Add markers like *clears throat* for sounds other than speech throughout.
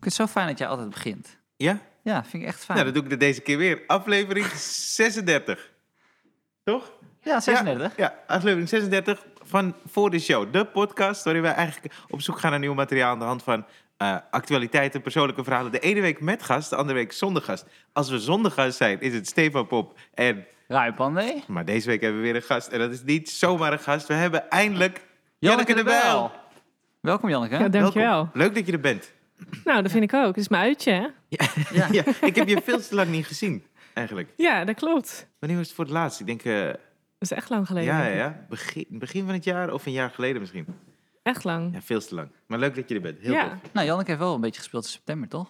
het zo fijn dat jij altijd begint. Ja? Ja, vind ik echt fijn. Nou, dat doe ik er deze keer weer. Aflevering 36. Toch? Ja, 36. Ja, ja, aflevering 36 van Voor de Show. De podcast waarin wij eigenlijk op zoek gaan naar nieuw materiaal aan de hand van eh, actualiteiten, persoonlijke verhalen. De ene week met gast, de andere week zonder gast. Als we zonder gast zijn, is het Stefan Pop en... Ruim Pandey. Maar deze week hebben we weer een gast. En dat is niet zomaar een gast. We hebben eindelijk Janneke de Bijl. Bijl. Welkom Janneke. Ja, dankjewel. Welkom. Leuk dat je er bent. Nou, dat vind ik ook. Het is mijn uitje, hè? Ja. *laughs* Ja, ik heb je veel te lang niet gezien, eigenlijk. Ja, dat klopt. Wanneer was het voor het laatst? Ik denk, eh, Dat is echt lang geleden. ja, ja, ja. Begin, begin van het jaar of een jaar geleden misschien. Echt lang. Ja, veel te lang. Maar leuk dat je er bent. Heel ja, tof. Nou, Janneke heeft wel een beetje gespeeld in september, toch?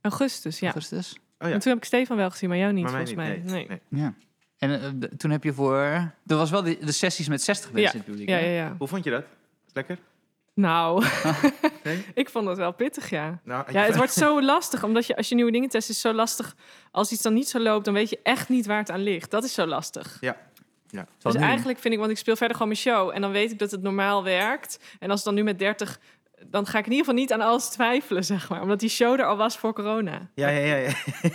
augustus, ja. Augustus. Oh ja. En toen heb ik Stefan wel gezien, maar jou niet, Maar mij volgens mij. niet, nee, nee. Ja. En eh, de- toen heb je voor... Er was wel de, de sessies met 60 mensen Ja. in het publiek. Ja, hè? ja, ja. Hoe vond je dat? Is lekker? *laughs* Nou, Ah, Nee? *laughs* ik vond dat wel pittig, ja. Nou, Ja, *laughs* het wordt zo lastig, omdat je, als je nieuwe dingen test, is het zo lastig. Als iets dan niet zo loopt, dan weet je echt niet waar het aan ligt. Dat is zo lastig. Terwijl dus nu- eigenlijk vind ik, want ik speel verder gewoon mijn show. En dan weet ik dat het normaal werkt. En als het dan nu met 30, dan ga ik in ieder geval niet aan alles twijfelen, zeg maar. Omdat die show er al was voor corona. Ja, ja, ja. ja. *laughs*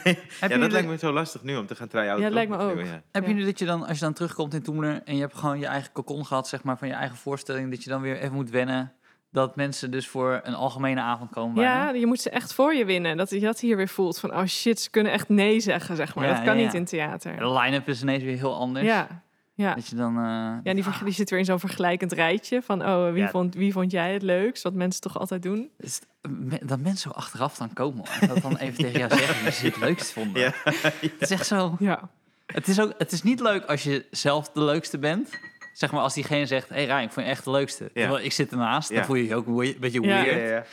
ja, dat jullie- lijkt me zo lastig nu om te gaan try-outen. Ja, dat lijkt toch? me ook. Ja. Heb je Ja. nu dat je dan, als je dan terugkomt in Toemler en je hebt gewoon je eigen cocon gehad, zeg maar, van je eigen voorstelling, dat je dan weer even moet wennen dat mensen dus voor een algemene avond komen bijna? Ja, je moet ze echt voor je winnen. Dat je dat hier weer voelt van, oh shit, ze kunnen echt nee zeggen, zeg maar. Ja, dat kan ja, niet ja. in theater. De line-up is ineens weer heel anders. Ja, ja. Dat je dan... eh, Ja, die, ver- die zit weer in zo'n vergelijkend rijtje van, oh, wie, Ja. vond, wie vond jij het leukst? Wat mensen toch altijd doen. Is het- me- Dat mensen zo achteraf dan komen en dat dan even tegen jou zeggen wie ze het leukst vonden. Ja. Het is echt zo. Ja, Het is, ook, het is niet leuk als je zelf de leukste bent. Zeg maar als diegene zegt: Hé hey Rijn, ik vond je echt de leukste. Terwijl ik zit ernaast, Ja. dan voel je je ook een beetje Ja. weird. Ja, ja, ja.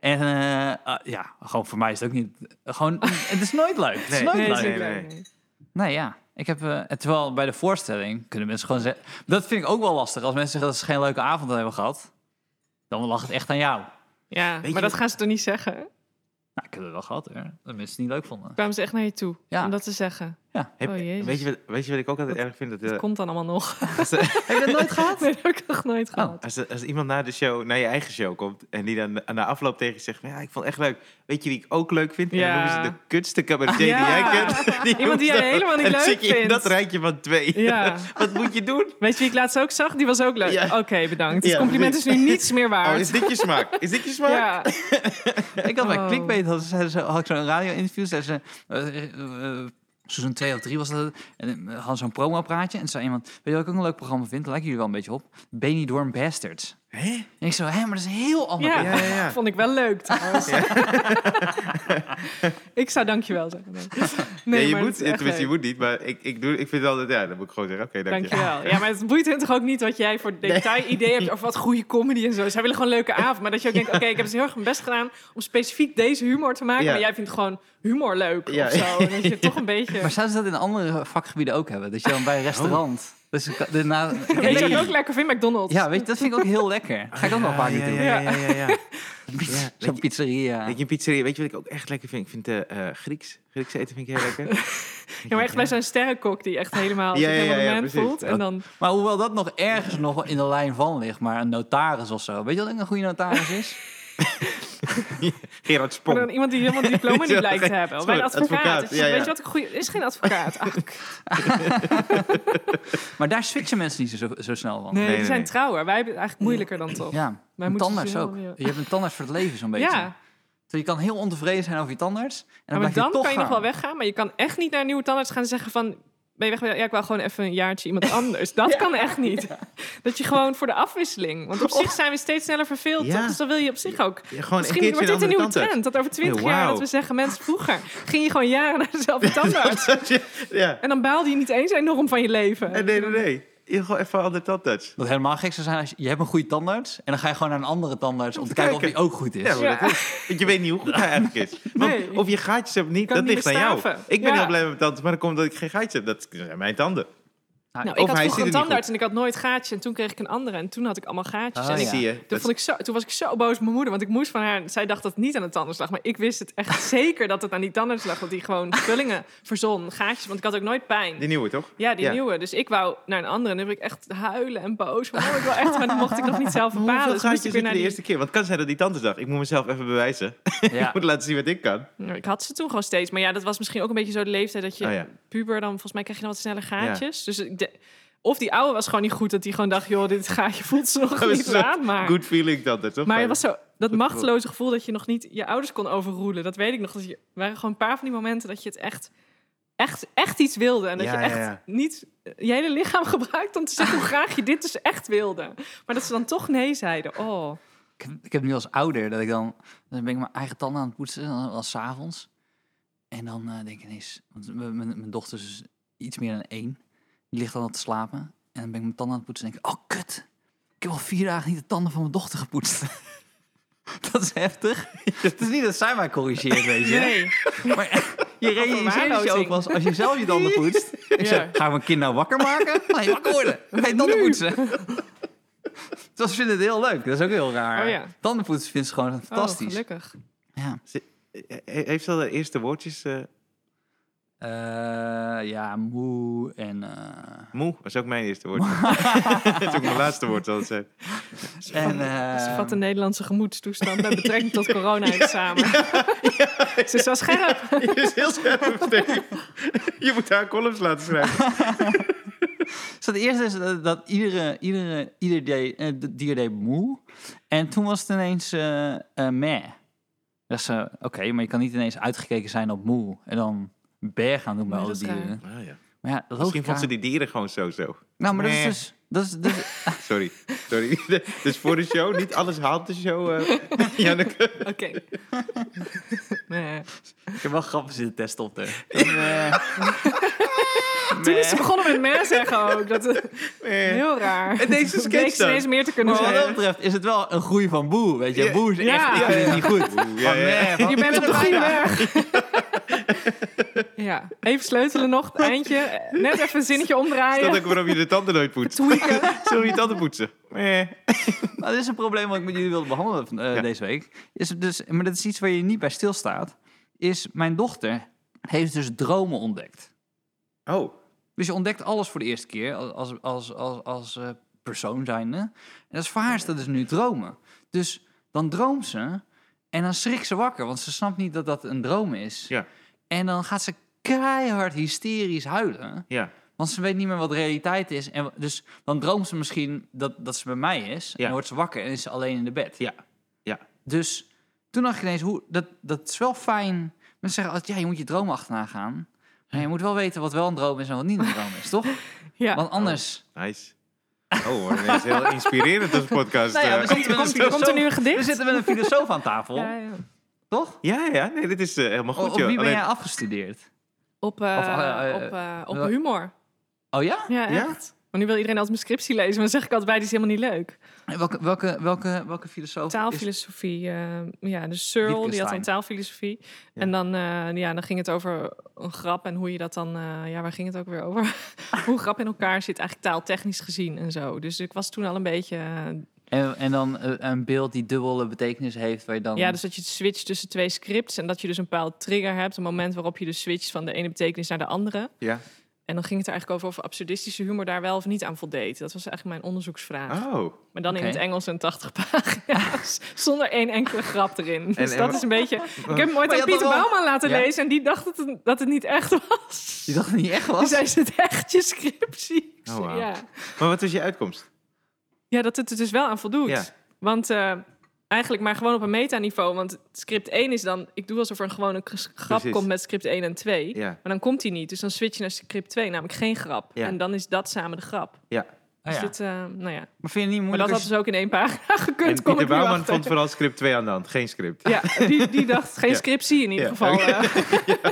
En eh, ah, ja, gewoon voor mij is het ook niet. Gewoon, het is nooit leuk. Het is Nee. nooit nee, leuk. is nee, niet nee. leuk, nee. Nee, ja. Ik heb, eh, en terwijl bij de voorstelling kunnen mensen gewoon zeggen... Dat vind ik ook wel lastig. Als mensen zeggen dat ze geen leuke avond hebben gehad... dan lag het echt aan jou. Ja, je maar dat wat- gaan ze toch niet zeggen? Nou, ik heb het wel gehad, hè. Dat mensen het niet leuk vonden. Kwamen ze echt naar je toe Ja. om dat te zeggen? Heb- Oh, jezus. weet, je wat, weet je wat ik ook altijd erg vind? Dat, eh, Dat komt dan allemaal nog. als, eh, *laughs* Heb je dat nooit gehad? *laughs* Oh. Nee, dat heb ik nog nooit gehad. als, als iemand na de show, naar je eigen show komt... en die dan na afloop tegen je zegt... ja, ik vond het echt leuk. Weet je wie ik ook leuk vind? En dan Ja. Ah, noemen ze de kutste cabaretier Ja. die jij *laughs* kent. Die Iemand die jij noemen ze- helemaal niet en dan leuk zit je in vindt. dat rijtje van twee. Ja. *laughs* wat moet je doen? Weet je wie ik laatst ook zag? Die was ook leuk. Ja. Oké, bedankt. Ja, Het compliment is nu niets meer Oh, waard. is dit je smaak? Is dit je smaak? Ja, Ik had bij Oh. Clickbait had, ze- ze- had ik zo'n radio-interview. Zei ze, eh, eh, eh, seizoen 2 of 3 was dat. En eh, hadden zo'n promo-praatje. En zei iemand, weet je wat ik ook een leuk programma vind? Daar lijken jullie wel een beetje op. Benidorm Bastards. Hè? En ik zo, hé, maar dat is een heel ander Ja. Ja, ja, ja. *laughs* vond ik wel leuk trouwens. *laughs* ik zou dankjewel zeggen. Nee, Nee, je maar moet, dat is echt tenminste, je leuk. moet niet, maar ik, ik, doe, ik vind het altijd, ja, dan moet ik gewoon zeggen, oké, dank je. Dankjewel. Ja, maar het boeit hen toch ook niet wat jij voor detail idee hebt over wat goede comedy en zo. Zij willen gewoon een leuke avond. Maar dat je ook denkt, oké, ik heb dus heel erg mijn best gedaan om specifiek deze humor te maken. Ja. Maar jij vindt gewoon humor leuk Ja. of zo. En dat je toch *laughs* een beetje... Maar zouden ze dat in andere vakgebieden ook hebben? Dat je dan bij Oh. een restaurant... Dus ik- de, *laughs* na, Weet je wat ik ook lekker vind? McDonald's. Ja, weet je, dat vind ik ook heel lekker. Ga ik ook nog vaker ja, doen. ja, ja, ja, ja, ja. Piz- Ja, *laughs* Zo'n je- pizzeria. Weet je, een pizzeria, weet je wat ik ook echt lekker vind? Ik vind eh, eh, Grieks, Grieks eten vind ik heel lekker. *laughs* Ja, maar echt bij zo'n sterrenkok die echt helemaal, Ja, zich ja, helemaal ja, ja, de man precies. voelt. En dan, Maar hoewel dat nog ergens nog wel in de lijn van ligt, maar een notaris of zo. Weet je wat ook een goede notaris is? Gerard maar Spong. dan iemand die helemaal een *laughs* diploma Zo, niet lijkt te hebben. Of bij een sorry, advocaat. advocaat, Dus je- ja, ja. Weet je wat ik goeie... Er is geen *laughs* advocaat. Ach, Maar daar switchen mensen niet zo, zo snel van. nee, nee, die zijn nee. trouwer. Wij hebben het eigenlijk moeilijker dan toch. Ja, Oh, Wij een moeten tandarts ze ook. heel- Je hebt een tandarts voor het leven zo'n beetje. *laughs* Ja, Dus je kan heel ontevreden zijn over je tandarts. En dan maar blijf dan je toch kan je nog wel gaan. weggaan. Maar je kan echt niet naar een nieuwe tandarts gaan zeggen van... Ben je weg? Ja, ik wil gewoon even een jaartje *laughs* iemand anders. Dat kan echt niet. Dat je gewoon voor de afwisseling... Want op zich zijn we steeds sneller verveeld, Oh. Ja. toch? Dus dan wil je op zich ook... Ja, gewoon een Misschien keertje wordt dit een nieuwe andere trend. Dat over twintig Ja, jaar wauw. dat we zeggen... Mensen, vroeger ging je gewoon jaren naar *laughs* dezelfde tandarts. tandarts. *laughs* ja, En dan baalde je niet eens enorm van je leven. nee, nee, nee. Je gewoon even een andere tandarts. Wat helemaal gek zou zijn als je, je hebt een goede tandarts en dan ga je gewoon naar een andere tandarts om te kijken of die ook goed is. Ja, maar Ja. dat is, want je weet niet hoe goed hij eigenlijk *laughs* is. Want Nee. of je gaatjes hebt of niet, Kan dat niet ligt aan jou. bestaven. Ik ben Ja. heel blij met mijn tanden, maar dat komt omdat ik geen gaatjes heb. Dat zijn mijn tanden. Nou, Of ik had hij vroeger zit er een niet tandarts en ik had nooit gaatje. En toen kreeg ik een andere en toen had ik allemaal gaatjes. Ah, en ik, ja. Zie je? toen, Dat- vond ik zo, toen was ik zo boos op mijn moeder, want ik moest van haar... Zij dacht dat het niet aan de tandarts lag, maar ik wist het *laughs* echt zeker dat het aan die tandarts lag. Want die gewoon vullingen verzon, gaatjes, want ik had ook nooit pijn. Die nieuwe, toch? ja, die ja. nieuwe. Dus ik wou naar een andere en dan heb ik echt huilen en boos. Van, oh, ik wil echt, maar dat mocht ik nog niet *laughs* zelf Hoeveel bepalen. Dus moest ik gaatjes weer zitten naar de die... eerste keer? Want het kan zijn dat die tante dacht, ik moet mezelf even bewijzen. Ja. ik moet laten zien wat ik kan. Nou, Ik had ze toen gewoon steeds. Maar ja, dat was misschien ook een beetje zo de leeftijd dat je Oh ja. puber dan... Volgens mij krijg je dan wat sneller gaatjes. Dus ik de- of die oude was gewoon niet goed. Dat die gewoon dacht, joh, dit gaatje *laughs* voelt ze nog Oh, Dat was niet een aan. Maar, Good feeling tante, toch? maar het was zo dat Goed machteloze gevoel dat je nog niet je ouders kon overroelen. Dat weet ik nog. Dat je, er waren gewoon een paar van die momenten dat je het echt... Echt, echt iets wilde. En dat Ja, je ja, echt ja. niet eh, je hele lichaam *laughs* gebruikt om te zeggen hoe graag je dit dus echt wilde. Maar dat ze dan toch nee zeiden. Oh. Ik, heb- ik heb nu als ouder dat ik dan... Dan ben ik mijn eigen tanden aan het poetsen, dan wel s'avonds. En dan eh, denk ik ineens... Want m- m- mijn dochter is dus iets meer dan één. Die ligt dan al te slapen. En dan ben ik mijn tanden aan het poetsen en denk ik... Oh, kut. Ik heb al vier dagen niet de tanden van mijn dochter gepoetst. *laughs* dat is heftig. Het is niet dat zij mij corrigeert, weet je. *laughs* Nee. Maar je realiseert je verwaarlozing. ook wel eens als je zelf je tanden poetst. Ik zeg, ga ik mijn kind nou wakker *laughs* maken? Nee, wakker worden. Ga je tanden poetsen. Dus *laughs* ze vinden het heel leuk. Dat is ook heel raar. Oh ja. Tandenpoetsen vinden ze gewoon Oh, fantastisch. gelukkig. ja. He- Heeft ze al de eerste woordjes... eh, Eh, ja, moe en... eh, moe was ook mijn eerste woord. *laughs* Dat is ook mijn laatste woord, zal het zijn. *laughs* en *laughs* Ze Ehm. eh, vat de Nederlandse gemoedstoestand met betrekking *laughs* tot corona even samen. Ze is wel scherp. Je is heel scherp, Dave. Je moet haar columns laten schrijven. Dus het eerste is dat, dat iedere, iedere, ieder deed- eh, d- dier deed moe. En toen was het ineens eh eh, meh. Dus, eh, Oké, maar je kan niet ineens uitgekeken zijn op moe. En dan bear gaan doen bij Nee, alle dat is raar. dieren. Ah, ja. Maar ja, Misschien logica- vond ze die dieren gewoon zo-zo. Nou, maar dat is Meh. dus... Dat is, dat is- Sorry, sorry. *laughs* Dus voor de show, niet alles haalt de show, *laughs* eh Janneke. Oké. Nee. ik heb wel grappig zitten testen op de... eh, *laughs* Toen is ze begonnen met meh zeggen ook. Dat, Nee. heel raar. En deze Toen bleek sketch ze ineens dan. Oh, meer te kunnen Maar wat dat zeggen. betreft is het wel een groei van boe, weet je. Ja. Boe is echt, Ja. ik vind het niet goed. Oeh, ja, Van *laughs* ja. meh, van- Je bent op de goede *laughs* weg. *laughs* Ja, even sleutelen nog, het eindje. Net even een zinnetje Is dat omdraaien. ook waarom je de tanden nooit poetst? *laughs* Tweaken. Zul je je tanden poetsen? *laughs* Nee. Nou, dit is een probleem wat ik met jullie wilde behandelen van, eh, Ja. deze week. Is het dus, maar dat is iets waar je niet bij stilstaat. Is mijn dochter heeft dus dromen ontdekt. Oh, Dus je ontdekt alles voor de eerste keer als, als, als, als, eh, persoon zijnde. En dat is voor haar is dat dus nu dromen. Dus dan droomt ze en dan schrikt ze wakker, want ze snapt niet dat dat een droom is. Ja. En dan gaat ze keihard hysterisch huilen. ja. Want ze weet niet meer wat realiteit is. En dus dan droomt ze misschien dat, dat ze bij mij is. Ja. En wordt ze wakker en is ze alleen in de bed. Ja, ja. Dus toen dacht ik ineens, hoe, dat, dat is wel fijn. Mensen zeggen altijd, ja, je moet je droom achterna gaan. Maar je moet wel weten wat wel een droom is en wat niet een droom is, *laughs* toch? Ja. Want anders... Nice. Oh, we worden ineens heel *laughs* inspirerend als podcast. Nou ja, eh. we zitten met een Komt, komt er nu een filosoof- we gedicht? zitten met een filosoof aan tafel, Ja, ja. toch? ja, ja, nee, dit is eh, helemaal O- goed, op joh. wie ben Alleen- jij afgestudeerd? Op, eh, Of, eh, eh, op, eh, op humor. Oh ja? Ja, Ja? echt. Maar nu wil iedereen altijd mijn scriptie lezen. Maar dan zeg ik altijd bij, die is helemaal niet leuk. En Welke, welke, welke, welke filosoof is... Taalfilosofie. eh, ja, dus Searle, die had Wittgenstein. dan taalfilosofie. Ja. En dan, eh, ja, dan ging het over een grap en hoe je dat dan... eh, ja, waar ging het ook weer over? *laughs* hoe grap in elkaar zit, eigenlijk taaltechnisch gezien en zo. Dus ik was toen al een beetje... eh, En, en dan eh, een beeld die dubbele betekenis heeft, waar je dan... ja, dus dat je switcht tussen twee scripts... en dat je dus een bepaald trigger hebt. Een moment waarop je dus switcht van de ene betekenis naar de andere. Ja. En dan ging het er eigenlijk over of absurdistische humor daar wel of niet aan voldeed. Dat was eigenlijk mijn onderzoeksvraag. Ah. Oh. Maar dan Oké. in het Engels en 80 *laughs* pagina's. Zonder één enkele grap erin. dus en dat wa- is een *laughs* beetje... Ik heb hem ooit Maar je aan had Pieter dat wel- Bouwman laten Ja. lezen... en die dacht dat het, dat het niet echt was. Die dacht het niet echt *laughs* Die was. zei, is het echt je scriptie? Ik Oh, zei, wauw. ja. Maar wat was je uitkomst? ja, dat het er dus wel aan voldoet. Ja. Want eh, eigenlijk maar gewoon op een metaniveau. Want script 1 is dan... Ik doe alsof er gewoon een kras- grap Precies. komt met script 1 en 2. Ja, Maar dan komt die niet. Dus dan switch je naar script 2, namelijk geen grap. Ja. En dan is dat samen de grap. ja. Ah, ja. Dus dit, eh, nou ja. Maar vind je het niet Maar dat moeilijk had als- dus ook in één pagina *laughs* gekund, En kom Pieter ik nu Bouwman achter. vond vooral script 2 aan de hand, geen script. *laughs* Ja, die, die dacht, geen Ja. scriptie in ieder Ja. geval. eh.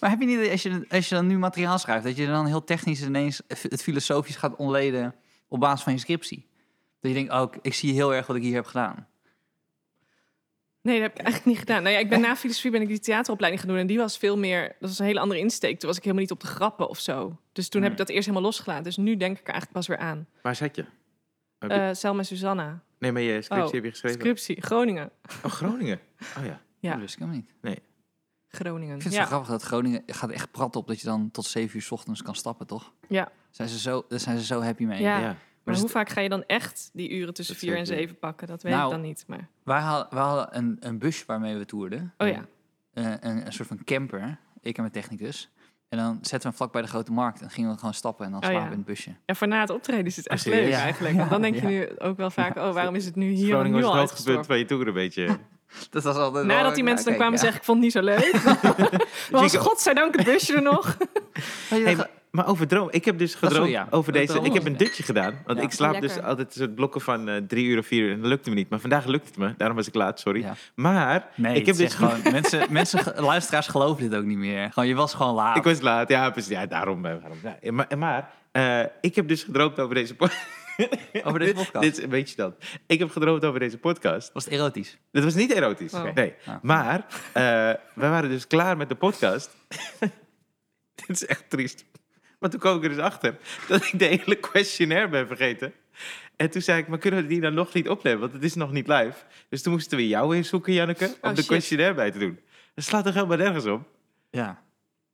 Maar heb je niet, als je, als je dan nu materiaal schrijft, dat je dan heel technisch ineens het filosofisch gaat ontleden op basis van je scriptie? Dat je denkt, oh, ik, ik zie heel erg wat ik hier heb gedaan. Nee, dat heb ik eigenlijk niet gedaan. Nou ja, ik ben na filosofie ben ik die theateropleiding gaan doen. En die was veel meer, dat was een hele andere insteek. Toen was ik helemaal niet op de grappen of zo. Dus toen heb ik dat eerst helemaal losgelaten. Dus nu denk ik er eigenlijk pas weer aan. Waar zat je? Heb je- Eh Selma en Susanna. nee, maar je scriptie oh, heb je geschreven. Scriptie, Groningen. Oh, Groningen. Oh ja. Ja. Dat wist ik helemaal niet. Groningen. Ik vind het ja. zo grappig dat Groningen gaat echt prat op dat je dan tot 7 uur 's ochtends kan stappen, toch? Ja. Zijn ze zo, daar zijn ze zo happy mee. Ja. ja. Maar is hoe het- vaak ga je dan echt die uren tussen Dat vier zeg en ik niet. zeven pakken? Dat weet Nou, ik dan niet. Maar Wij hadden, wij hadden een, een busje waarmee we toerden. oh ja, Eh, een, een soort van camper. Ik en mijn technicus. En dan zetten we hem vlak bij de grote markt. En gingen we gewoon stappen en dan Oh, slapen ja. in het busje. ja, voor na het optreden is het echt Ah, leuk serieus? Ja. eigenlijk. Want dan denk je Ja. nu ook wel vaak, oh waarom is het nu Dus hier en Groningen nu was al het hoogtepunt uitgestorven? van je toer een beetje. Dat was altijd wel- Nadat die mensen Nou, dan ja, kijk, kwamen zeggen, ik vond het niet zo leuk. *laughs* Maar was godzijdank het busje er nog. ja. Hey, maar- maar over droom. Ik heb dus sorry, gedroomd ja. over Dat deze. droom Ik heb was een het. dutje gedaan. Want Ja. ik slaap dus Lekker. altijd een soort blokken van eh, drie uur of vier uur. En dat lukte me niet. Maar vandaag lukt het me. Daarom was ik laat, sorry. Ja. Maar Nee, ik heb dit dus gewoon, *laughs* mensen, mensen, ge- luisteraars geloven dit ook niet meer. Gewoon, je was gewoon laat. Ik was laat, ja, precies. Ja, daarom. eh, waarom ja. Maar, maar eh, ik heb dus gedroomd over deze, po- *laughs* Over deze Dit- podcast? Dit, weet je dat? Ik heb gedroomd over deze podcast. Was het erotisch? Dat was niet erotisch. Oh. Nee. Ah. Maar eh, we wij waren dus klaar met de podcast. *laughs* Dit is echt triest. Want toen kwam ik er dus achter dat ik de hele questionnaire ben vergeten. En toen zei ik, maar kunnen we die dan nog niet opnemen? Want het is nog niet live. Dus toen moesten we jou weer zoeken, Janneke, om Oh, de shit. questionnaire bij te doen. Dat slaat toch helemaal nergens op? Ja.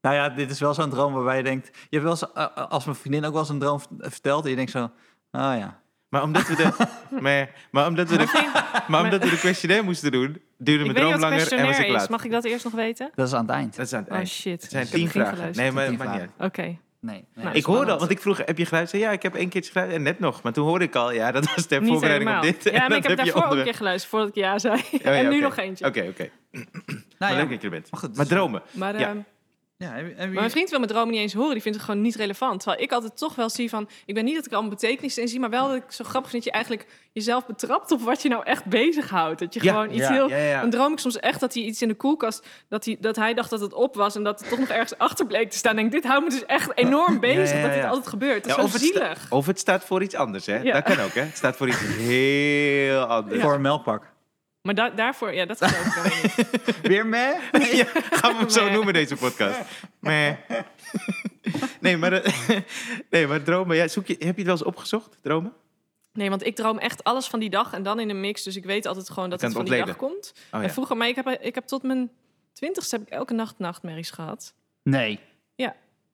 Nou ja, dit is wel zo'n droom waarbij je denkt... Je hebt wel eens, eh, als mijn vriendin ook wel eens een droom v- vertelt... en je denkt zo, oh ja. Maar omdat we de, *laughs* maar, maar omdat we de, maar omdat we de questionnaire moesten doen, duurde Ik mijn weet niet droom wat langer en was questionnaire ik is. laat. Mag ik dat eerst nog weten? Dat is aan het eind. Dat is aan het Oh eind. shit. Het zijn Ik heb tien geen vragen. geluisterd. Nee, maar Tien maakt niet uit. vragen. Oké. Nee. nee. Nou, Ik hoorde al, Spannend. want ik vroeg, heb je geluisterd? Zei, Ja, ik heb één keertje geluisterd. En net nog, maar toen hoorde ik al, ja, *laughs* dat was ter Niet voorbereiding helemaal. op dit. *laughs* Ja, En maar dat ik heb je daarvoor ook een onderweg. keer geluisterd voordat ik ja zei. Oh, ja, *laughs* en nu oké. nog eentje. Oké, oké. Nou Maar ja. leuk dat je er bent. Maar goed, Maar dus- dromen. Maar, Ja. ehm, Ja, heb, heb je- maar mijn vriend wil mijn dromen niet eens horen. Die vindt het gewoon niet relevant. Terwijl ik altijd toch wel zie van... Ik ben niet dat ik er allemaal betekenis in zie... maar wel dat ik zo grappig vind dat je eigenlijk jezelf betrapt... op wat je nou echt bezighoudt. Dat je Ja, gewoon iets ja, heel... ja, ja. Dan droom ik soms echt dat hij iets in de koelkast... Dat hij, dat hij dacht dat het op was... en dat het toch nog ergens achter bleek te staan. En ik, dit houdt me dus echt enorm bezig ja, dat dit ja. altijd gebeurt. Dat Ja, is of, zo het sta- zielig. of het staat voor iets anders, hè? Ja. Dat kan ook, hè? Het staat voor *laughs* iets heel anders. Voor een melkpak. Maar da- daarvoor... Ja, dat geloof ik helemaal niet. Weer *laughs* mee? Ja, gaan we hem zo Meh. noemen, deze podcast. Meh. Nee, maar, eh, *laughs* nee, maar dromen. Ja, zoek je, heb je het wel eens opgezocht, dromen? *laughs* Nee, want ik droom echt alles van die dag en dan in een mix. Dus ik weet altijd gewoon dat Je het kan van het die dag ontleden. komt. Oh, En ja. vroeger, maar ik heb, ik heb tot mijn twintigste heb ik elke nacht nachtmerries gehad. Nee.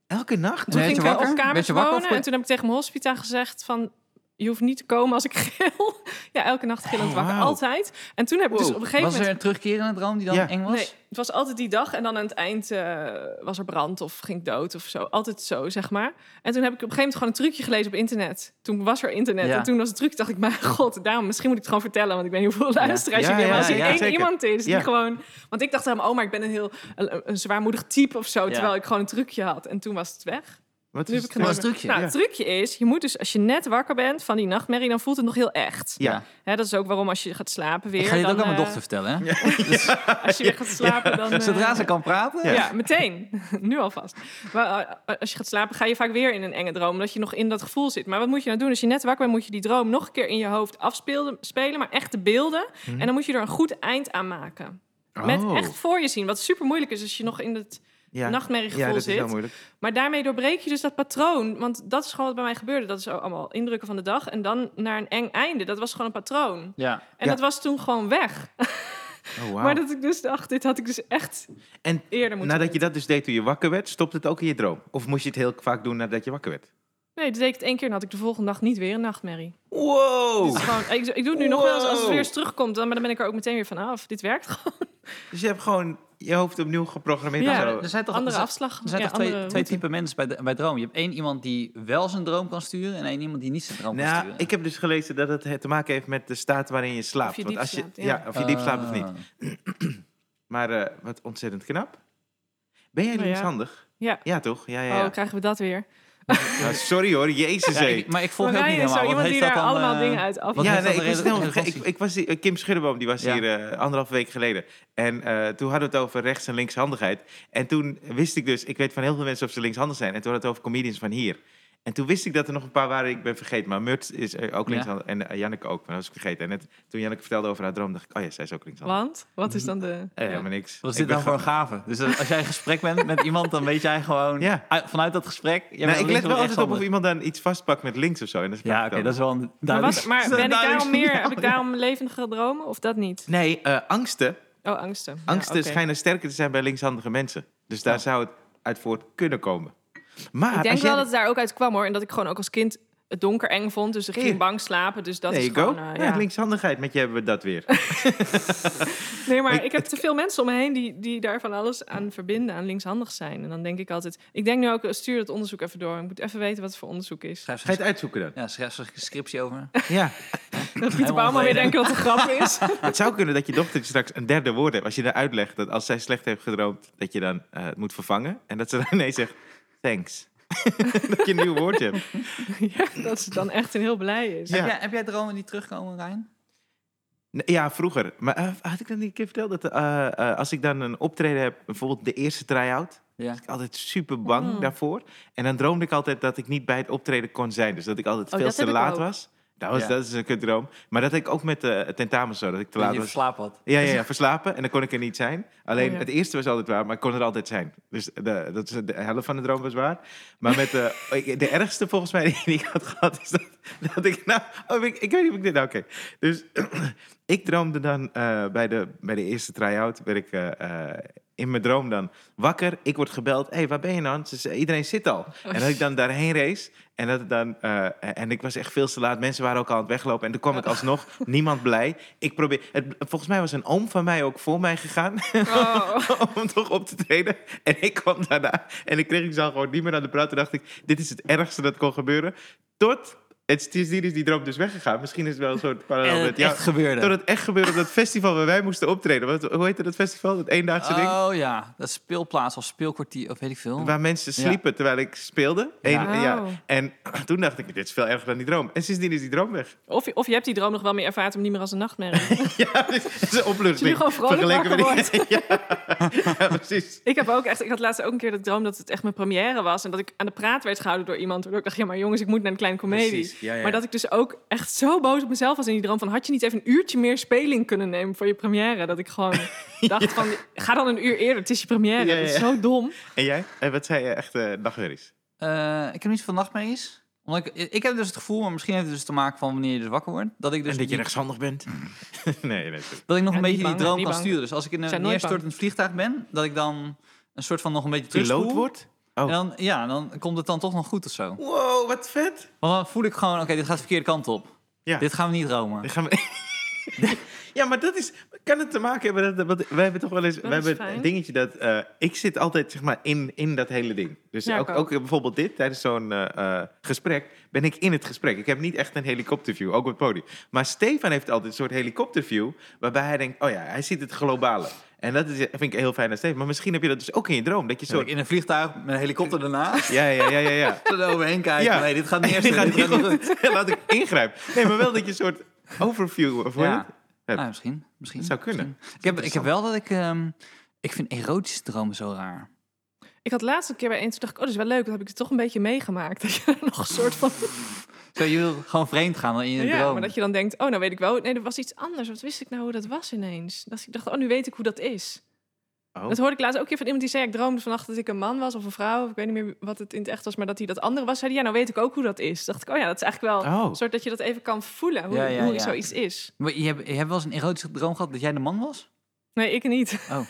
Elke nacht? Toen Werd je ging ik wel wakker? op Werd kamers je wakker wonen of- en toen heb ik tegen mijn hospita gezegd van... Je hoeft niet te komen als ik *laughs* gil. Ja, elke nacht gillend Oh, wakker. wauw. Altijd. En toen heb ik dus Wow. op een gegeven Was er moment... een terugkerende droom die dan Ja. eng was? Nee, het was altijd die dag en dan aan het eind eh, was er brand of ging ik dood of zo. Altijd zo, zeg maar. En toen heb ik op een gegeven moment gewoon een trucje gelezen op internet. Toen was er internet Ja. en toen was het trucje, dacht ik, *laughs* mijn god, daarom, misschien moet ik het gewoon vertellen, want ik weet niet hoeveel luisteraars Ja, je hebt. ja, Maar als er ja, één zeker. iemand is die Ja. gewoon... Want ik dacht helemaal, oh, maar ik ben een heel een, een zwaarmoedig type of zo, Ja. terwijl ik gewoon een trucje had. En toen was het weg. Wat Nu heb ik Dat gedaan. was een trucje. Nou, ja. het trucje is, je moet dus, als je net wakker bent van die nachtmerrie, dan voelt het nog heel echt. Ja. Hè, dat is ook waarom als je gaat slapen weer... Ik ga dit dan, ook aan mijn eh, dochter vertellen. *laughs* Hè? Dus Als je weer gaat slapen, dan... eh, Zodra ze kan praten. ja. meteen. *laughs* nu alvast. Maar eh, als je gaat slapen, ga je vaak weer in een enge droom. Omdat je nog in dat gevoel zit. Maar wat moet je nou doen? Als je net wakker bent, moet je die droom nog een keer in je hoofd afspelen. Spelen, maar echt de beelden. En dan moet je er een goed eind aan maken. Met Mhm. Oh. echt voor je zien. Wat super moeilijk is als je nog in het ja. nachtmerriegevoel Ja, dat is zit. heel moeilijk. Maar daarmee doorbreek je dus dat patroon. Want dat is gewoon wat bij mij gebeurde. Dat is ook allemaal indrukken van de dag. En dan naar een eng einde. Dat was gewoon een patroon. Ja. En Ja. dat was toen gewoon weg. *laughs* Oh, wauw. Maar dat ik dus dacht, dit had ik dus echt En eerder moeten nadat je weten. dat dus deed toen je wakker werd, stopte het ook in je droom? Of moest je het heel vaak doen nadat je wakker werd? Nee, dat deed ik het één keer en had ik de volgende dag niet weer een nachtmerrie. Wow! Dus gewoon, ik, ik doe het nu nog wel eens als het Oh. Wow. weer eens terugkomt, dan, maar dan ben ik er ook meteen weer van af. Dit werkt gewoon. Dus je hebt gewoon je hoofd opnieuw geprogrammeerd. Ja. en zo. Er zijn toch, andere er zijn- afslag. er zijn ja, toch twee, andere twee route. typen mensen bij, de- bij droom. Je hebt één iemand die wel zijn droom kan sturen en één iemand die niet zijn droom kan Nou, sturen. ik heb dus gelezen dat het eh, te maken heeft met de staat waarin je slaapt. Of je diep Want als je, slaapt, ja. of je diep slaapt of Ah. niet. Maar eh, wat ontzettend knap. Ben jij Nou ja. linkshandig? Ja. Ja, toch? Ja, ja, Oh, ja. krijgen we dat weer? Nou, sorry hoor, jezus Ja, hé. ik- maar ik volg Maar je ook wij niet zijn helemaal. zo Wat iemand die heeft daar dat dan, allemaal eh, dingen uit af. wat ja, heeft nee, dat ik een was, rele- snel, ik, relevantie? ik was die- eh, Kim Schudderboom, die was Ja. hier eh, anderhalf week geleden. En eh, toen hadden we het over rechts- en linkshandigheid. En toen wist ik dus, ik weet van heel veel mensen of ze linkshandig zijn. En toen hadden we het over comedians van hier. En toen wist ik dat er nog een paar waren, ik ben vergeten. Maar Murt is eh, ook Ja. linkshandig en eh, Janneke ook, maar dat was ik vergeten. En net, toen Janneke vertelde over haar droom, dacht ik, oh ja, zij is ook linkshandig. Want? Wat is dan de... Eh, ja. helemaal niks. Wat is Ik dit ben nou voor een gave? Dus eh, als jij in gesprek bent met iemand, dan weet jij gewoon Ja. uit- vanuit dat gesprek. jij bent Nou, ik links let of wel altijd op of rechtshandig. iemand dan iets vastpakt met links of zo. En dat Ja, oké, dat is wel een Maar, duidelijk. *laughs* wat, maar is ben een ik duidelijk daarom meer, signaal, heb ik ja. daarom levendige dromen of dat niet? Nee, eh, angsten. Oh, angsten. Ja, Angsten oké. schijnen sterker te zijn bij linkshandige mensen. Dus daar Ja. zou het uit voort kunnen komen. Maar Ik denk als jij- wel dat het daar ook uit kwam hoor. En dat ik gewoon ook als kind het donker eng vond. Dus ik Ja. ging bang slapen. Dus dat There is you go. gewoon... eh, ja, ja. linkshandigheid, met je hebben we dat weer. Nee, maar Ik- ik heb te veel mensen om me heen die, die daar van alles aan verbinden, aan linkshandig zijn. En dan denk ik altijd, ik denk nu ook, eh, stuur dat onderzoek even door. Ik moet even weten wat het voor onderzoek is. Schrijf Ga je ze het uitzoeken *laughs* dan? ja, schrijf ze een scriptie over. Ja. Dat Pieter Helemaal Bouwman weer onvreden. denken dat het een grap *laughs* is. Het zou kunnen dat je dochtertje straks een derde woord hebt. Als je haar uitlegt dat als zij slecht heeft gedroomd, dat je dan eh, het moet vervangen. En dat ze dan ineens zegt, thanks. *laughs* dat je een nieuw woordje hebt. ja, dat ze dan echt een heel blij is. Ja. Heb, jij, heb jij dromen die terugkomen, Rijn? Nee, Ja, vroeger. Maar eh, had ik dat niet een keer verteld? Dat, eh, eh, als ik dan een optreden heb, bijvoorbeeld de eerste try-out, Ja. was ik altijd super bang Mm. daarvoor. En dan droomde ik altijd dat ik niet bij het optreden kon zijn. Dus dat ik altijd Oh, veel dat te heb ik laat ook. was. Dat, was, Ja. dat is een kut droom. Maar dat had ik ook met eh, het tentamen zo, dat ik te Dat laat dus. je was. verslapen had. Ja, *laughs* ja, ja, verslapen. En dan kon ik er niet zijn. Alleen Oh, ja. het eerste was altijd waar, maar ik kon er altijd zijn. Dus de, dat is de helft van de droom was waar. Maar met eh, *laughs* ik- de ergste volgens mij die ik had gehad, is dat, dat ik nou... Oh, ik, ik weet niet of ik dit... Nou, oké. Dus *clears throat* ik droomde dan eh, bij, de, bij de eerste try-out, werd ik... eh, eh, in mijn droom dan wakker, ik word gebeld. Hé, hey, waar ben je dan? Ze zei, iedereen zit al. Oh. En dat ik dan daarheen race. En, dat het dan, eh, en ik was echt veel te laat. Mensen waren ook al aan het weglopen. En toen Oh. kwam ik alsnog, niemand blij. Ik probeer, het, volgens mij was een oom van mij ook voor mij gegaan. *laughs* Oh. om toch op te treden. En ik kwam daarna. En ik kreeg ik zal gewoon niet meer aan de praat. Toen dacht ik, dit is het ergste dat kon gebeuren. Tot, het is hier is die droom dus weggegaan. Misschien is het wel een soort parallel En met het jou. echt gebeurde. Tot het echt gebeurde op dat festival waar wij moesten optreden. Wat, hoe heette dat festival? Dat eendaagse ding? Oh ja, dat speelplaats of speelkwartier of weet ik veel. Waar mensen sliepen terwijl ik speelde. En, Ja. ja. Oh. en toen dacht ik, dit is veel erger dan die droom. En sindsdien is die droom weg. Of, je- of je hebt die droom nog wel meer ervaard om niet meer als een *laughs* nachtmerrie. ja, dus het is een je nu opluchting. gewoon vrolijk wakker met die... ja. *laughs* ja, precies. ik heb ook echt, ik had laatst ook een keer de droom dat het echt mijn première was. En dat ik aan de praat werd gehouden door iemand. Waardoor ik dacht, ja maar jongens, ik moet naar een kleine comedie. Precies, ja, ja, ja. Maar dat ik dus ook echt zo boos op mezelf was in die droom van... had je niet even een uurtje meer speling kunnen nemen voor je première? Dat ik *laughs* gewoon dacht van, ga dan een uur eerder, het is je première. Ja, ja, Dat ja. is zo dom. En jij? En wat zei je echt eh nachtmerries? Eh, ik heb niet veel nachtmerries. Omdat ik, ik heb dus het gevoel, maar misschien heeft het dus te maken van wanneer je dus wakker wordt. Dat ik dus en dat je die- rechtshandig bent? *laughs* nee, nee. sorry. Dat ik nog Ja, een beetje niet die bang, droom niet kan bang. sturen. Dus als ik in Ik een ben nooit neerstortend vliegtuig ben, dat ik dan een soort van nog een beetje Piloot terugspoel. wordt? Oh. En dan, ja, dan komt het dan toch nog goed of zo. Wow, wat vet. Want dan voel ik gewoon, oké, dit gaat de verkeerde kant op. Ja. Dit gaan we niet dromen. Dan gaan we... *laughs* ja, maar dat is... Kan het te maken hebben dat... Want wij hebben toch wel eens... Dat Wij is hebben fijn. een dingetje dat... eh, ik zit altijd, zeg maar, in, in dat hele ding. Dus Ja, ik ook, ook. ook bijvoorbeeld dit, tijdens zo'n eh, eh, gesprek... ben ik in het gesprek. Ik heb niet echt een helikopterview, ook op het podium. Maar Stefan heeft altijd een soort helikopterview... waarbij hij denkt, oh ja, hij ziet het globale. En dat is, vind ik heel fijn aan Stefan. Maar misschien heb je dat dus ook in je droom. Dat je Zo, zo... in een vliegtuig met een helikopter daarna. Ja, ja, ja, ja, ja. *laughs* er overheen kijken. Ja. Nee, dit *laughs* gaat niet eerst. Dit gaat dit niet gaat niet goed. *laughs* Laat ik ingrijpen. Nee, maar wel dat je een soort overview... Of hoe heet Ja. het? Ja. Nou, misschien. misschien Dat zou kunnen. misschien. Ik, heb, ik heb wel dat ik... ehm, ik vind erotische dromen zo raar. Ik had laatst een keer bij één, toen dacht ik, oh, dat is wel leuk. Dat heb ik het toch een beetje meegemaakt. *laughs* Dat je nog een soort van... Zo, je wil gewoon vreemd gaan dan in je Ja, droom. maar dat je dan denkt, oh, nou weet ik wel. Nee, er was iets anders. Wat wist ik nou hoe dat was ineens? Dat ik dacht, oh, nu weet ik hoe dat is. Oh. Dat hoorde ik laatst ook een keer van iemand die zei... ik droomde vannacht dat ik een man was of een vrouw... of ik weet niet meer wat het in het echt was... maar dat hij dat andere was. Zei hij, ja, nou weet ik ook hoe dat is. Dacht ik, oh ja, dat is eigenlijk wel Oh. een soort dat je dat even kan voelen... hoe, Ja, ja, hoe ja. zoiets is. Maar je, hebt, je hebt wel eens een erotische droom gehad dat jij de man was? Nee, ik niet. Oh. *laughs*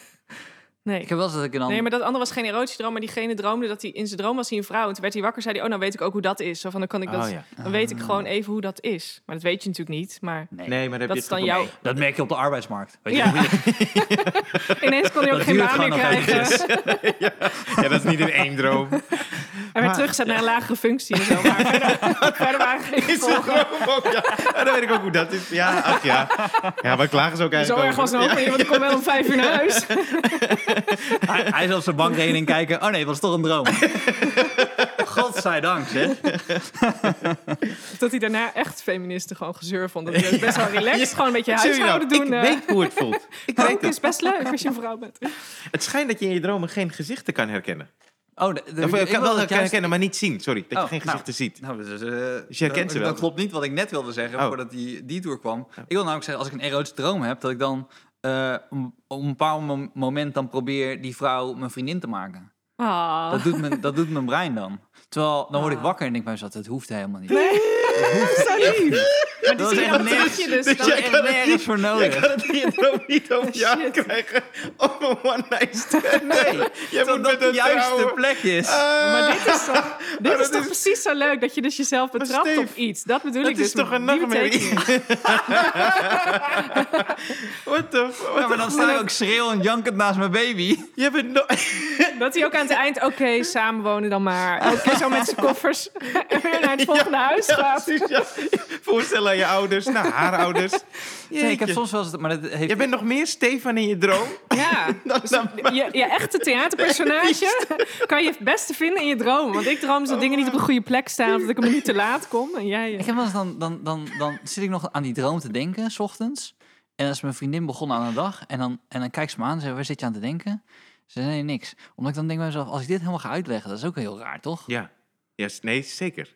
Nee. Ik heb wel eens dat ik dan... Nee, maar dat andere was geen erotiedroom, maar diegene droomde dat hij in zijn droom was hij een vrouw. En toen werd hij wakker, zei hij, oh, nou weet ik ook hoe dat is. Zo van, dan kan ik dat, Oh, ja. dan weet Ah. ik gewoon even hoe dat is. Maar dat weet je natuurlijk niet, maar Nee. Nee, maar dan heb dat je is het dan jouw... Dat merk je op de arbeidsmarkt. Weet je? Ja. *laughs* Ineens kon hij ook Dat geen duurt baan gewoon meer nog krijgen. *laughs* eventjes. gevoel. Ja, dat is niet in één *laughs* droom. Hij werd teruggezet naar een lagere functie en zo. *laughs* Maar verder, verder waren geen Is het gevolgen. droom ook, ja. Maar dan weet ik ook hoe dat is. Ja, ach ja. Ja, maar klagen ze ook Zo eigenlijk erg over. was het ook niet, want ik kom wel om vijf uur naar huis. Hij, hij zal op zijn bankrekening kijken. Oh nee, dat was toch een *laughs* droom. Godzijdank, zeg. Dat hij daarna echt feministen gewoon gezeur vond. Dat *laughs* hij het best wel relaxed, gewoon een beetje Zie je nou, huishouden doen. Ik eh. weet hoe het voelt. Ik weet Koken het. *laughs* is best leuk als je een vrouw bent. Het schijnt dat je in je dromen geen gezichten kan herkennen. Oh, de, de, Of, eh, ik kan wil wel dat juist- herkennen, maar niet zien. Sorry, dat Oh, je geen nou. gezichten *laughs* ziet. Nou, dus, eh, Dus je herkent dat- ze wel. Dat klopt niet wat ik net wilde zeggen, Oh. voordat die, die tour kwam. Ik wil namelijk zeggen, als ik een erotische droom heb, dat ik dan eh, om- op een bepaald mom- moment dan probeer die vrouw mijn vriendin te maken. Ah. Dat, doet mijn, dat doet mijn brein dan. Terwijl, dan word ik Ah. wakker en denk ik bij mezelf, het hoeft helemaal *laughs* niet. maar die dat is zie je echt dan nergens. terug je dus. Dus dan jij echt kan het nergens. Nergens voor Je nodig. kan het in je droom niet over je Shit. aan krijgen om een one-night *laughs* stand. Nee, je moet Dat met dat de een Ah, juiste trouwen. plek is. Maar dit *laughs* is toch, dit dat is toch is- precies zo leuk dat je dus jezelf betrapt Steve, op iets. Dat bedoel Dat ik dus. is toch met een die nachtmerrie? betekenis. What the f- what Ja, maar the dan sta ik ook schreeuwend, jankend naast mijn baby. f- Je bent no- *laughs* Dat hij ook aan het eind, oké, samenwonen dan maar. Elke keer zo met zijn *laughs* koffers *laughs* en weer naar het volgende huis gaat. Precies, Oh. ja. Voorstel aan je ouders, naar haar ouders. Nee, ik heb Jeetje. soms wel eens... Maar dat heeft, Je bent nog meer Stefan in je *laughs* droom. Ja, Dan, dan, je, je echte theaterpersonage *laughs* kan je het beste vinden in je dromen. Want ik droom is dat dingen niet op een goede plek staan... of dat ik een minuut te laat kom. En jij... eh, Ik heb wel eens dan, dan, dan, dan zit ik nog aan die droom te denken, s ochtends. En dan is mijn vriendin begonnen aan de dag. En dan, en dan kijkt ze me aan en zegt, waar zit je aan te denken? Ze zei, nee, niks. Omdat ik dan denk bij mezelf, als ik dit helemaal ga uitleggen, dat is ook heel raar, toch? ja. ja, s- nee, zeker.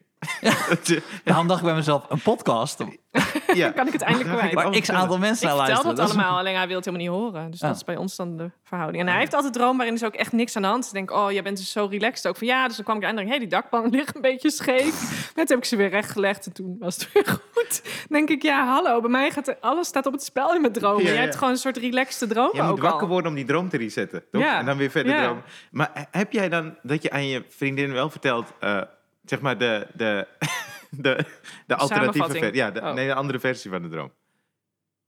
Daarom dacht ik bij mezelf, een podcast. ja. kan ik het eindelijk kwijt. Waar x aantal mensen Ik naar vertel luisteren. dat dus- allemaal, alleen hij wil het helemaal niet horen. Dus Ja. Ah. dat is bij ons dan de verhouding. En hij heeft altijd droom waarin is ook echt niks aan de hand. Ik denk, oh, jij bent dus zo relaxed. Ook van ja, dus dan kwam ik aan en dacht, hé, die dakpan *laughs* ligt een beetje scheef. Net heb ik ze weer rechtgelegd en toen was het weer *laughs* goed. Dan denk ik, ja, hallo, bij mij gaat er- alles staat op het spel in mijn droom. En Ja, jij ja. hebt gewoon een soort relaxte droom Je ook moet wakker al. worden om die droom te resetten, toch? Ja. En dan weer verder Ja. dromen. Maar eh, heb jij dan dat je aan je vriendin wel vertelt, eh, zeg maar de, de, *laughs* de, de alternatieve Samenvatting. versie? Ja, de, Oh. nee, de andere versie van de droom.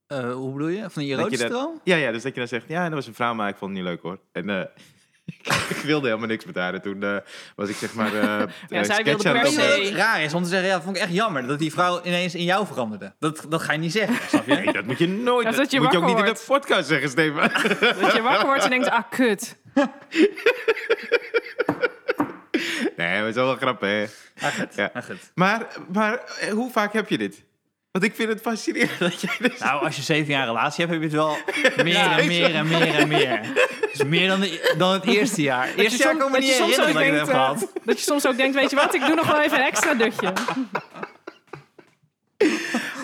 Eh, hoe bedoel je? Van die Dat je erotische dat- droom? Ja, ja, dus dat je dan zegt, ja, dat was een vrouw, maar ik vond het niet leuk hoor. En eh, *laughs* ik wilde helemaal niks met haar. En toen eh, was ik zeg maar eh eh, zij sketch wilde aan het per Weet je se- opnemen. wat ook raar is om te zeggen, ja, dat vond ik echt jammer. Dat die vrouw ineens in jou veranderde. Dat, dat ga je niet zeggen, snap je? Nee, dat moet je nooit. Ja, Dat, zodat je moet je ook wakker niet in de podcast zeggen, Steven. Dat je wakker wordt en denkt, ah, kut. nee, maar het is wel grappig, hè? Maar goed, Ja. maar goed. Maar, maar eh, hoe vaak heb je dit? Want ik vind het fascinerend dat jij dus... Nou, als je zeven jaar relatie hebt, heb je het wel *laughs* meer Ja. en meer en meer en meer. Het is meer dan, de- dan het eerste jaar. Het Dat eerste je jaar soms- kan ik me dat niet je soms herinneren dat ik het heb ook denkt, gehad. eh, Dat je soms ook denkt, weet je wat, ik doe nog wel even een extra dutje.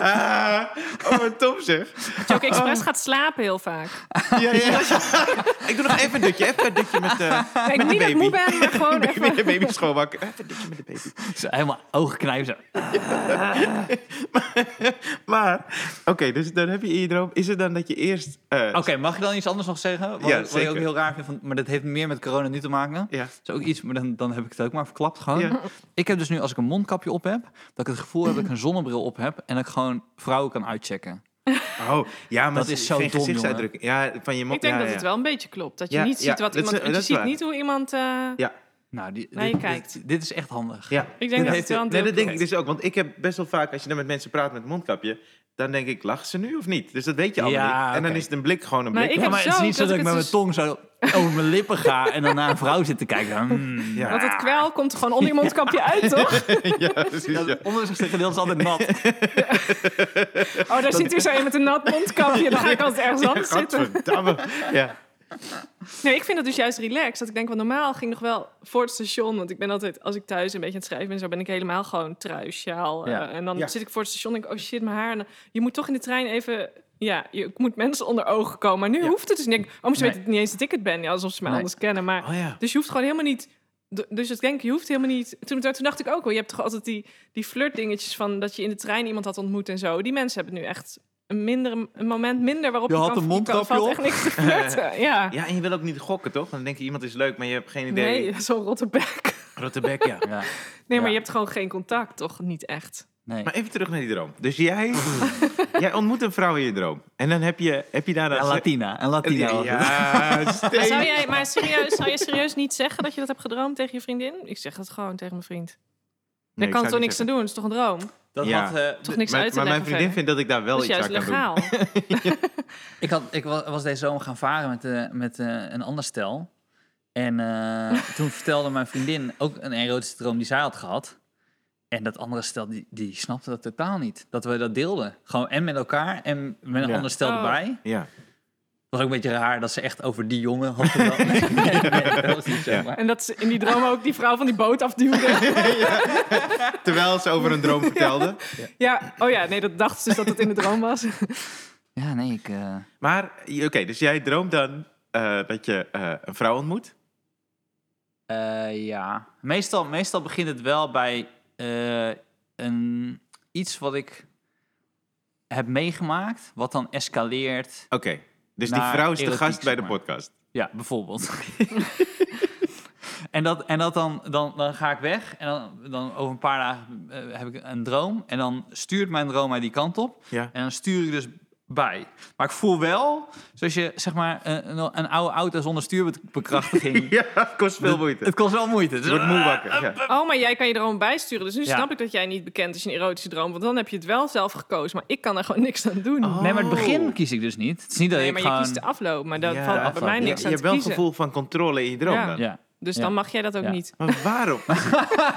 Ah, *laughs* oh, wat top *laughs* zeg. Dat je ook expres gaat slapen heel vaak. *laughs* Ja, ja. eh, ik doe nog even een dutje. Even een dutje met de, met Nee, ik de niet dat ik moe baby. ben, maar *laughs* gewoon even Met de baby schoonmaken. *laughs* Even een dutje met de baby. *laughs* Zo helemaal ogen knijpen. zo. Maar, oké, dus dan heb je in je droom... Is het dan dat je eerst... eh, Oké, mag ik dan iets anders nog zeggen? Wat, Ja, wat ik zeker. ook heel raar vind, van, maar dat heeft meer met corona nu te maken. Ja. Dat is ook iets, maar dan, dan heb ik het ook maar verklapt gewoon. Ja. Ik heb dus nu, als ik een mondkapje op heb, dat ik het gevoel heb dat ik een zonnebril op heb en dat ik gewoon vrouwen kan uitchecken. Oh, ja, maar Dat het is zo geen dom, gezichtsuitdrukking. Ja, van je mond. Ik denk ja, dat ja. het wel een beetje klopt. Dat je Ja, niet ja, ziet wat dat is- iemand... want dat je is ziet waar. niet hoe iemand... eh, Ja, Nou, die, Naar je dit, kijkt. Dit, dit is echt handig. ja. Ik denk dat het wel een Nee, deel dat denk ik klopt. dus ook. Want ik heb best wel vaak, als je dan met mensen praat met mondkapje... dan denk ik, lachen ze nu of niet? Dus dat weet je allemaal Ja, niet. En dan oké. is het een blik gewoon een Maar blik. ik Ja, heb maar het zo is niet zo dat dat ik ik dus met mijn het tong zo over mijn lippen ga en dan naar een vrouw zit te kijken. dan, mm. Ja, Want het kwel komt gewoon onder je mondkapje uit, toch? *laughs* ja, precies, ja. Dat onderste gedeelte is altijd nat. *laughs* Oh, daar zit weer zo een met een nat mondkapje. Dan ga ik altijd ergens anders zitten. Gadverdamme. Ja. Nee, ik vind dat dus juist relaxed. Dat ik denk, want normaal ging ik nog wel voor het station. Want ik ben altijd, als ik thuis een beetje aan het schrijven ben... zo ben ik helemaal gewoon trui, sjaal. eh, Ja. en dan Ja. zit ik voor het station en denk ik, oh shit, mijn haar. En dan- je moet toch in de trein even... Ja, je ik moet mensen onder ogen komen. Maar nu hoeft het dus niet. Oh, ze Nee. weten niet eens dat ik het ben. Ja, alsof ze mij Nee. anders kennen. Maar Oh ja. Dus je hoeft gewoon helemaal niet. d- Dus ik denk, je hoeft helemaal niet. Toen, toen dacht ik ook wel, je hebt toch altijd die, die flirtdingetjes van dat je in de trein iemand had ontmoet en zo. Die mensen hebben nu echt een, minder, een moment minder waarop Je je, had kan, een je kan- mondkapje valt op. echt niks te *laughs* flirten. Ja. Ja, en je wil ook niet gokken, toch? Dan denk je, iemand is leuk, maar je hebt geen idee. Nee, *laughs* zo'n rotte bek. Rottebek, ja. Ja, Nee, maar Ja. je hebt gewoon geen contact, toch? Niet echt. nee. Maar even terug naar die droom. Dus *laughs* jij, jij ontmoet een vrouw in je droom. En dan heb je, heb je daar... Ja, dan- Latina. En Latina. Ja, was het. ja, Maar, zou Steen. jij, maar serieus, zou je serieus niet zeggen dat je dat hebt gedroomd tegen je vriendin? Ik zeg dat gewoon tegen mijn vriend. Nee, Daar ik kan zou toch niet niks aan doen? Het is toch een droom? Dat Ja. had, eh, Toch niks Maar, uit te maar mijn leggen vriendin verder. vindt dat ik daar wel Dat is iets aan juist kan legaal. Ik, had, ik wa- was deze zomer gaan varen met, eh, met eh, een ander stel. En *laughs* eh, toen vertelde mijn vriendin ook een erotische droom die zij had gehad. En dat andere stel, die, die snapte dat totaal niet. Dat we dat deelden. Gewoon en met elkaar en met een Ja. ander stel Oh. erbij. doen. Ja. was ook een beetje raar dat ze echt over die jongen had gedaan. *laughs* Nee, nee, nee, dat was niet zo. Ja. maar- *laughs* En dat ze in die droom ook die vrouw van die *laughs* boot afduwde. Terwijl ze over een *laughs* droom vertelde. ja, oh ja, nee, dat dacht ze dus dat het in de droom was. *laughs* Ja, nee, ik... eh, Maar, oké, dus jij droomt dan eh, dat je eh, een vrouw ontmoet? Eh, ja, meestal, meestal begint het wel bij eh, een, iets wat ik heb meegemaakt, wat dan escaleert. Oké, dus die Naar vrouw is de erotiek, gast bij zeg de maar. podcast. Ja, bijvoorbeeld. en dat, en dat dan, dan, dan ga ik weg en dan, dan over een paar dagen eh, heb ik een droom en dan stuurt mijn droom mij die kant op Ja. en dan stuur ik dus bij. Maar ik voel wel, zoals je zeg maar eh, een, een- een oude auto zonder stuurbekrachtiging. *laughs* *laughs* Ja, het kost veel moeite. Het kost wel moeite. Je Dus, wordt moe wakker. Ja. Oh, maar jij kan je droom bijsturen. Dus nu Ja. snap ik dat jij niet bekend is in erotische droom. Want dan heb je het wel zelf gekozen. Maar ik kan er gewoon *laughs* niks aan doen. Nee, maar het begin Oh. kies ik dus niet. Het is niet dat nee, ik maar gewoon... je kiest de afloop. Maar daar Ja, valt afloop, bij mij ja. niks Je aan hebt te wel een kiezen. gevoel van controle in je droom Ja. dan. Ja. Dus Ja. dan mag jij dat ook Ja. niet. Maar waarom?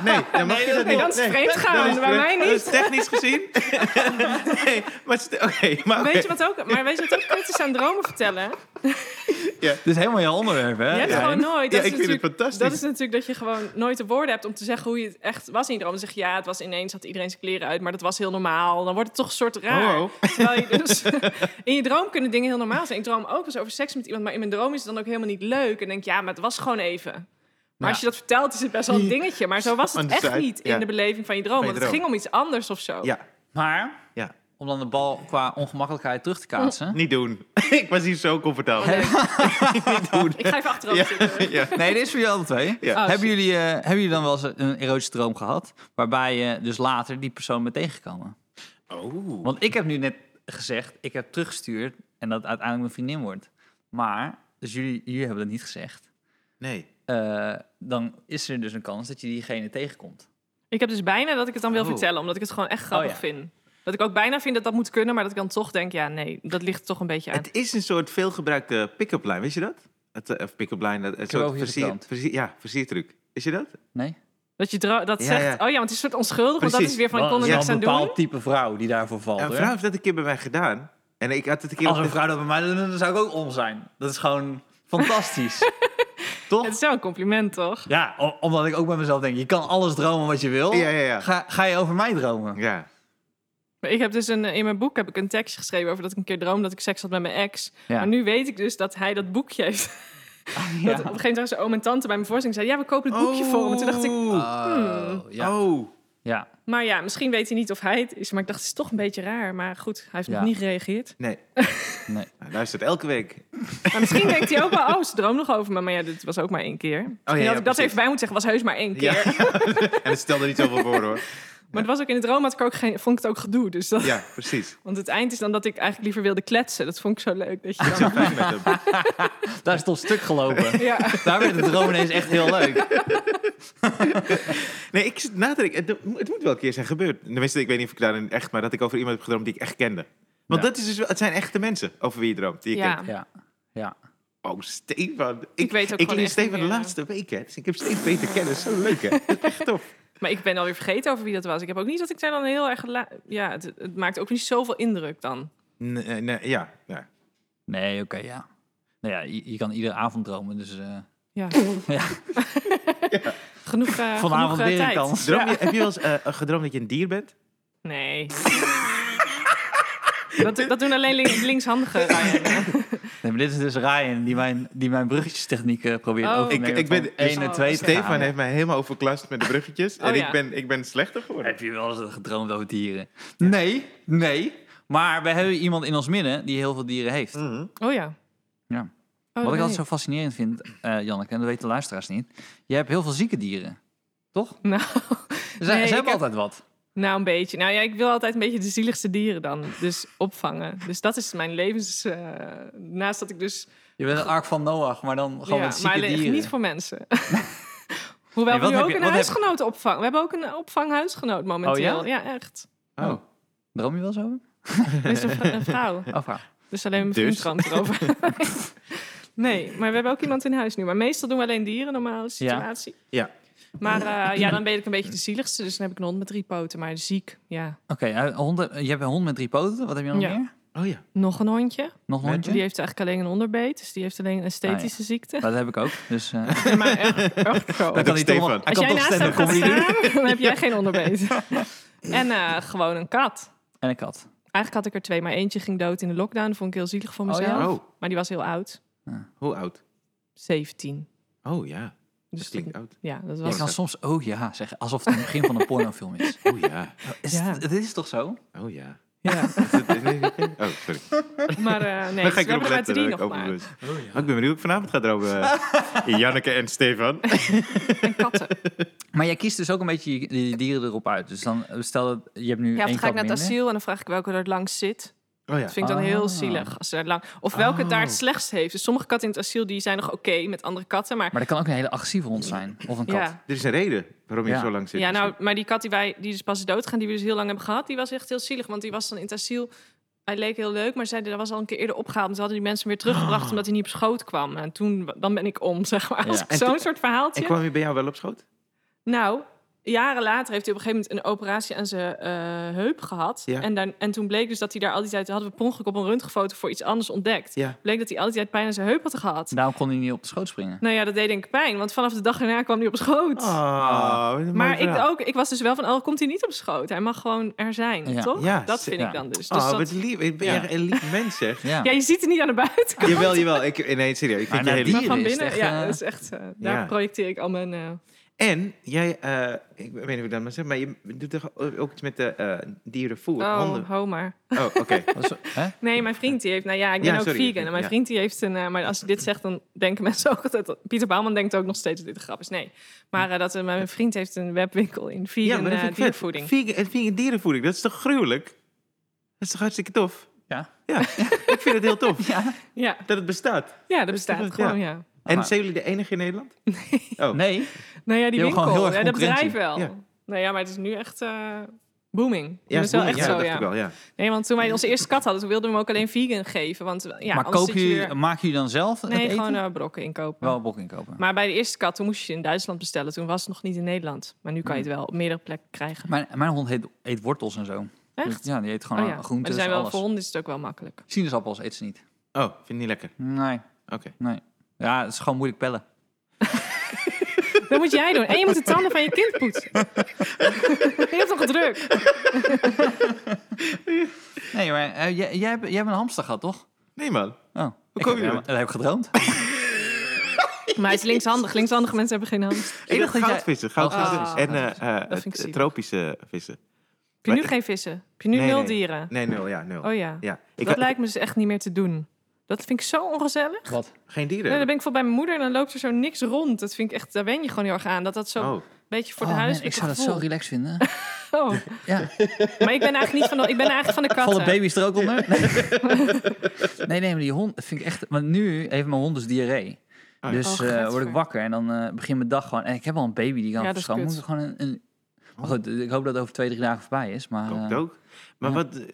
Nee, dan mag je dat Nee, niet. dan is Nee. het vreemd Dat gaan. is Bij vreemd. mij Dat is niet. technisch *laughs* gezien. nee, maar st- oké. maar oké. Weet je wat ook, maar weet je wat ook kut is aan dromen vertellen? Dit is helemaal je onderwerp, hè? Je hebt Ja. gewoon nooit. Dat Ja, ik vind is het natuurlijk- fantastisch. Dat is natuurlijk dat je gewoon nooit de woorden hebt om te zeggen hoe je het echt was in je droom. Dan zeg je, ja, het was ineens, had iedereen zijn kleren uit, maar dat was heel normaal. Dan wordt het toch een soort raar. Hallo. Terwijl je *laughs* dus, in je droom kunnen dingen heel normaal zijn. Ik droom ook eens over seks met iemand, maar in mijn droom is het dan ook helemaal niet leuk. En denk, ja, maar het was gewoon even. Maar als je dat vertelt, is het best wel een dingetje. Maar zo was On het the echt side, niet ja. in de beleving van je droom. Van je Want het droom. ging om iets anders of zo. Ja, Maar, ja. om dan de bal qua ongemakkelijkheid terug te kaatsen... Niet doen. *laughs* ik was hier zo comfortabel. *laughs* Ik ga even achterover Oh, Ja, zitten. *laughs* ja. *laughs* Nee, dit is voor jullie alle twee. Ja. Oh, hebben, jullie, eh, hebben jullie dan wel eens een erotische droom gehad... waarbij je dus later die persoon bent tegengekomen? Oh. Want ik heb nu net gezegd, ik heb teruggestuurd... en dat het uiteindelijk mijn vriendin wordt. Maar, dus jullie, jullie hebben dat niet gezegd... Nee. eh, dan is er dus een kans dat je diegene tegenkomt. Ik heb dus bijna dat ik het dan wil Oh. vertellen, omdat ik het gewoon echt grappig ja. vind. Dat ik ook bijna vind dat dat moet kunnen, maar dat ik dan toch denk, ja, nee, dat ligt toch een beetje aan. Het is een soort veelgebruikte pick-up line, weet je dat? Het, eh, of pick-up line, dat- het heb soort ook hier versier, gekrant. versier, ja, versiertruc. Is je dat? Nee? Dat je dro- dat Ja, zegt, ja. oh ja, want het is een soort onschuldig, want dat Precies. is weer van, ik kon Dat er is wel niks een aan bepaald doen. type vrouw die daarvoor valt, Ja, een hoor. vrouw heeft dat een keer bij mij gedaan. En ik had het een keer... Als op een de- vrouw dat bij mij doet, dan zou ik ook om zijn. Dat is gewoon fantastisch. Toch? Het is wel een compliment, toch? *laughs* Ja, o- omdat ik ook bij mezelf denk, je kan alles dromen wat je wil. Ja, ja, ja. Ga, ga je over mij dromen? Ja. Maar ik heb dus een, eh, in mijn boek heb ik een tekstje geschreven over dat ik een keer droom dat ik seks had met mijn ex. Ja. Maar nu weet ik dus dat hij dat boekje heeft. *laughs* Dat op een gegeven moment zijn oom en tante bij mijn voorstelling zeiden, ja, we kopen het boekje voor hem. En Toen dacht ik, Oh, ja. Oh. ja. maar ja, misschien weet hij niet of hij het is. Maar ik dacht, het is toch een beetje raar. Maar goed, hij heeft Ja. nog niet gereageerd. Nee. *laughs* Nee. Hij luistert elke week. Maar Nou, misschien denkt hij ook wel, oh, ze droomt nog over me. Maar ja, dit was ook maar één keer. Oh Misschien ja, ja, had ik dat precies. even bij moeten zeggen, was heus maar één keer. Ja. *laughs* en het stelde niet zoveel voor, hoor. Maar het was ook in de droom, had ik ook geen, vond ik het ook gedoe. Dus dat, Ja, precies. Want het eind is dan dat ik eigenlijk liever wilde kletsen. Dat vond ik zo leuk. Dat *laughs* je Zo dan, fijn met hem. Daar is het op stuk gelopen. ja. *laughs* Daar werd de droom ineens echt heel leuk. Nee, ik zit na te denken. Het, het moet wel een keer zijn gebeurd. Tenminste, ik weet niet of ik daarin echt... Maar dat ik over iemand heb gedroomd die ik echt kende. Want Ja. dat is dus wel... Het zijn echte mensen over wie je droomt. Die je Ja. kent. Ja. Ja. Oh, Stefan. Ik, weet ook Ik gewoon leer echt Stefan niet de meer. laatste week, hè. Dus ik heb steeds beter kennen. Zo leuk, hè. Dat is echt tof. Maar ik ben alweer vergeten over wie dat was. Ik heb ook niet dat ik daar dan heel erg... la- Ja, het, het maakt ook niet zoveel indruk dan. Nee, eh, nee, ja, ja. Nee, oké, ja. Nou ja, je, je kan iedere avond dromen, dus... eh, *laughs* Ja. Ja. Genoeg, eh vanavond genoeg, eh, weer een tijd. kans. Droom je, Heb je wel eens eh, gedroomd dat je een dier bent? Nee. dat, dat doen alleen lin- linkshandigen. Ryan. *laughs* Nee, maar dit is dus Ryan die mijn, die mijn bruggetjestechniek eh, probeert Oh. over te Ik- nemen ik ben- van één dus- naar Oh, twee te Stefan gaan. heeft mij helemaal overklast met de bruggetjes. Oh, en ja. ik ben, ik ben slechter geworden. Heb je wel eens gedroomd over dieren? Nee, nee. Maar we hebben iemand in ons midden die heel veel dieren heeft. Mhm. Oh ja. Ja. Oh, Wat ik nee. altijd zo fascinerend vind, eh, Janneke, en dat weten de luisteraars niet. Je hebt heel veel zieke dieren, toch? Nou, Ze, Nee, ze ik hebben heb- altijd wat. nou, een beetje. Nou ja, ik wil altijd een beetje de zieligste dieren dan. Dus opvangen. Dus dat is mijn levens... eh, naast dat ik dus... Je bent een ark van Noach, maar dan gewoon ja, met maar zieke alleen echt dieren. niet voor *laughs* mensen. Hoewel Nee, wat we nu heb ook je- een wat heb- huisgenoot opvang. We hebben ook een opvanghuisgenoot momenteel. Oh ja? echt. Oh, droom je wel zo? Er is een, vr- een vrouw. Oh, vrouw. Dus alleen *laughs* mijn Dus? vriend droomt erover. *laughs* nee, maar we hebben ook iemand in huis nu. Maar meestal doen we alleen dieren, normale situatie. Ja. Maar eh, ja, dan ben ik een beetje de zieligste. Dus dan heb ik een hond met drie poten, maar ziek. Ja. Oké, eh, honden- je hebt een hond met drie poten. Wat heb je nog Ja. meer? Oh ja. Nog een hondje. Nog een Nee, hondje? Die heeft eigenlijk alleen een onderbeet. Dus die heeft alleen een esthetische Ah, ziekte. *laughs* Dat heb ik ook. Dus, eh, Ja, *laughs* maar echt, echt zo. Dat kan hij is toch Stefan. wel- Als kan jij toch naast hem stand-up gaat comedy doen. staan, *laughs* dan heb jij geen *laughs* onderbeet. En eh, gewoon een kat. En een kat. Eigenlijk had ik er twee, maar eentje ging dood in de lockdown. Vond ik heel zielig voor Oh ja? mezelf. Oh, Maar die was heel oud. hoe oud? 17. Oh ja, Dus dat klinkt toen- oud. ja, dat Je was kan soms oh ja zeggen, alsof het het begin *laughs* van een pornofilm is. Oh ja, is Ja. het, het is toch zo? oh ja. Ja. Oh, sorry. *laughs* Maar eh, nee, Dan dus ga ik erop we hebben er maar letten drie dat ik nog maar. Oh overbewust. Maar Oh, ik ben benieuwd hoe ik vanavond ga erover. *laughs* eh, Janneke en Stefan. dus. En katten. Maar jij kiest dus ook een beetje je- je dieren erop uit. Dus dan eh, stel dat je hebt nu Ja, of één dan kat ga ik naar het minder. asiel en dan vraag ik welke er het langst zit. Oh ja. Dat vind ik dan heel Ah. Oh. zielig. Als ze er lang... Of welke het daar het slechtst heeft. Dus sommige katten in het asiel die zijn nog oké met andere katten. Maar, Maar dat kan ook een hele agressieve hond zijn. Of een kat. ja. Er is een reden waarom je Ja. zo lang zit. Ja, nou, maar die kat die wij die dus pas doodgaan, die we dus heel lang hebben gehad, die was echt heel zielig. Want die was dan in het asiel. Hij leek heel leuk, maar zeiden dat was al een keer eerder opgehaald. En ze hadden die mensen weer Ah. teruggebracht omdat hij niet op schoot kwam. En toen dan ben ik om, *laughs* zeg maar. Ja. Als ik En Zo'n toen- soort verhaaltje. En kwam je bij jou wel op schoot? Nou, jaren later heeft hij op een gegeven moment een operatie aan zijn eh, heup gehad. Ja. En, dan, en toen bleek dus dat hij daar al die tijd... hadden we per ongeluk op een röntgenfoto voor iets anders ontdekt. Ja. Nou. Bleek dat hij al die tijd pijn aan zijn heup had gehad. Daarom kon hij niet op de schoot springen. Nou ja, dat deed denk ik pijn, want vanaf de dag erna kwam hij op schoot. Ah. maar ik, ook, ik was dus wel van, oh, komt hij niet op schoot? Hij mag gewoon er zijn, Ja. toch? Ja, dat ze- vind ja. ik dan dus. dus Oh, dat- wat lief. Ik ben Ja. echt een lief mens, zeg. Ja. ja, je ziet het niet aan de buitenkant, *laughs* Jawel, jawel. Ik, eh, nee, serieus. Ik vind je naar heel die- lief. maar van is het binnen, echt, ja, eh, dat is echt... eh, daar ja. projecteer ik al mijn... eh, En jij, eh, ik weet niet hoe ik dat maar zeg, maar je doet toch ook iets met de eh, dierenvoer? oh, honden. ho maar. Oh, oké. *laughs* Wat is- hè? Nee, mijn vriend die heeft... Nou ja, ik ben Ja, ook sorry. vegan. En mijn Ja. vriend die heeft een... eh, maar als ik dit zeg, dan denken *laughs* mensen ook altijd... Pieter Bouwman denkt ook nog steeds dat dit een grap is. Nee. Maar eh, dat, eh, mijn vriend heeft een webwinkel in Ja, vegan maar dat eh, vind ik vet. diervoeding. Vegan, en vegan dierenvoeding, dat is toch gruwelijk? Dat is toch hartstikke tof? Ja. Ja, *laughs* ik vind het heel tof Ja. Ja, dat het bestaat. ja, dat is toch bestaat wel- gewoon, ja. ja. En Ah. zijn jullie de enige in Nederland? Oh. Nee. Nou ja, die Je hebt gewoon winkel. heel erg ja, dat concurrentie. bedrijf wel. Ja. Nou ja, maar het is nu echt eh, booming. Ja, dat is wel boeien, echt ja, zo, dacht ja. ik wel, ja. Nee, want toen wij onze eerste kat hadden, toen wilden we hem ook alleen vegan geven. Want ja, maar anders koop zit je, weer- maak je dan zelf het Nee, eten? gewoon eh, brokken inkopen. Wel bok inkopen. Maar bij de eerste kat, toen moest je ze in Duitsland bestellen. Toen was het nog niet in Nederland. Maar nu kan je het wel op meerdere plekken krijgen. Mijn, mijn hond eet, eet wortels en zo. Dus Echt? ja, die eet Oh gewoon ja. Maar er groenten zijn en wel, alles. voor honden is het ook wel makkelijk. *laughs* Sinaasappels eet ze niet. Oh, vind je niet lekker? Nee, Oké. nee. Ja, het is gewoon moeilijk pellen. Dat moet jij doen. En je moet de tanden van je kind poetsen. *laughs* je hebt toch druk? Nee, maar eh, jij, jij, hebt, jij hebt een hamster gehad, toch? Nee man. Oh. ik kom heb- je ja, met? Dat heb ik gedroomd. Maar hij is linkshandig. Linkshandige mensen hebben geen handen. dacht Ik dat dacht jij- goudvissen, goudvissen. Ah. en eh, eh, Dat vind ik zielig. tropische vissen. Heb je nu Maar- geen vissen? Heb je nu Nee, nul nee. dieren? Nee, nul, ja, nul. Oh ja. ja. Ik dat had lijkt me dus echt niet meer te doen. Dat vind ik zo ongezellig. Wat? geen Nee, dan dieren. ben ik voor bij mijn moeder en dan loopt er zo niks rond. Dat vind ik echt, daar wen je gewoon heel erg aan. Dat dat zo een Oh, beetje voor de huis. ik zou dat zo relaxed vinden. Ja. Oh. *laughs* Maar ik ben eigenlijk niet van de, ik ben eigenlijk van de Vallen katten. baby's er ook onder? Nee. *laughs* nee, nee, maar die hond dat vind ik echt... Want nu heeft mijn hond dus diarree. ja. Dus Oh, eh, word ik gadver. wakker en dan eh, begin mijn dag gewoon... En ik heb al een baby die kan Ja, dat is verschammen. Moet kut. ik gewoon een... een- Maar goed, ik hoop dat het over twee, drie dagen voorbij is. Maar, kookt eh, ook. Maar ja. wat... eh,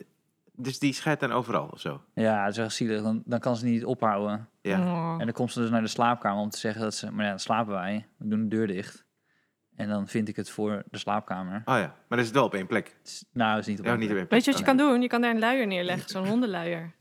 Dus die scheidt dan overal of zo? Oh, ja, het is echt zielig. Dan, dan kan ze niet ophouden. Ja. Oh. En dan komt ze dus naar de slaapkamer om te zeggen dat ze... Maar ja, dan slapen wij. We doen de deur dicht. En dan vind ik het voor de slaapkamer. Oh ja, maar dat is wel op één plek. Het is- Nou, het is niet op Ja, één niet op plek. één plek. Weet je wat je Oh, kan doen? Je kan daar een luier neerleggen, zo'n hondenluier. En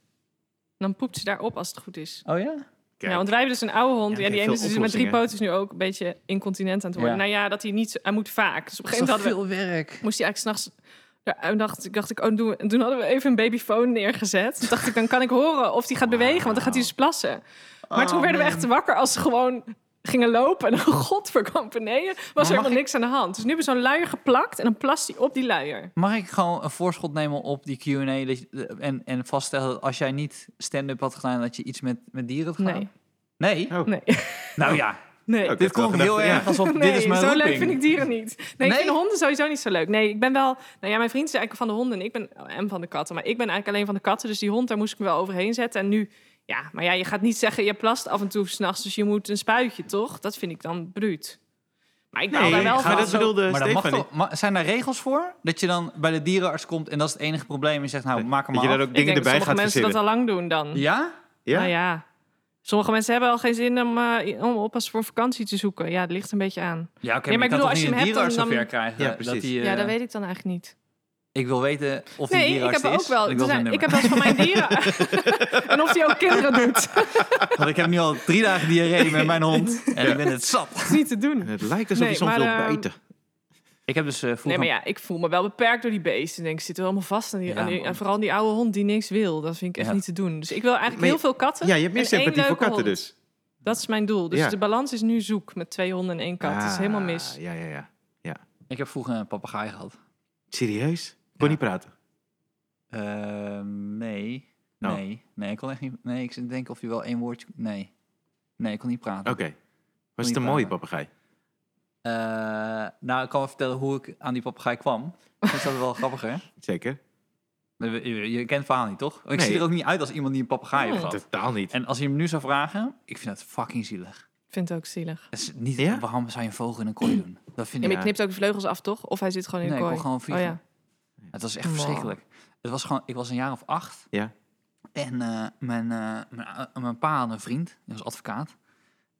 dan poept ze daarop als het goed is. Oh ja? Kijk. Ja, want wij hebben dus een oude Ja, hond. Ja, ik die heb ene is veel dus met drie oplossingen. pootjes nu ook een beetje incontinent aan het worden. Ja. Nou ja, dat hij niet... Hij moet vaak. Dus op een Het is gegeven moment toch hadden we veel werk. moest hij eigenlijk s'nachts. Ja, en dacht, ik dacht ik, oh, doen we- en toen hadden we even een babyfoon neergezet. Toen dacht ik, dan kan ik horen of die gaat bewegen, want dan gaat hij dus plassen. Maar toen werden we echt wakker als ze gewoon gingen lopen. En *laughs* god verkampen, nee, was er mag helemaal niks aan de hand. Dus nu hebben we zo'n luier geplakt en dan plast hij op die luier. Mag ik gewoon een voorschot nemen op die Q&A dat je- eh, en, en vaststellen dat als jij niet stand-up had gedaan, dat je iets met, met dieren had gedaan? Nee, Nee? Oh. nee, *laughs* Nou ja, nee. Oké. dit had wel klonk gedacht, heel ja. erg alsof Nee, dit is mijn zo roeping. leuk vind ik dieren niet. Nee, Nee? ik vind honden sowieso niet zo leuk. Nee, ik ben wel... Nou ja, mijn vriend is eigenlijk van de honden en ik ben... oh, En van de katten. Maar ik ben eigenlijk alleen van de katten. Dus die hond, daar moest ik me wel overheen zetten. En nu... Ja, maar ja, je gaat niet zeggen... Je plast af en toe s'nachts, dus je moet een spuitje, toch? Dat vind ik dan bruut. Maar ik ben Nee, daar wel maar van. dat zo- bedoelde Maar dat mag Stefan niet. toch, ma- zijn daar regels voor? Dat je dan bij de dierenarts komt en dat is het enige probleem. En je zegt, nou, maak hem Dat je maar daar af. ook Ik dingen denk dat erbij sommige gaat mensen verzinnen. dat al lang doen dan. Ja? Ja? Nou ja. Sommige mensen hebben al geen zin om, eh, om oppas voor vakantie te zoeken. Ja, dat ligt een beetje aan. Ja, oké, maar je Nee, maar kan ik bedoel, toch als niet je een hem hebt, dierenarts dan- zover krijgen? Ja, dat precies. die, eh, Ja, dat weet ik dan eigenlijk niet. Ik wil weten of die Nee, ik dierenarts heb is. ook wel. want Ik, wil er zijn zijn- ik heb nummer. wel eens van mijn dieren. en of die ook kinderen doet. Dat *laughs* Want ik heb nu al drie dagen diarree met mijn hond. En ik ben het zat. is niet te doen. En het lijkt alsof Nee, je soms maar, wil ehm, bijten. Ik heb dus eh, vroeger... Nee, maar ja, ik voel me wel beperkt door die beesten. Ik denk, ze zitten allemaal vast aan die, Ja, aan die- man. en vooral aan die oude hond die niks wil. Dat vind ik echt Ja. niet te doen. Dus ik wil eigenlijk Maar je- heel veel katten. Ja, je hebt meer en één sympathie voor leuke katten hond. dus. Dat is mijn doel. Dus Ja. de balans is nu zoek met twee honden en één kat. dat is helemaal mis. Ah, Ja, ja, ja. Ik heb vroeger een papegaai gehad. Serieus? Ik kon Ja. niet praten. Ehm, nee. Oh. Nee. Nee, ik kon echt niet... Nee, ik zit te denken of je wel één woordje... Nee. Nee, ik kon niet praten. Oké. Was het een praten. mooie papegaai? Eh, nou, ik kan wel vertellen hoe ik aan die papegaai kwam. Dus dat is wel *laughs* grappiger. Zeker. Je, je kent het verhaal niet, toch? Ik Nee. zie er ook niet uit als iemand die een papegaai heeft Oh. gehad. Totaal niet. En als je hem nu zou vragen, ik vind dat fucking zielig. Ik vind het ook zielig. Dat is niet, Ja? Waarom zou je een vogel in een kooi doen? Dat vind En ik... ik knipt ook de vleugels af, toch? Of hij zit gewoon in Nee, de ik kooi. wil gewoon vliegen. Oh, ja. Het was echt Wow. verschrikkelijk. Het was gewoon, ik was een jaar of acht. Ja. En eh, mijn, eh, mijn, eh, mijn pa had een vriend, die was advocaat.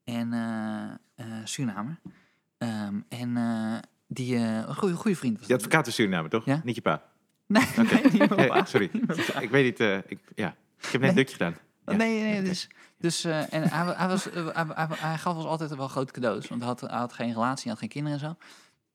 En eh eh, Surinamer. Ehm, en eh, die, eh, een goede, goede vriend was Je dat. advocaat is Suriname, toch? Ja. Niet je *laughs* pa. Nee, nee, niet mijn Nee, pa. sorry. ik weet niet. eh, ik, ja. ik heb net Nee. een dutje gedaan. Ja. Nee, nee, Oké. dus... dus eh, en hij, wa- hij, was, eh, hij, hij, hij gaf ons altijd wel grote cadeaus. Want hij had, hij had geen relatie, hij had geen kinderen en zo.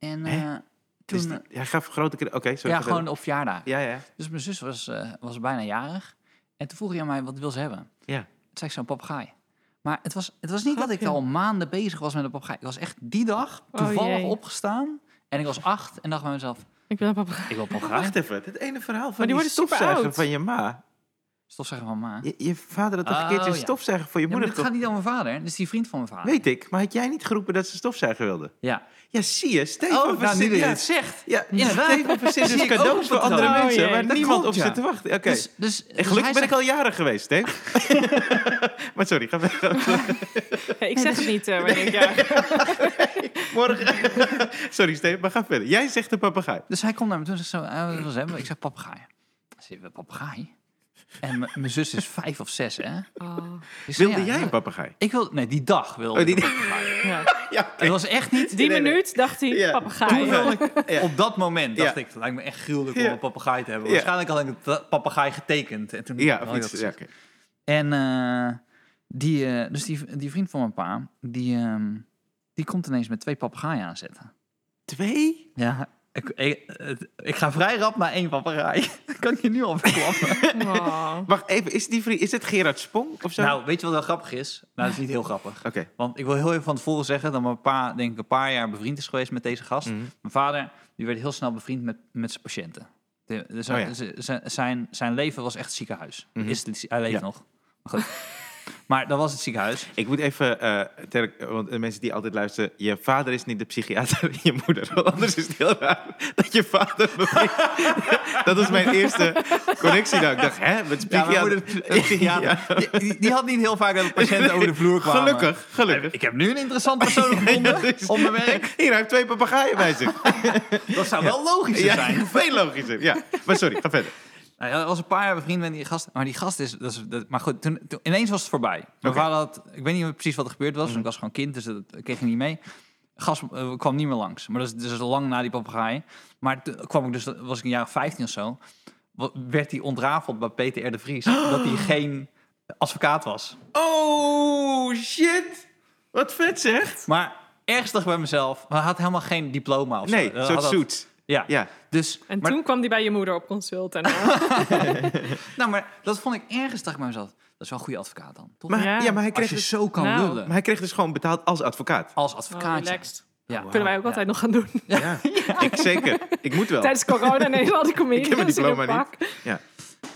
En eh, Hè? toen... Dus die- hij gaf grote... kre- Oké, sorry. ja, vertel. gewoon op verjaardag. Ja, ja. Dus mijn zus was, eh, was bijna jarig. En toen vroeg hij aan mij, wat wil ze hebben? Ja. Toen zei ik zo'n papegaai. Maar het was, het was niet dat ik Grapje. al maanden bezig was met een papegaai. Ik was echt die dag Oh, toevallig jee. opgestaan. En ik was acht en dacht bij mezelf, Ik ben een papegaai. ik wil papegaai. Wacht even. Het ene verhaal van Maar die die, worden super stofzuiger oud. van je ma. Stofzeggen van ma. Ja, Je, je vader had toch een Oh, keertje een ja. stofzuiger voor je maar moeder dit gaat niet om mijn vader. Dit is die vriend van mijn vader. Weet ik, maar had jij niet geroepen dat ze stofzuiger wilde? Ja. Ja, zie je, Stefan Oh, nou, nu verzint- dat je ja, het zegt. ja, Inderdaad. Stefan *laughs* verzint Zie dus ik ook op cadeaus het voor andere raam. mensen Oh, jee, waar dat niemand klopt, op ja. zit te wachten. Oké, Dus, dus, en dus gelukkig hij ben zegt- ik al jaren geweest, *laughs* hè? maar sorry, ga *laughs* verder. Ja, ik dus- zeg het *laughs* niet, eh, maar ik denk, ja. Morgen. *laughs* sorry, Stefan, maar ga verder. Jij zegt een papegaai. Dus hij komt naar me toe en zegt zo, eh, wat wil ze hebben? Ik zeg, papegaai. Ze zegt, papegaai? En m- mijn zus is vijf of zes, hè? Oh, Ik zei, Wilde ja, jij ja. een papegaai? Ik wilde, nee, die dag wilde Oh, die- ik een papegaai. ja. Ja, oké. Het was echt niet... Nee, Die nee. minuut dacht hij, Ja. Toen papegaai. wilde ik, Ja. op dat moment dacht Ja. ik, het lijkt me echt gruwelijk om Ja. een papegaai te hebben. Ja. Waarschijnlijk had ik een papegaai getekend. En toen Oh, Ja, had of ik iets. dat Ja, gezegd. oké. En eh, die, eh, dus die, die vriend van mijn pa, die, ehm, die komt ineens met twee papegaaien aanzetten. Twee? Ja, ik, ik, het- ik ga vrij rap naar één papegaai. *laughs* Dat kan ik je nu al verklappen. Oh. Wacht even, is, die vriend, is het Gerard Spong of zo? nou, weet je wat wel grappig is? Nou, dat is niet heel grappig. Oké. Want ik wil heel even van tevoren zeggen dat mijn pa, denk ik, een paar jaar bevriend is geweest met deze gast. Mhm. Mijn vader, die werd heel snel bevriend met, met zijn patiënten. De, de- zijn, Oh ja. z- z- zijn, zijn leven was echt ziekenhuis. Mhm. Is het, hij leeft Ja. nog. Maar, goed. *laughs* maar dat was het ziekenhuis. Ik moet even, eh, ter, want de mensen die altijd luisteren, je vader is niet de psychiater *laughs* en je moeder. Want anders is het heel raar dat je vader *laughs* bevriend- Dat was mijn eerste connectie. Nou, ik dacht, hè, met Ja, mijn psychiater. moeder, een psychiater. *laughs* Ja. Die- Die, die had niet heel vaak dat de patiënten *laughs* over de vloer kwamen. Gelukkig, gelukkig. Ik heb nu een interessant *laughs* persoon gevonden Dus- op mijn werk. Hier, hij heeft twee papegaaien bij *laughs* zich. Dat zou wel logischer Ja, zijn. veel logischer. Ja, maar sorry, ga verder. Nou, ja, dat was een paar jaar bevriend met die gast. Maar die gast is... Dat is dat- maar goed, toen, toen- ineens was het voorbij. Mijn Oké. Mhm. vader had... Ik weet niet meer precies wat er gebeurd was. want Ik was gewoon kind, dus dat ik kreeg ik niet mee. Gas eh, kwam niet meer langs. Maar dat is dus lang na die papegaaien. Maar toen kwam ik dus... Was ik een jaar of 15 of zo. wa- Werd hij ontrafeld bij Peter R. de *gasps* Vries. Dat hij geen advocaat was. Oh, shit. Wat vet zeg. Maar ernstig bij mezelf. Maar hij had helemaal geen diploma of Nee, zo. een Hij soort had dat- zoet. Ja. Ja. Dus, En maar- toen kwam hij bij je moeder op consult. En, Nou, maar dat vond ik ernstig bij mezelf. Dat is wel een goede advocaat dan, toch? Maar, ja. Ja. maar, hij Als kreeg je dus, zo kan Nou. lullen. maar hij kreeg dus gewoon betaald als advocaat. Als oh, advocaat. ja. relaxed. Ja. Kunnen wij *laughs* ook Ja. altijd nog gaan doen. Ja, ik zeker. Ik moet wel. Tijdens corona nemen *laughs* al die comedians Ik heb mijn in diploma een pak. Ja.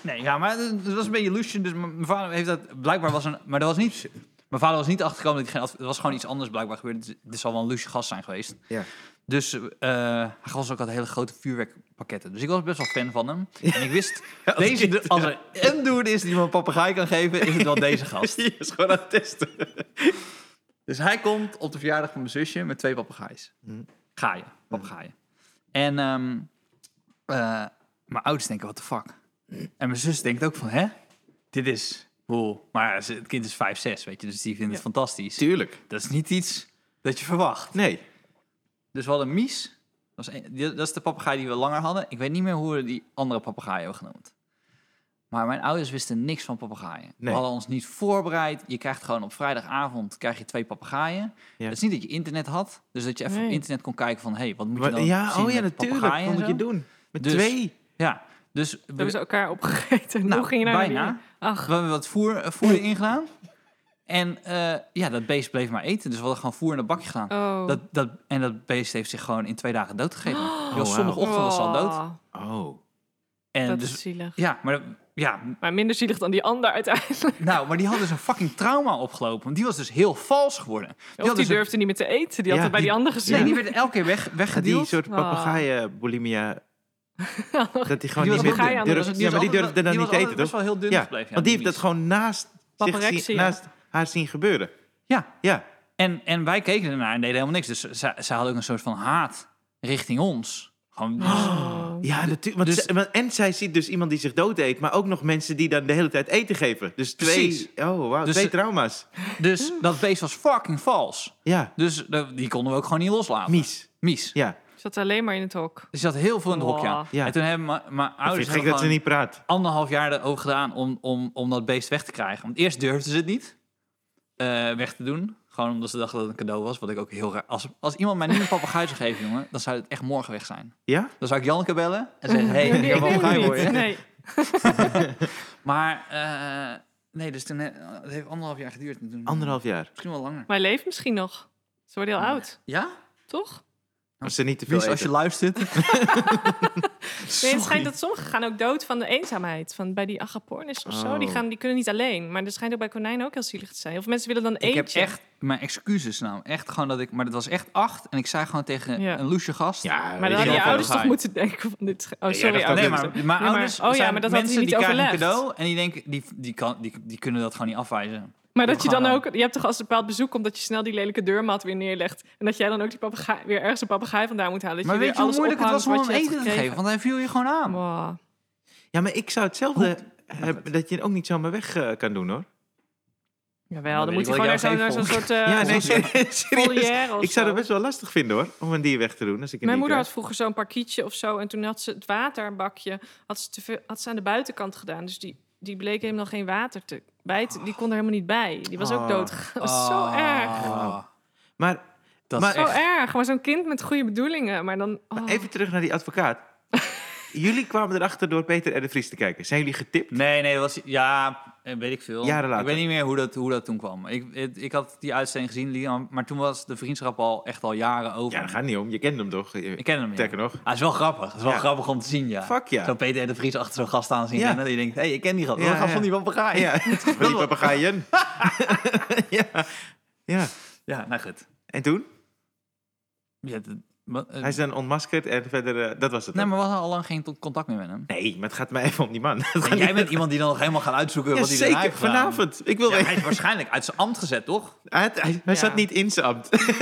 Nee, ja, maar het het was een beetje illusion. Dus mijn mijn vader heeft dat... Blijkbaar was een... Maar dat was niet... Mijn vader was niet achtergekomen dat ik geen... adv- Er was gewoon iets anders blijkbaar gebeurd. Het- Het zal wel een lusje gast zijn geweest. Ja. Dus eh, hij gaf ons ook altijd hele grote vuurwerkpakketten. Dus ik was best wel fan van hem. En ik wist, als deze, kind, als er een dude is die me een papegaai kan geven, is het wel deze gast. *laughs* Die is gewoon aan het testen. Dus hij komt op de verjaardag van mijn zusje met twee papegaaien. Hm. Gaaien, papegaaien. En ehm, eh, mijn ouders denken, what the fuck? En mijn zus denkt ook van, hè? Dit is hoe... Maar ze- het kind is 5, 6, weet je. Dus die vindt het fantastisch. Tuurlijk. Dat is niet iets dat je verwacht. Nee. Dus we hadden Mies Dat, was een- die- dat is de papegaai die we langer hadden. Ik weet niet meer hoe we die andere papegaai hebben genoemd. Maar mijn ouders wisten niks van papegaaien. Nee. We hadden ons niet voorbereid. Je krijgt gewoon op vrijdagavond krijg je twee papegaaien. Ja. Het is niet dat je internet had. Dus dat je even op Nee. internet kon kijken van... hey, wat moet je Wa- dan ja, zien oh ja, met natuurlijk. papegaaien Wat en moet je zo? doen? Met Dus- twee. Ja, dus... Toen hebben ze elkaar opgegeten. Nou, Hoe ging je naar de bijna. wiener? Ach, We hebben wat voer, eh, voer erin gedaan. En eh, ja, dat beest bleef maar eten. Dus we hadden gewoon voer in een bakje gedaan. oh. Dat, dat, en dat beest heeft zich gewoon in twee dagen *gasps* doodgegeven. Oh, Heel wauw. Zondagochtend was ze al dood. Oh, Oh. En dat dus, is zielig. ja, maar, ja, Maar minder zielig dan die ander uiteindelijk. nou, maar die had dus een fucking trauma opgelopen. Want die was dus heel vals geworden. Die Of had die dus een- durfde niet meer te eten. Die had Ja, het bij die, die- ander gezien. Nee, die werd elke keer weg, Die weggedeeld. soort Ah. papegaaien-bulimia. Dat die gewoon Ah. Die niet was meer papegaaien aan de- durft. was- Ja, maar die was altijd- durfde dan die niet was te altijd eten, toch? best wel heel dun Ja, gebleven. ja, want die heeft mies. dat gewoon naast, zich Paparexia. zien, naast haar zien gebeuren. Ja, Ja, En, en wij keken ernaar en deden helemaal niks. Dus zij, zij hadden ook een soort van haat richting ons. *gasps* Gewoon, Oh. ja natuurlijk. Want Dus- zij- want- en zij ziet dus iemand die zich dood eet, maar ook nog mensen die dan de hele tijd eten geven. Dus twee, Precies. oh, wauw, Dus twee ze- trauma's. Dus dat beest was fucking vals. Ja, Dus de- die konden we ook gewoon niet loslaten. mies. Mies. Ja, Ik zat alleen maar in het hok. Dus je had heel veel in het hokje. Wow. Ja. En toen hebben mijn- mijn ik vind ouders het hebben gek dat ze gewoon niet praat. anderhalf jaar erover gedaan om, om, om dat beest weg te krijgen. Want eerst durfden ze het niet eh, weg te doen. Gewoon omdat ze dachten dat het een cadeau was. Wat ik ook heel raar... Als, als iemand mij nu een papegaai zou geven, jongen, dan zou het echt morgen weg zijn. Ja? Dan zou ik Janneke bellen en zeggen... hey, Nee, ik *laughs* heb een ik papegaai weet voor je. het niet. Nee. Maar, eh, nee, dus toen... eh, Het heeft anderhalf jaar geduurd. En toen- Anderhalf jaar. Misschien wel langer. Maar hij leeft misschien nog. Ze worden heel oud, Ja? toch? Als ze niet te veel Mies, als je eten. luistert... Nee, het schijnt dat sommigen gaan ook dood van de eenzaamheid. Van bij die agapornis of zo. Die, Oh. gaan, die kunnen niet alleen. Maar er schijnt ook bij konijnen ook heel zielig te zijn. Of mensen willen dan Ik eentje. heb echt mijn excuses nou. Echt gewoon dat ik... Maar dat was echt acht. En ik zei gewoon tegen Ja. een loesje gast... Ja, weet maar dan hadden Eh, wel, je ouders papegaai. toch moeten denken van dit... is- Oh, jij sorry dacht ook Nee, ouders. maar dat- mijn maar- ouders oh ja, zijn maar dat had hij mensen niet die krijgen een overlegd. cadeau en die denken, die, die, kan, die, die kunnen dat gewoon niet afwijzen. Maar dat je Gewoon dan dan. ook, je hebt toch als een bepaald bezoek komt dat je snel die lelijke deurmat weer neerlegt. En dat jij dan ook die papegaai, weer ergens een papegaai vandaan moet halen. Dat maar je weet weer je hoe alles moeilijk het was ophangt om wat hem je hebt Oh, eten te geven? gekregen? Want hij viel je gewoon aan. Wow. Ja, maar ik zou hetzelfde hebben, dat je het ook niet zomaar weg eh, kan doen, hoor. Jawel, weet dan moet ik hij wel, gewoon naar ik jou zo'n naar geef zo'n vol. soort eh ja, nee, zo'n *laughs* serieus. volière of Ik zou zo. dat best wel lastig vinden, hoor, om een dier weg te doen. Als ik een Mijn dier moeder had krijg. vroeger zo'n parkietje of zo. En toen had ze het waterbakje had ze, te veel, had ze aan de buitenkant gedaan. Dus die, die bleek helemaal geen water te bijten. Die kon er helemaal niet bij. Die was Oh. ook dood. *laughs* Dat was zo erg. Oh, Ah, Maar Dat Maar- is Zo echt... erg. Maar zo'n kind met goede bedoelingen. Maar dan... oh. Maar even terug naar die advocaat. *laughs* jullie kwamen erachter door Peter en de Vries te kijken. Zijn jullie getipt? Nee, nee, dat was... Ja, eh, weet ik veel. Jaren later. Ik weet niet meer hoe dat, hoe dat toen kwam. Ik, het- ik had die uitzending gezien, die- maar toen was de vriendschap al echt al jaren over. Ja, dat gaat niet om. Je kent hem toch? Ik Ik ken hem niet. Sterker nog. Ah, het is wel grappig. Het is wel Ja. grappig om te zien, ja. Fuck ja. Zo Peter en de Vries achter zo'n gast aan zien Ja. rennen. Dat je denkt, hé, hey, ik ken die gast. Ja, dat gast ja. van die papegaai. Ja. *laughs* Ja, van die papegaaien. *laughs* ja. ja. nou goed. En toen? Ja, dat- wat- eh, Hij is dan ontmaskerd en verder... eh, dat was het nee, dan. maar we hadden al lang geen to- contact meer met hem. Nee, maar het gaat mij even om die man. *laughs* Het gaat En jij niet- bent iemand die dan nog helemaal gaat uitzoeken Ja, wat hij daarna zeker. heeft gedaan. Vanavond. Ik wil Ja, weten- hij is waarschijnlijk uit zijn ambt gezet, *laughs* toch? Hij, had- hij- hij Ja. zat niet in zijn ambt. *laughs*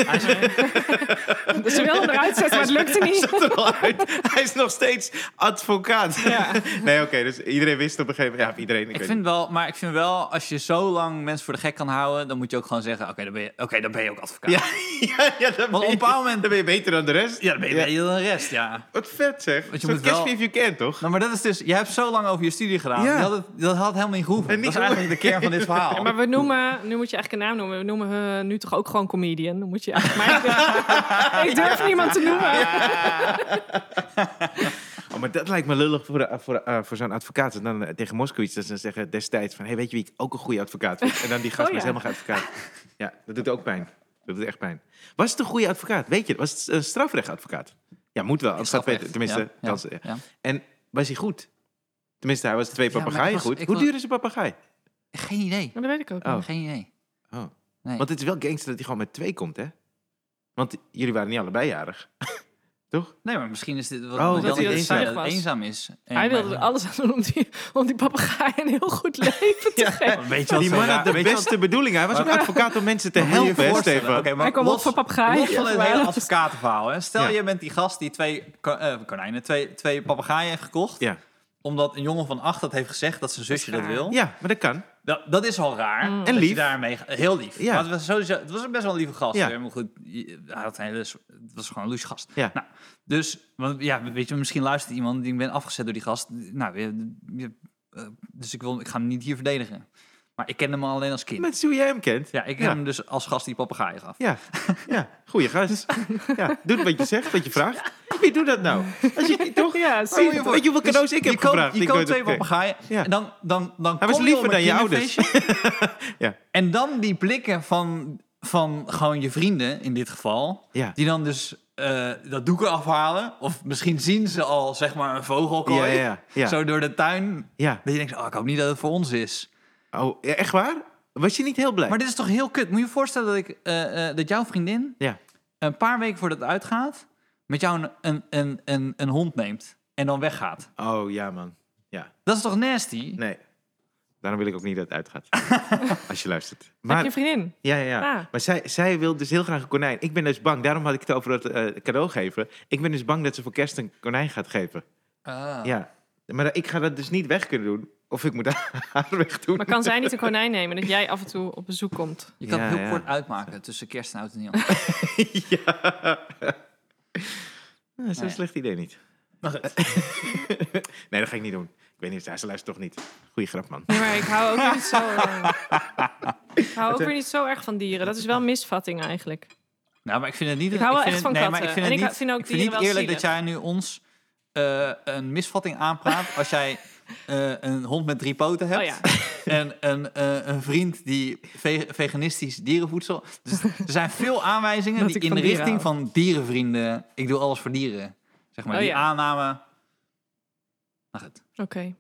Ze wilden hem eruit zetten, maar het *laughs* lukte Hij niet. zat er al uit. Hij is nog steeds advocaat. Ja. *laughs* Nee, oké. dus iedereen wist op een gegeven moment... Ja, iedereen. Ik, Ik weet vind wel, maar ik vind wel, als je zo lang mensen voor de gek kan houden, dan moet je ook gewoon zeggen, oké, dan, ben je- oké, dan ben je ook advocaat. Ja, *laughs* ja, ja, dan, ben op je, een bepaald moment- dan ben je beter dan de rest. Ja, dan ben je Ja. ben je dan de rest, ja. Wat vet zeg. Want Want je je moet catch wel- me if you can, toch? Nou, maar dat is dus, je hebt zo lang over je studie gedaan. Ja. Je had het- dat had helemaal niet gehoeven. En niet dat is eigenlijk de kern van dit *laughs* verhaal. Maar we noemen, nu moet je eigenlijk een naam noemen. We noemen eh, nu toch ook gewoon comedian. Dan moet je eigenlijk. Maar ik, *laughs* durf- ik durf niemand te noemen. Oh, maar dat lijkt me lullig voor, de- voor, eh, voor zo'n advocaat. En dan eh, tegen Moskowitz dat ze dan zeggen destijds van... Hey, weet je wie ik ook een goede advocaat vind? En dan *laughs* die gast Oh, maar is ja. helemaal geen advocaat. Ja, dat doet ook pijn. Dat doet echt pijn. Was het een goede advocaat? Weet je, was het een strafrechtadvocaat? Ja, moet wel. Als dat Strafrecht, weten, tenminste. ja, ja, kans, ja. ja. En was hij goed? Tenminste, hij was twee maar ik papegaaien was- goed. ik Hoe was- duur is een papegaai? Geen idee. Maar dat weet ik ook. Oh. niet. Geen idee. Oh. Nee. Want het is wel gangster dat hij gewoon met twee komt, hè? Want jullie waren niet allebei jarig. Toch? Nee, maar misschien is dit wat Oh, wat dat Jan hij net zei, eenzaam dat het was. eenzaam is. En- Hij wilde er maar- alles aan doen om die, om die papegaai een heel goed leven te geven. Weet je wat die zo man raar- had de weet je wat- beste bedoelingen. Hij was ook advocaat om mensen te wat moet je je helpen, hè, voorstellen? Stefan? Oké, maar Hij kwam los- op voor papegaaien. Los van het Maar- hele advocatenverhaal. Hè. Stel, Ja. je bent die gast die twee ko- eh, konijnen, twee, twee papegaaien heeft gekocht. Ja. Omdat een jongen van acht dat heeft gezegd dat zijn zusje dat raar. wil. ja, maar dat kan. dat, dat is al raar. Mm. dat En je lief. daarmee, heel lief. Ja. Maar het was, sowieso, het was een best wel een lieve gast. Ja. hè, Maar goed, je- hij had een hele, het was gewoon een loes gast. Ja. Nou, dus, want, ja, weet je, misschien luistert iemand die ik ben afgezet door die gast. Nou, je- je- eh, dus ik, wil, ik ga hem niet hier verdedigen. Maar ik ken hem alleen als kind. Met hoe jij hem *laughs* kent. Ja, ik ken hem dus als gast die papegaaien gaf. Ja, ja. goeie gast. Ja. Doet wat je zegt, wat je vraagt. Wie doet dat nou? Als je, toch? *laughs* Oh, Ja, Dus Zie je- zie- Weet je hoeveel cadeaus ik Dus je heb koopt- gevraagd? Je Ik koopt weet twee het, oké. papegaaien Ja. en dan, dan, dan kom Hij was je liever op dan een je ouders. kinderfeestje. *laughs* Ja. En dan die blikken van, van gewoon je vrienden in dit geval. Ja. *laughs* Die dan dus eh, dat doek afhalen. Of misschien zien ze al zeg maar een vogelkooi. Ja, ja, ja. Zo door de tuin. Ja. Dat je denkt, oh, ik hoop niet dat het voor ons is. Oh, ja, echt waar? Was je niet heel blij? Maar dit is toch heel kut. Moet je je voorstellen dat, ik, eh, eh, dat jouw vriendin Ja. een paar weken voordat het uitgaat... met jou een, een, een, een, een hond neemt en dan weggaat. Oh, ja, man. Ja, Dat is toch nasty? nee. Daarom wil ik ook niet dat het *laughs* uitgaat. Als je luistert. Heb je vriendin? Ja, ja, ja. Ah. Maar zij, zij wil dus heel graag een konijn. Ik ben dus bang. Daarom had ik het over dat eh, cadeau geven. Ik ben dus bang dat ze voor kerst een konijn gaat geven. Ah. Ja. Maar ik ga dat dus niet weg kunnen doen. Of ik moet *laughs* haar weg doen. Maar kan zij niet een konijn nemen dat jij af en toe op bezoek komt? Je kan Ja, het heel ja. kort uitmaken tussen kerst en oud *laughs* en nieuw. *laughs* ja. Nou, Dat is Nee. een slecht idee niet. *laughs* nee, dat ga ik niet doen. Ik weet niet, ja, ze luistert toch niet. Goeie grap, man. Nee, maar ik hou ook weer niet zo. eh, ik hou eh? ook weer niet zo erg van dieren. Dat is wel een misvatting eigenlijk. nou, maar ik vind het niet... Ik hou wel vind echt het- van nee, maar katten. ik vind, En het ik niet, vind ook ik vind dieren niet wel eerlijk dat jij nu ons eh, een misvatting aanpraat als jij eh, een hond met drie poten hebt. Oh ja. *laughs* En een, eh, een vriend die ve- veganistisch dierenvoedsel... Dus er zijn veel aanwijzingen Dat die ik in van de dieren richting hou. van dierenvrienden... Ik doe alles voor dieren. Zeg maar, Oh die ja. aanname... Nou goed, Oké.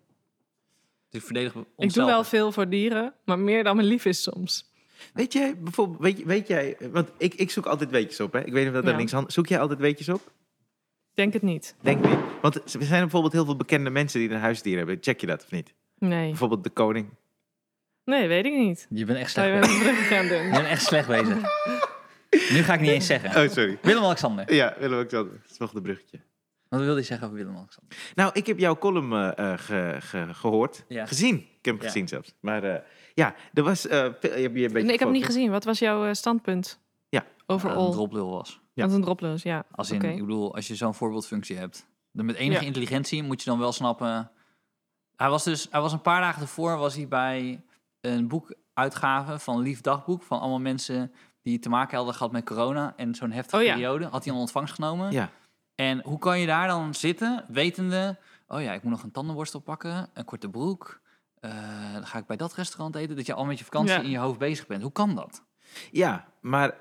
dus verdedigen we Ik doe onszelf. wel veel voor dieren, maar meer dan mijn lief is soms. Weet jij, bijvoorbeeld, weet, je- weet jij... Want ik, ik zoek altijd weetjes op, hè. Ik weet niet of dat Ja. daar links aan... Zoek jij altijd weetjes op? Denk het niet. Denk niet. Want er zijn bijvoorbeeld heel veel bekende mensen die een huisdier hebben. Check je dat of niet? Nee. Bijvoorbeeld de koning. Nee, weet ik niet. Je bent echt Zou slecht je bezig. met een brug gaan *laughs* Je doen? bent echt slecht bezig. Nu ga ik niet eens zeggen. Oh, sorry. Willem-Alexander. Ja, Willem Alexander. Dat is nog de bruggetje. Wat wilde je zeggen over Willem-Alexander? Nou, ik heb jouw column eh, eh, ge- ge- gehoord. Ja. Gezien. Ik heb hem Ja. gezien zelfs. Maar eh, ja, er was... eh, veel- je hebt hier een beetje Nee, ik heb hem niet gevolgd, gezien. Wat was jouw eh, standpunt? Ja. Dat het Eh, een Overal. droplul was. Ja. Dat is een droploos, ja. Als in, Oké. ik bedoel, als je zo'n voorbeeldfunctie hebt. Dan met enige Ja. intelligentie moet je dan wel snappen. Hij was dus, hij was een paar dagen ervoor was hij bij een boekuitgave van Lief Dagboek. Van allemaal mensen die te maken hadden gehad met corona. En zo'n heftige Oh ja. periode had hij al ontvangst genomen. hè? Ja. En hoe kan je daar dan zitten, wetende... oh ja, ik moet nog een tandenborstel pakken, een korte broek... eh, dan ga ik bij dat restaurant eten... dat je al met je vakantie Ja. in je hoofd bezig bent. Hoe kan dat? ja, maar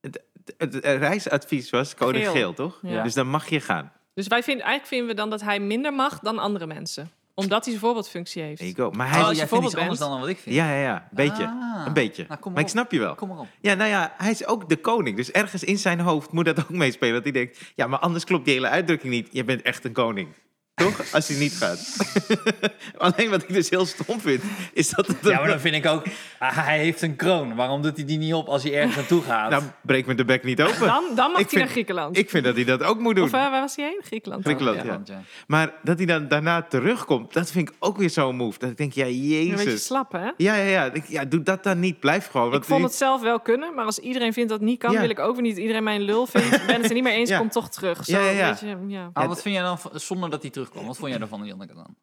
het, het- het reisadvies was code geel, Geel. toch? Ja. Dus dan mag je gaan. Dus wij vinden, eigenlijk vinden we dan dat hij minder mag dan andere mensen. Omdat hij zijn voorbeeldfunctie heeft. Ik ook. Maar Hij hij... oh, als je jij vindt iets voorbeeld anders bent- dan wat ik vind. ja, ja, ja. Beetje. Ah. Een beetje. Nou, kom maar maar ik op. snap je wel. Kom maar op. Ja, nou ja, hij is ook de koning. Dus ergens in zijn hoofd moet dat ook meespelen. Dat hij denkt, ja, maar anders klopt die hele uitdrukking niet. Je bent echt een koning. Toch? Als hij niet gaat. *laughs* Alleen wat ik dus heel stom vind, is dat het... Ja, maar dan vind ik ook... ah, hij heeft een kroon. Waarom doet hij die niet op als hij ergens *laughs* naartoe gaat? *laughs* Nou, breek me de bek niet open. Dan, Nou, dan mag Ik hij vind- naar Griekenland. Ik vind dat hij dat ook moet doen. Of eh, waar was hij heen? Griekenland. Griekenland, Ja. ja. Want, ja. Maar dat hij dan daarna terugkomt, dat vind ik ook weer zo'n move. Dat ik denk, ja, Een beetje jezus. slap, hè? Ja, ja, ja. Ik- ja doe dat dan niet. Blijf gewoon. Ik want vond die- het zelf wel kunnen, maar als iedereen vindt dat niet kan, Ja. wil ik ook weer niet iedereen mijn *laughs* lul vindt. Ik ben het er niet mee eens, Ja. kom toch terug. Zo, Ja, ja, ja. Weet je, ja. Maar Ja, Ah, wat d- vind jij dan, van- zonder dat hij terugkwam, wat vond jij ervan, Janneke, dan?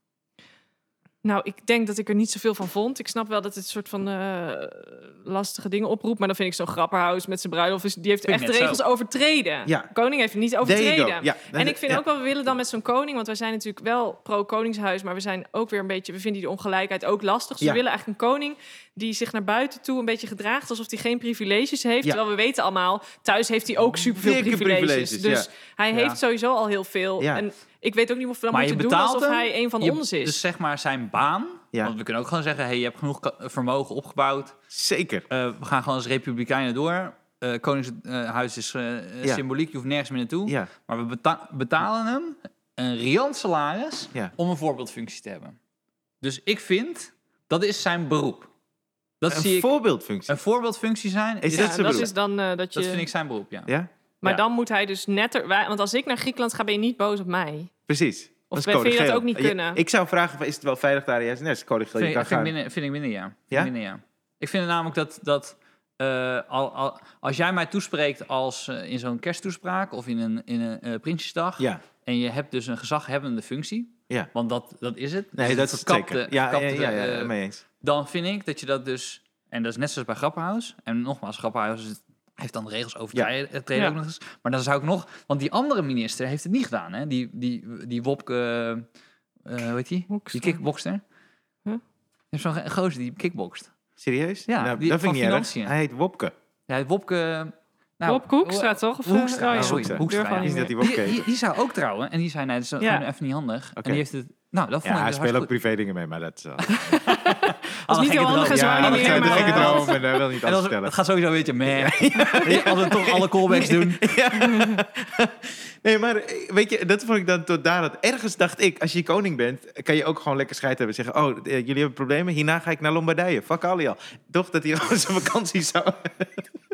Nou, ik denk dat ik er niet zoveel van vond. Ik snap wel dat het een soort van eh, lastige dingen oproept, maar dan vind ik zo'n grapperhuis met zijn bruiloft, is- die heeft Vind ik echt net regels overtreden. Ja. Koning heeft niet There you go. overtreden. Ja, En ik vind ja. ook wel, we willen dan met zo'n koning, want wij zijn natuurlijk wel pro-koningshuis, maar we zijn ook weer een beetje, we vinden die ongelijkheid ook lastig. Dus Ja. we willen eigenlijk een koning die zich naar buiten toe een beetje gedraagt alsof hij geen privileges heeft. Ja. Terwijl we weten allemaal, thuis heeft hij ook superveel Dikke privileges. privileges, dus ja. hij Ja. heeft sowieso al heel veel. Ja. En ik weet ook niet of we dan Maar moeten je doen betaalt alsof hem, hij een van Je- ons is. Dus zeg maar zijn baan. Ja. Want we kunnen ook gewoon zeggen, hey, je hebt genoeg ka- vermogen opgebouwd. Zeker. Eh, we gaan gewoon als republikeinen door. Eh Koningshuis is eh, eh, Ja. symboliek, je hoeft nergens meer naartoe. Ja. Maar we beta- betalen hem een riant salaris Ja. om een voorbeeldfunctie te hebben. Dus ik vind, dat is zijn beroep. Dat zie Een ik. voorbeeldfunctie. Een voorbeeldfunctie zijn, is- Is dat ja, zijn dat bedoel- is dan eh, dat je. dat vind ik zijn beroep, ja. Ja, Maar ja. dan moet hij dus netter. wij- Want als ik naar Griekenland ga, ben je niet boos op mij. precies. Dat Of is vind je dat code ook niet geel. Je- kunnen? ik zou vragen, van, is het wel veilig daar? Ja, nee, het is code geel. Je Vind, kan vind, ik gaan. minder, vind ik minder, ja. Vind Ja? ik Minder, ja. Ik vind namelijk dat, dat eh, al, al, als jij mij toespreekt als eh, in zo'n kersttoespraak of in een, in een eh, Prinsjesdag... Ja, en je hebt dus een gezaghebbende functie, Ja. want dat, dat is het. nee, Dus dat is het verkapte- zeker. Ja, ja, verkapte, ja, ja, eh, mee eens. dan vind ik dat je dat dus... En dat is net zoals bij Grappenhuis. En nogmaals, Grappenhuis is- heeft dan de regels overtreden Ja. ook nog eens. Maar dan zou ik nog... Want die andere minister heeft het niet gedaan, hè? Die, die, die Wopke... eh, eh, hoe heet die? Hoekstra. Die kickbokster. Huh? Je hebt zo'n ge- gozer die kickbokst. Serieus? Ja, Nou, die- dat vind van ik niet erg. Financiën. Hij heet Wopke. Ja, Wopke... Nou, Bob Hoekstra, toch? Of, eh, Hoekstra, Ah, oh ja, sorry, ik durf Hoekstra, al ja. niet Is dat meer. die Die, Wopke? die, die zou ook trouwen. En die zei, nee, dat is Ja. gewoon even niet handig. En Oké. die heeft het... Nou, dat vond Ja, ik hij dus speelt ook hartstikke privé dingen mee, maar *laughs* dat is... wel- goed. niet gekke heel handig droom. is, waar ja, niet dat meer, zijn de maar- gekke dromen en hij wil niet En alles dat, vertellen. dat gaat sowieso een beetje meh. *laughs* Altijd toch alle callbacks doen. Nee, maar eh, weet je, dat vond ik dan tot daar. Dat ergens dacht ik, als je koning bent, kan je ook gewoon lekker scheid hebben. Zeggen, oh, eh, jullie hebben problemen, hierna ga ik naar Lombardije. Fuck Ali al. Toch dat hij *laughs* al zijn vakantie zou...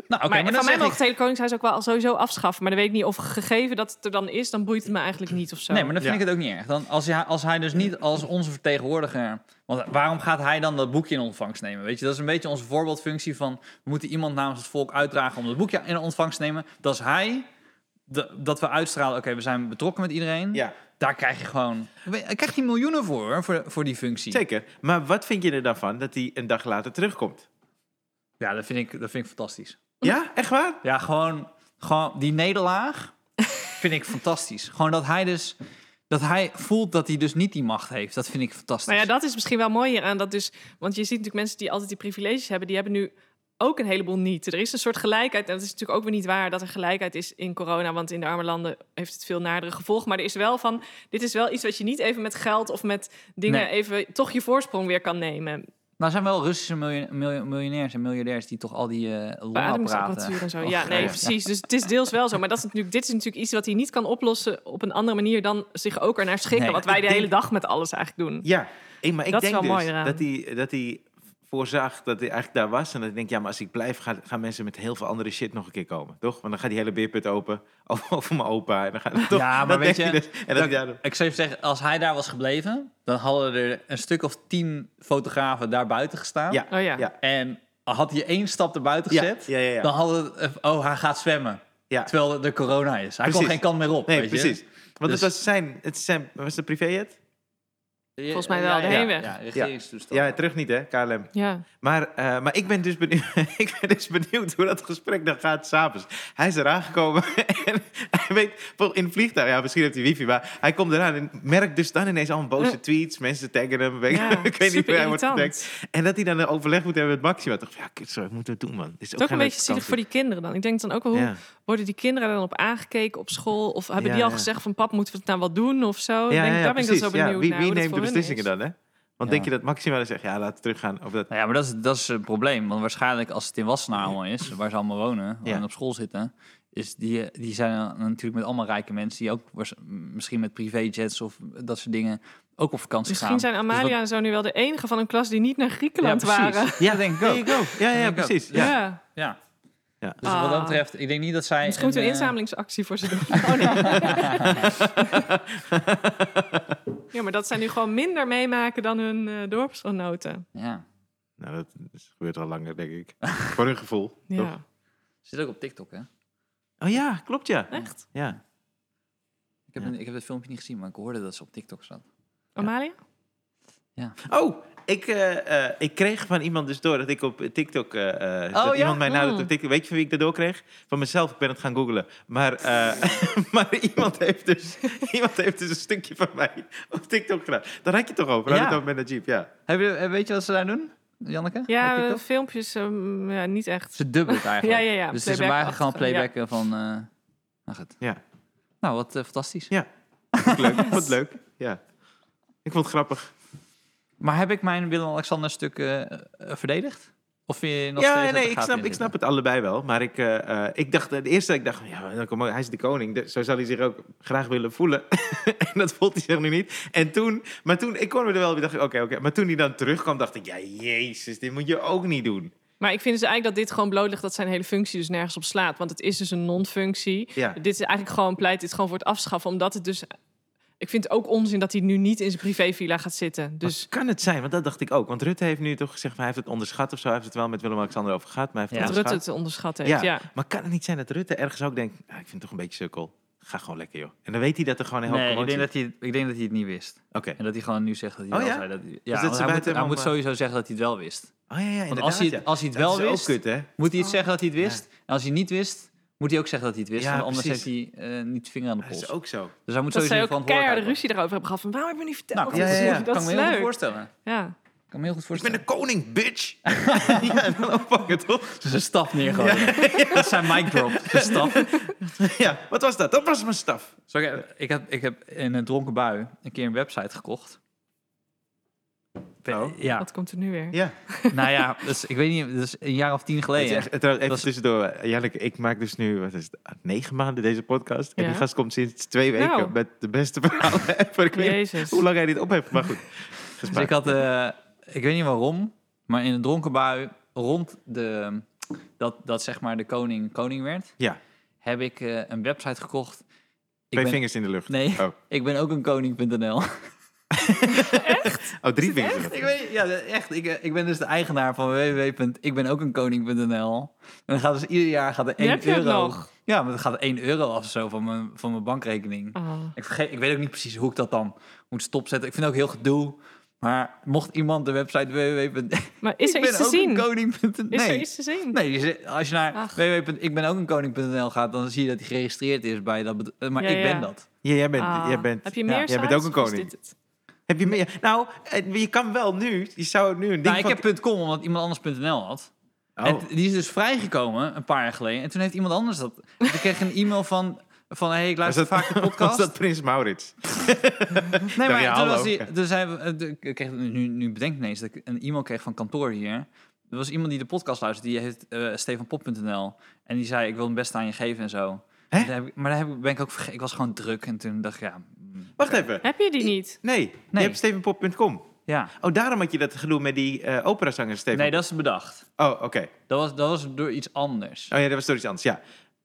Nou, oké, Maar, maar, dan van mij zeg ik... mag het hele Koningshuis ook wel sowieso afschaffen. Maar dan weet ik niet of gegeven dat het er dan is, dan boeit het me eigenlijk niet of zo. Nee, maar dan vind Ja. ik het ook niet erg. Dan, als, hij, als hij dus niet als onze vertegenwoordiger... Want waarom gaat hij dan dat boekje in ontvangst nemen? Weet je, dat is een beetje onze voorbeeldfunctie van... We moeten iemand namens het volk uitdragen om dat boekje in ontvangst te nemen. Dat is hij. De- dat we uitstralen, oké, we zijn betrokken met iedereen. Ja, Daar krijg je gewoon... Daar krijg je miljoenen voor, hoor, voor, voor die functie. zeker. Maar wat vind je er dan van dat hij een dag later terugkomt? Ja, dat vind, ik, dat vind ik fantastisch. Ja, echt waar? Ja, gewoon, gewoon die nederlaag vind ik fantastisch. Gewoon dat hij dus... Dat hij voelt dat hij dus niet die macht heeft. Dat vind ik fantastisch. Maar Nou ja, dat is misschien wel mooi hieraan. Dat dus, want je ziet natuurlijk mensen die altijd die privileges hebben, die hebben nu ook een heleboel niet. Er is een soort gelijkheid. En dat is natuurlijk ook weer niet waar dat er gelijkheid is in corona. Want in de arme landen heeft het veel nadere gevolgen. Maar er is wel van, dit is wel iets wat je niet even met geld of met dingen Nee. even toch je voorsprong weer kan nemen. Nou, er zijn wel Russische miljo- miljo- miljonairs en miljardairs die toch al die eh longapparaten... Beademingsapparatuur en zo. Och, ja, nee, ja. precies. Dus het is deels wel zo. Maar dat is natuurlijk, dit is natuurlijk iets wat hij niet kan oplossen op een andere manier dan zich ook ernaar schikken. Nee, wat wij de ik denk- hele dag met alles eigenlijk doen. Ja, ik- maar ik Dat is denk dus wel mooi eraan. dat hij... Dat hij voorzag dat hij eigenlijk daar was. En dat ik denk, ja, maar als ik blijf, gaan, gaan mensen met heel veel andere shit nog een keer komen. Toch? Want dan gaat die hele beerput open *laughs* over, over mijn opa. En dan gaat, toch? Ja, maar Dat weet denk je, ik dus. en dat, dat- hij daar- Ik zou even zeggen, als hij daar was gebleven, dan hadden er een stuk of tien fotografen daar buiten gestaan. Ja, Oh ja. ja. En had hij één stap erbuiten Ja, gezet, ja, ja, ja. dan hadden het... eh, Oh, hij gaat zwemmen. Ja. Terwijl er corona is. Hij kon Precies. geen kant meer op. Nee, weet je. precies. Dus- Want het was zijn, het is zijn was het een privéjet? Volgens mij wel, de heenweg. Eh, Ja, regeringstoestand. Ja, terug niet hè, KLM. Ja. Maar, eh, maar ik ben dus benieuwd, *laughs* ik ben dus benieuwd hoe dat gesprek dan gaat s'avonds. Hij is eraan gekomen *laughs* en hij weet, vol- in het vliegtuig, ja misschien heeft hij wifi, maar hij komt eraan en merkt dus dan ineens allemaal boze Ja. tweets, mensen taggen hem, weet, Ja, *laughs* ik weet niet hoe hij wordt superirritant. getagd. En dat hij dan een overleg moet hebben met Maxima. Ik dacht, ja, kut, sorry, moeten we doen man. Dit is Het is ook geen een beetje leuke zielig voor die kinderen dan. Ik denk dan ook wel, hoe vakantie. worden die kinderen dan op aangekeken op school? Of hebben Ja, die al ja. gezegd van pap, moeten we het nou wat doen of zo? Ja, denk, ja, ja, daar ben ik dan precies. zo Ja, benieuwd wie naar wie hoe dat neemt de voor hun beslissingen is. dan hè? Want Ja. denk je dat Maxima dan zegt, ja, laten we teruggaan? Of dat, Nou ja, maar dat is, dat is het probleem. Want waarschijnlijk als het in Wassenaar allemaal is, waar ze allemaal wonen Ja. en op school zitten, is die, die zijn dan natuurlijk met allemaal rijke mensen die ook waars- misschien met privéjets of dat soort dingen ook op vakantie Misschien gaan. Dus Dus zijn Amalia en zo nu wel de enige van een klas die niet naar Griekenland ja, precies. waren. Ja, denk ik There ook. you go. Ja, ja, Ja, ik ook. precies. Ja. Ja. Ja. Ja. Dus wat Ah. dat betreft, ik denk niet dat zij... Misschien moeten we een eh, inzamelingsactie voor ze doen. *laughs* Oh, nee. ja, maar dat zij nu gewoon minder meemaken dan hun eh, dorpsgenoten. Ja, Nou, dat is- gebeurt al langer, denk ik. Voor hun gevoel. Ja, Toch? zit ook op TikTok, hè? Oh ja, klopt ja. echt. Ja. Ik heb, Ja. een- ik heb het filmpje niet gezien, maar ik hoorde dat ze op TikTok zat. Amalia? Oh, ik, eh, eh, ik kreeg van iemand dus door dat ik op TikTok... eh, eh, dat Oh, ja? iemand mij nadat Mm. op TikTok... Weet je van wie ik dat doorkreeg? Van mezelf, ik ben het gaan googlen. Maar, eh, *laughs* maar iemand, heeft dus, *laughs* iemand heeft dus een stukje van mij op TikTok gedaan. Daar had je het toch over? Had Ja. het over met Najib, ja. Heb je, eh, weet je wat ze daar doen, Janneke? Ja, Op eh, TikTok? filmpjes ehm, ja, niet echt. Ze *laughs* dubbelt Ja, eigenlijk. ja, ja. Dus het is hem eigenlijk playback-achtige, gewoon ja. playbacken van... eh nou goed. Ja. Nou, wat eh, fantastisch. Vond *laughs* ik leuk. Vond het leuk, ja. Ik vond het grappig. Maar heb ik mijn Willem-Alexander stuk eh, eh, verdedigd? Of vind je nog Ja, steeds dat nee, er ik gaten in snap, ik zitten? snap het allebei wel. Maar ik, eh, eh, ik dacht, de eerste dat ik dacht, ja, dan kom- hij is de koning. dus Zo zal hij zich ook graag willen voelen. *laughs* en dat voelt hij zich nu niet. En toen, maar toen, ik kon me er wel bij, dacht ik, oké, oké. Maar toen hij dan terugkwam, dacht ik, ja, jezus, dit moet je ook niet doen. Maar ik vind dus eigenlijk dat dit gewoon bloot ligt dat zijn hele functie dus nergens op slaat. Want het is dus een non-functie. Ja. Dit is eigenlijk gewoon pleit dit gewoon voor het afschaffen, omdat het dus. Ik Ik vind het ook onzin dat hij nu niet in zijn privévilla gaat zitten. Dus Dus kan het zijn, want dat dacht ik ook. Want Rutte heeft nu toch gezegd, van, hij heeft het onderschat of zo. Hij heeft het wel met Willem-Alexander over gehad, maar hij heeft Ja. dat het Rutte onderschat. het onderschat heeft. Ja. Maar kan het niet zijn dat Rutte ergens ook denkt, ah, ik vind het toch een beetje sukkel. Ga gewoon lekker, joh. En dan weet hij dat er gewoon een hoop Nee, ik commotie denk, dat hij, ik denk dat hij het niet wist. Oké. En dat hij gewoon nu zegt dat hij Oh wel ja? zei dat hij... Ja, dat want ze hij, buiten moet, hij hem eh, moet om- sowieso zeggen dat hij het wel wist. Oh ja, ja, Want inderdaad, als hij, ja. als hij het Dat wel is ook wist, kut, hè? moet hij het zeggen dat hij het wist. Oh. Ja. En als hij niet wist, moet hij ook zeggen dat hij het wist. Ja, want anders precies. heeft hij eh, niet de vinger aan de Dat is pols. ook zo. Dus hij moet Dat sowieso zij een ook verantwoordelijkheid keiharde hebben. ruzie daarover hebben gehad. Van waarom heb je me niet verteld? Nou, Ja, ja, ja. Dat kan is me heel goed leuk. voorstellen. Ja. kan me heel goed Ik ben voorstellen. de koning, *laughs* bitch! ja, en dan oppakken, toch? Ze zijn staf neergooien. *laughs* Dat zijn mic drop. De staf. ja, wat was dat? Dat was mijn staf. Zo, ik, ik, heb, ik heb in een dronken bui een keer een website gekocht. Oh. Ja, Wat komt er nu weer? Ja. nou ja, dus, ik weet niet, dat is een jaar of tien Het is geleden. echt- het- Even Dat is- tussendoor. eh, Janneke, ik maak dus nu wat is het, ah, negen maanden deze podcast. En Ja. die gast komt sinds twee weken Nou. met de beste verhalen. *laughs* ever. ik weet niet Jezus. hoe lang hij dit op heeft, maar goed. Gespaard. Dus ik had, eh, ik weet niet waarom, maar in een dronken bui rond de, dat, dat zeg maar de koning koning werd, Ja, heb ik eh, een website gekocht. Ik twee ben, vingers in de lucht. Nee. Oh, ik ben ook een koning.nl. Oh, drie vingers in de ik lucht. weet, ja, echt. Ik, eh, ik ben dus de eigenaar van www.ikbenookeenkoning.nl. En dan gaat dus ieder jaar gaat er Die 1 heb je ook euro. nog. Ja, maar dan gaat er 1 euro af of zo van mijn, van mijn bankrekening. Ah. Ik, vergeet, ik weet ook niet precies hoe ik dat dan moet stopzetten. Ik vind het ook heel gedoe. Maar mocht iemand de website www. *laughs* Maar is er iets te zien? Is er Nee. iets te zien? Nee, je zit- als je naar Ach. www.ikbenookeenkoning.nl gaat, dan zie je dat hij geregistreerd is bij dat bedrijf. Maar Ja, ik ben ja. dat. Ja, jij bent, Ah. jij bent, heb je ja, meer jij bent sites ook een of is koning. dit het? heb je meer? Nou, eh, je kan wel nu. Je zou nu een ding Nou, ik van... heb .com, omdat iemand anders .nl had. Oh. En t- die is dus vrijgekomen een paar jaar geleden. En toen heeft iemand anders dat. Ik kreeg een e-mail van. Van hey, ik Was luister dat, vaak de *laughs* was podcast. dat Oh, Prins Maurits? nee, maar Ja, toen hallo. was die, dus hij, eh, de- ik kreeg, nu, nu bedenk ik ineens dat ik een e-mail kreeg van kantoor hier. Er was iemand die de podcast luisterde, die heet eh stefanpop.nl. En die zei: Ik wil het beste aan je geven en zo. Hè? En daar heb ik- maar daar heb ik, ben ik ook vergeten. Ik was gewoon druk. En toen dacht ik: Ja. mm, Wacht even. Heb je die niet? Nee, je Nee. hebt stevenpop.com. ja. Oh, daarom had je dat gedoe met die eh operazanger Steven. Nee, dat is bedacht. Oh, oké. Dat was, dat was door iets anders. Oh ja, dat was door iets anders, ja.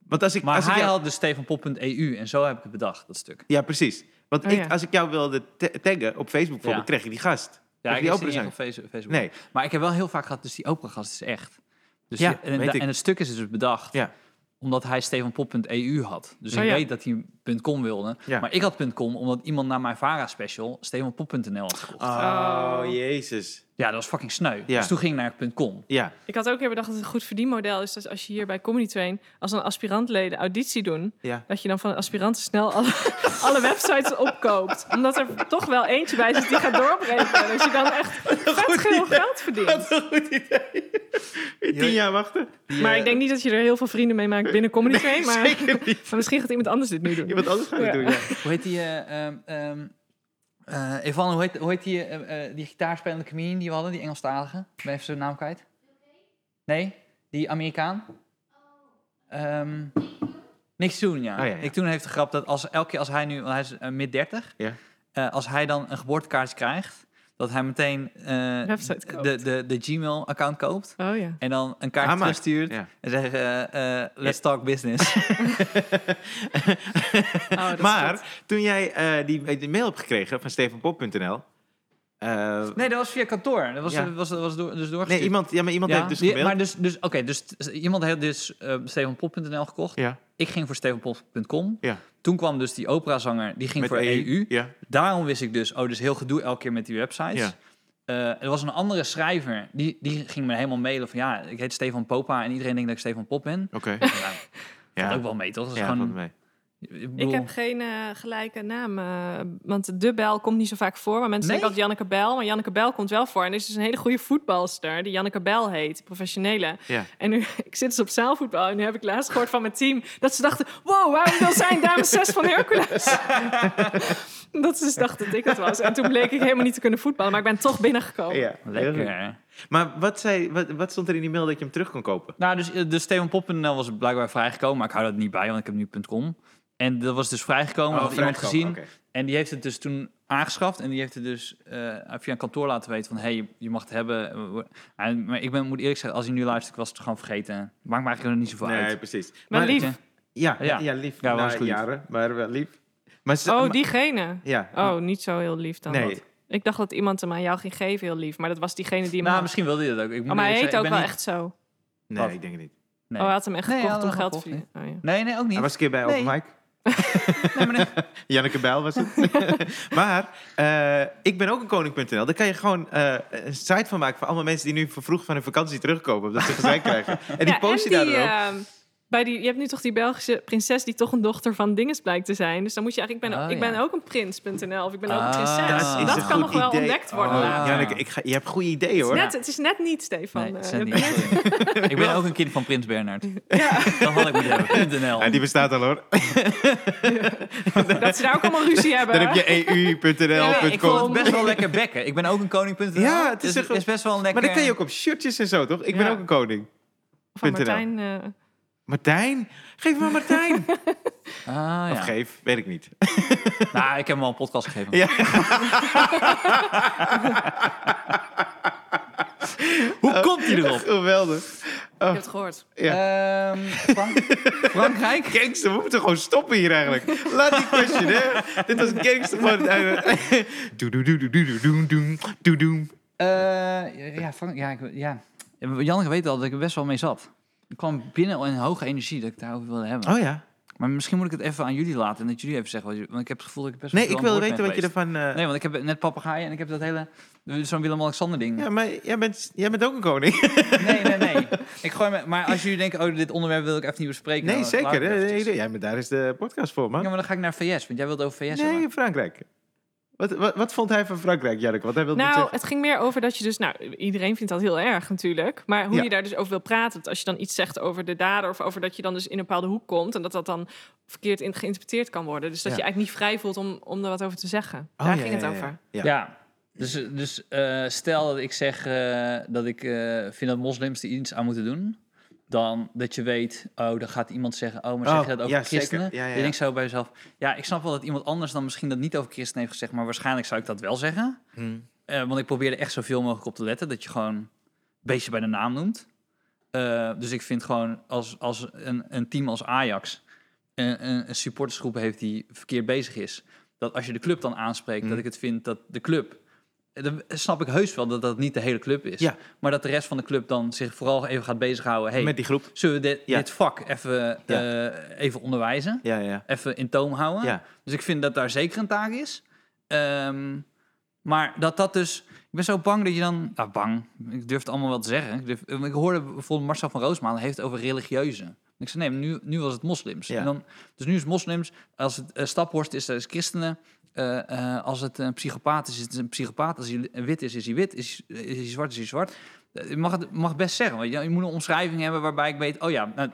Want als ik, Maar als hij ik jou- had dus stefanpop.eu. En zo heb ik het bedacht, dat stuk. Ja, precies. Want Oh ik, ja. als ik jou wilde ta- taggen op Facebook bijvoorbeeld, Ja. kreeg ik die gast. Ja, ik die zie opera niet echt zijn. op Face- Facebook. Nee. Maar ik heb wel heel vaak gehad, dus die operagast is echt. Dus Ja, je- en, weet da- ik. en het stuk is dus bedacht Ja. omdat hij stevenpop.eu had. Dus Oh ik ja. weet dat hij .com wilde. Ja. Maar ik had .com omdat iemand na mijn VARA-special stevenpop.nl had gekocht. Oh, jezus. Ja, dat was fucking sneu. Ja. Dus toen ging ik naar .com. Ja. Ik had ook weer bedacht dat het een goed verdienmodel is dat als je hier bij Comedy Train als een aspirantleden auditie doen, *laughs* Ja. dat je dan van de aspiranten snel alle, *laughs* alle websites opkoopt. Omdat er toch wel eentje bij zit die gaat doorbreken. Dus je dan echt *laughs* vet veel geld verdient. Wat een goed idee. Weer Tien jaar wachten. Maar ik denk niet dat je er heel veel vrienden mee maakt binnen Comedy Train. Maar, Zeker niet. maar misschien gaat iemand anders dit nu doen. Iemand anders gaat het Ja. Oh, doen, ja. Hoe heet die... eh, ehm, ehm, eh, Evan, hoe heet, hoe heet die, eh, eh, die gitaarspelende comedian die we hadden? Die Engelstalige? Ik ben even zijn naam kwijt. Nee, die Amerikaan. Ehm Nick Soon, ja. Oh, ja, ja. Nick Soon heeft de grap dat als elke keer als hij nu... Want hij is eh, mid-30. Ja. eh, als hij dan een geboortekaartje krijgt... dat hij meteen eh, Website de, koopt. de, de, Gmail-account koopt... Oh ja. en dan een kaartje Aanmaakt. terugstuurt... Ja. en zegt... eh, eh, let's talk *laughs* business. Oh, dat is goed. Maar toen jij eh, die, die mail hebt gekregen van stevenpop.nl... eh, nee, dat was via kantoor. Dat was, Ja. dat was, dat was door, dus doorgestuurd. nee, iemand, ja, maar iemand heeft dus die- gemaild. maar dus, dus oké, dus t- iemand heeft dus eh, stevenpop.nl gekocht. Ja, Ik ging voor stevenpop.com. ja. Toen kwam dus die operazanger, die ging Met E voor E EU. Ja. Daarom wist ik dus, oh, dus heel gedoe elke keer met die websites. Ja. Eh, er was een andere schrijver, die, die ging me helemaal mailen van... ja, ik heet Stefan Popa en iedereen denkt dat ik Stefan Pop ben. *laughs* Oké. Ja, Ja, valt ook wel mee, toch? Dat is ja, gewoon, valt mee. ik Ik bedoel, heb geen eh, gelijke naam, eh, want de Bel komt niet zo vaak voor. Maar mensen Nee? denken altijd Janneke Bel, maar Janneke Bel komt wel voor. En er is dus een hele goede voetbalster die Janneke Bel heet, professionele. Ja. En nu, *laughs* ik zit dus op zaalvoetbal en nu heb ik laatst gehoord van mijn team... dat ze dachten, wow, waarom wil zijn dames 6 van Hercules? *laughs* dat ze dus dachten dat ik het was. En toen bleek ik helemaal niet te kunnen voetballen, maar ik ben toch binnengekomen. ja. Oh, Lekker. Maar wat, zei, wat, wat stond er in die mail dat je hem terug kon kopen? Nou, dus, eh, dus stevenpop.nl was blijkbaar vrijgekomen, maar ik hou dat niet bij, want ik heb nu .com. En dat was dus vrijgekomen, Oh, had iemand gezien. En die heeft het dus toen aangeschaft en die heeft het dus eh, via een kantoor laten weten van, hé, hey, je- je mag het hebben. En, maar ik ben, moet eerlijk zeggen, als hij nu luistert, ik was het gewoon vergeten. Maakt me eigenlijk nog niet zoveel Nee, uit. precies. Maar lief, Ja. Ja, ja. Ja. lief. Ja, wel Ja, Na eens goed. jaren, maar wel lief. Maar ze- Oh, maar- diegene. Ja. Oh, niet zo heel lief dan. Nee. dat. Ik dacht dat iemand hem aan jou ging geven, heel lief. Maar dat was diegene die hem. Nou, had. misschien wilde je dat ook. Ik moet Oh, maar hij eerlijk heet ook zeggen, wel ik ben echt zo. Nee, Wat? ik denk het niet. niet- Oh, hij had hem echt Nee, gekocht hij om had hem geld te verdienen. gekocht, Oh, ja. Nee, nee, ook niet. Hij was een keer bij Nee. Open Mic. Nee, maar *laughs* nee. Janneke Bijl *laughs* was het. *laughs* maar eh, ik ben ook een koning.nl. Daar kan je gewoon eh, een site van maken... voor allemaal mensen die nu voor vroeg van hun vakantie terugkomen... omdat ze gezeik *laughs* krijgen. En die Ja, post je en daar die, dan ook. ehm, bij die, je hebt nu toch die Belgische prinses die toch een dochter van dinges blijkt te zijn. Dus dan moet je eigenlijk, ik ben, Ah, Oh, ik ja. ben ook een prins.nl of ik ben ook Ah, een prinses. dat is dat een kan goed nog wel idee. ontdekt worden Oh, later. ja. Janneke, ik ga, je hebt goede ideeën, hoor. Het is net, het is net niet, Stefan. Nee, Eh, het zijn je niet. hebt net- sorry. *laughs* ik ben ook een kind van Prins Bernhard. *laughs* *laughs* Dat had ik moeten hebben. .nl. Ja, die bestaat al, hoor. dat ze daar ook allemaal ruzie hebben. Dan heb je E Ja, ik eu.nl.com. vond Het is best wel lekker bekken. Ik ben ook een koning.nl. Ja, het is dus echt- is best wel een lekker... maar dan kan je ook op shirtjes en zo, toch? Ik ben Ja. ook een koning. Van .nl. Martijn. eh, Martijn? Geef me Martijn. Ah, ja. Of geef, weet ik niet. Nou, ik heb hem al een podcast gegeven. Ja. *laughs* Hoe komt hij erop? *laughs* Geweldig. Je hebt het gehoord. Ja. Ehm, *laughs* Frank- Frankrijk? Gangster, we moeten gewoon stoppen hier eigenlijk. Laat die question, hè. Dit was gangster van het einde. *laughs* Doe, doe, doe, doe, doe, doe, doe, doe, doe, doe. Eh, ja, Frank, ja, ik, ja. Janneke weet al dat ik er best wel mee zat. Ik kwam binnen in hoge energie dat ik het daarover wilde hebben. Oh ja. Maar misschien moet ik het even aan jullie laten en dat jullie even zeggen. Wat jullie, want ik heb het gevoel dat ik best wel Nee, ik veel wil aan het weten wat woord je ben ervan... eh, geweest. Nee, want ik heb net papegaaien en ik heb dat hele... Zo'n Willem-Alexander ding. Ja, maar jij bent, jij bent ook een *laughs* koning. Nee, nee, nee. Ik gooi me, maar als jullie denken, oh, dit onderwerp wil ik even niet bespreken. Nee, dan laat ik zeker. het Nee, nee, eventjes. nee. Jij bent, daar is de podcast voor, Ja, man. maar dan ga ik naar VS, want jij wilde over VS hebben. Nee, Frankrijk. Wat, wat, wat vond hij van Frankrijk, Jarek? Wat hij wilde niet Nou, zeggen. het ging meer over dat je dus... Nou, iedereen vindt dat heel erg natuurlijk. Maar hoe Ja. je daar dus over wil praten. Want als je dan iets zegt over de dader... of over dat je dan dus in een bepaalde hoek komt... en dat dat dan verkeerd in, geïnterpreteerd kan worden. Dus dat Ja. je eigenlijk niet vrij voelt om, om er wat over te zeggen. Oh, daar ja, ging het ja, ja, over. Ja. Ja. Dus, dus eh, stel dat ik zeg eh, dat ik eh, vind dat moslims er iets aan moeten doen. Dan dat je weet, oh, dan gaat iemand zeggen, oh, maar zeg Oh, je dat over ja, zeker. christenen? Ja, ja, Je ja. denkt zo bij jezelf, ja, ik snap wel dat iemand anders dan misschien dat niet over christenen heeft gezegd, maar waarschijnlijk zou ik dat wel zeggen. Hm. Eh, want ik probeerde echt zoveel mogelijk op te letten, dat je gewoon een beetje bij de naam noemt. Eh, dus ik vind gewoon, als, als een, een team als Ajax een, een, een supportersgroep heeft die verkeerd bezig is, dat als je de club dan aanspreekt, Mhm. dat ik het vind dat de club. eh, Dan snap ik heus wel dat dat niet de hele club is. Ja. Maar dat de rest van de club dan zich vooral even gaat bezighouden. Hey, Met die groep. Zullen we dit, Ja. dit vak even, eh, even onderwijzen? Ja, ja. Even in toom houden? Ja. Dus ik vind dat daar zeker een taak is. Ehm, maar dat dat dus... Ik ben zo bang dat je dan... Nou, bang. Ik durf het allemaal wel te zeggen. Ik, durf- ik hoorde bijvoorbeeld Marcel van Roosmalen heeft het over religieuze. En ik zei, nee, maar nu, nu was het moslims. Ja. En dan, dus nu is het moslims. Als het eh, staphorst is, dat is christenen. Eh, eh, als het een psychopaat is, is het een psychopaat. Als hij wit is, is hij wit. Is, is hij zwart, is hij zwart. Eh, Je mag het mag het best zeggen. Want je, je moet een omschrijving hebben waarbij ik weet... Oh ja, nou,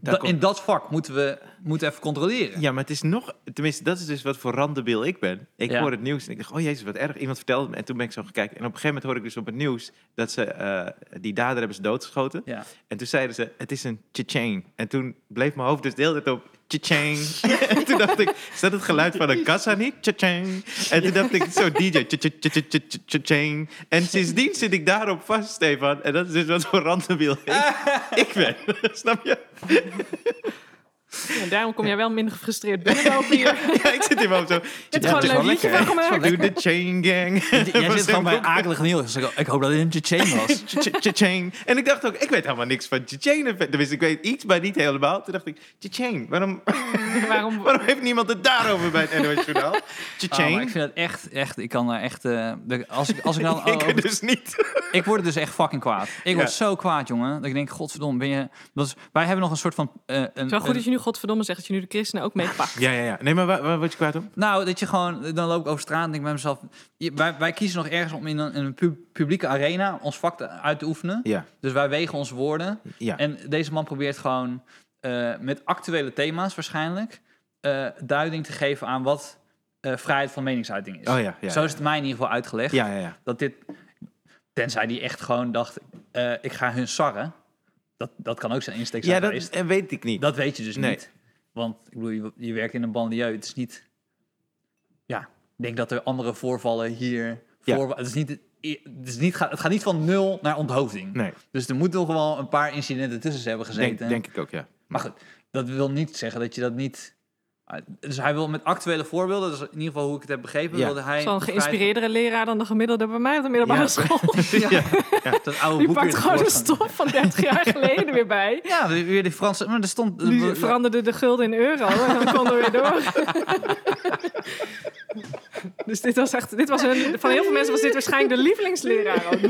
da- komt- in dat vak moeten we moeten even controleren. Ja, maar het is nog... Tenminste, dat is dus wat voor randebiel ik ben. Ik Ja. hoor het nieuws en ik dacht, oh jezus, wat erg. Iemand vertelde het me en toen ben ik zo gaan kijken. En op een gegeven moment hoor ik dus op het nieuws dat ze eh, die dader hebben ze doodgeschoten. Ja. En toen zeiden ze, het is een Chechen. En toen bleef mijn hoofd dus de hele tijd op Chechen. *laughs* en toen dacht ik, is dat het geluid van een kassa niet? Chechen. En toen dacht ik, zo DJ, Chechen. En sindsdien zit ik daarop vast, Stefan. En dat is dus wat voor randebiel *laughs* ik, ik ben. *laughs* Snap je? En daarom kom jij wel minder gefrustreerd *laughs* binnenlopen hier. Ja, ik zit hier wel op zo. Het is gewoon is een wel leuk liedje lekker, van hè? gemaakt. Doe de chain *laughs* *laughs* gang. Jij zit gewoon bij akelig nieuws. Ik oh, ik hoop dat dit een chain *laughs* was. Cha-chain. En ik dacht ook, ik weet helemaal niks van cha-chain. Tenminste, ik weet iets, maar niet helemaal. Toen dacht ik, cha-chain, waarom, *laughs* Waarom? waarom heeft niemand het daarover bij het NOS *laughs* Oh, Journaal? maar ik Cha-chain. vind dat echt, echt, ik kan daar echt, eh, de- als ik, *laughs* als ik dan, *laughs* ik over- dus niet. ik word er dus echt fucking kwaad. Ik word Ja. zo kwaad, jongen, dat ik denk, godverdomme, ben je, dat is, wij hebben nog een soort van, eh, een, Zo goed een- dat je nu godverdomme zegt dat je nu de christenen ook meepakt. Ja, ja, ja. Nee, maar waar, waar word je kwaad om? nou, dat je gewoon, dan loop ik over straat en denk bij mezelf, je- wij, wij kiezen nog ergens om in een, in een pub- publieke arena ons vak te- uit te oefenen. Ja, Dus wij wegen onze woorden. ja. En deze man probeert gewoon eh, met actuele thema's waarschijnlijk eh, duiding te geven aan wat eh, vrijheid van meningsuiting is. Oh ja, ja, Zo ja. is het mij in ieder geval uitgelegd. Ja, ja, ja. Dat dit, tenzij die echt gewoon dacht, eh, ik ga hun sarren. Dat, dat kan ook zijn insteek zijn Ja, dat geweest. eh, weet ik niet. Dat weet je dus Nee. niet. Want ik bedoel, je, je werkt in een banlieue. Het is niet... Ja, ik denk dat er andere voorvallen hier... Ja. Voor, het, is niet, het, is niet, het gaat niet van nul naar onthoofding. Nee, Dus er moeten nog wel een paar incidenten tussen ze hebben gezeten. denk, denk ik ook, ja. Maar goed, dat wil niet zeggen dat je dat niet Ah, Dus hij wil met actuele voorbeelden, dus in ieder geval hoe ik het heb begrepen, Ja. wilde hij... Zo'n beschrijven- geïnspireerdere leraar dan de gemiddelde bij mij op de middelbare *laughs* Ja. school. Ja. Ja. Dat oude Die boek pakt weer gewoon de tevoorschijn. stof van 30 jaar geleden weer bij. Ja, de- weer die Franse... Maar er stond... Nu eh, veranderde de gulden in euro en dan konden we weer door. *laughs* dus dit was echt, dit was een, van heel veel mensen was dit waarschijnlijk de lievelingsleraar ook.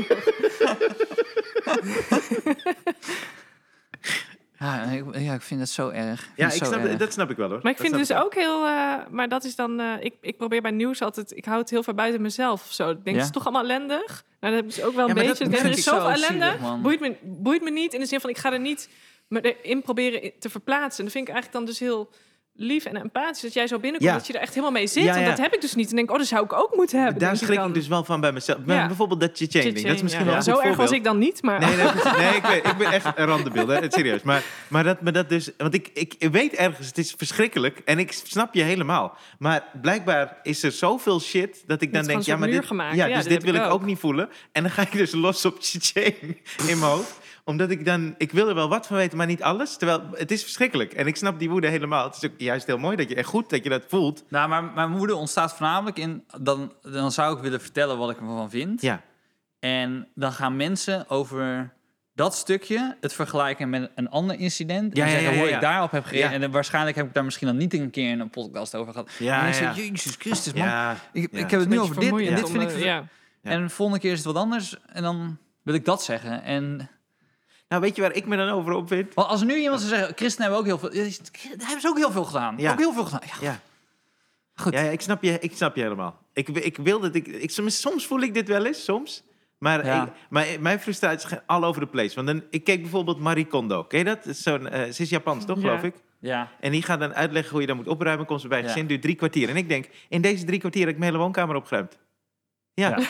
ja, ik, ja, ik vind het zo erg. vind Ja, het ik zo snap, erg. dat snap ik wel hoor. Maar ik Dat vind het snap dus ook heel. eh, maar dat is dan. eh, ik, ik probeer bij nieuws altijd. Ik hou het heel ver buiten mezelf of zo. Ik denk, Ja. het is toch allemaal ellendig. Nou, dat heb ik dus ook wel Ja, een maar dat beetje. Ik denk, vind er is ik zo zoveel ellende. zielig, man. boeit, me, boeit me niet in de zin van ik ga er niet me in proberen i- te verplaatsen. Dat vind ik eigenlijk dan dus heel lief en empathisch dat jij zo binnenkomt Ja. dat je er echt helemaal mee zit. Ja, Want ja. dat heb ik dus niet. En denk, oh, dat zou ik ook moeten hebben. Daar denk schrik dan. ik dus wel van bij mezelf. Bij- Ja. Bijvoorbeeld dat cha ding. Dat is Cha-ching, misschien ja. wel een Zo goed erg was voorbeeld. ik dan niet, maar Nee, nee, precies. nee ik, weet, ik ben echt een randebeeld. hè. Het Serieus. Maar, maar, dat, maar dat dus... Want ik, ik weet ergens, het is verschrikkelijk. En ik snap je helemaal. Maar blijkbaar is er zoveel shit dat ik dan is denk... gewoon Ja, maar een soort dit, muur gemaakt. ja, Ja, dus dit dit heb wil ik ik ook. ook niet voelen. En dan ga ik dus los op cha in mijn hoofd. Omdat ik dan... Ik wil er wel wat van weten, maar niet alles. Terwijl het is verschrikkelijk. En ik snap die woede helemaal. Het is ook juist heel mooi dat je... En goed dat je dat voelt. Nou, maar mijn moeder ontstaat voornamelijk in... Dan, dan zou ik willen vertellen wat ik ervan vind. Ja. En dan gaan mensen over dat stukje het vergelijken met een ander incident. Ja, en ja, zeggen ja, ja, hoe ik ja. daarop heb gereageerd. Ja. En dan- waarschijnlijk heb ik daar misschien dan niet een keer in een podcast over gehad. Ja, en dan ja, zeg ja. ik, Jezus Christus, man. Ja. Ik, Ja. ik heb het oh, nu over dit en dit vind ik... ver- eh, Ja. Ja. En de volgende keer is het wat anders. En dan wil ik dat zeggen. En Nou, weet je waar ik me dan over opwind? want als er nu iemand zou zeggen, christenen hebben ook heel veel... Ja, daar hebben ze ook heel veel gedaan. Ja. Ook heel veel gedaan. Ja, Ja. Goed. Ja, ja, ik, snap je, ik snap je helemaal. Ik, ik wil dat ik, ik. soms- Soms voel ik dit wel eens, soms. Maar Ja. ik- mijn, mijn frustraties gaan all over the place. Want dan, ik keek bijvoorbeeld Marie Kondo. Ken je dat? Dat is zo'n, eh, ze is Japans, toch, Ja. geloof ik? ja. En die gaat dan uitleggen hoe je dat moet opruimen. Komt ze bij een Ja. gezin, duurt drie kwartier. En ik denk, in deze drie kwartier heb ik mijn hele woonkamer opgeruimd. Ja. Ja. En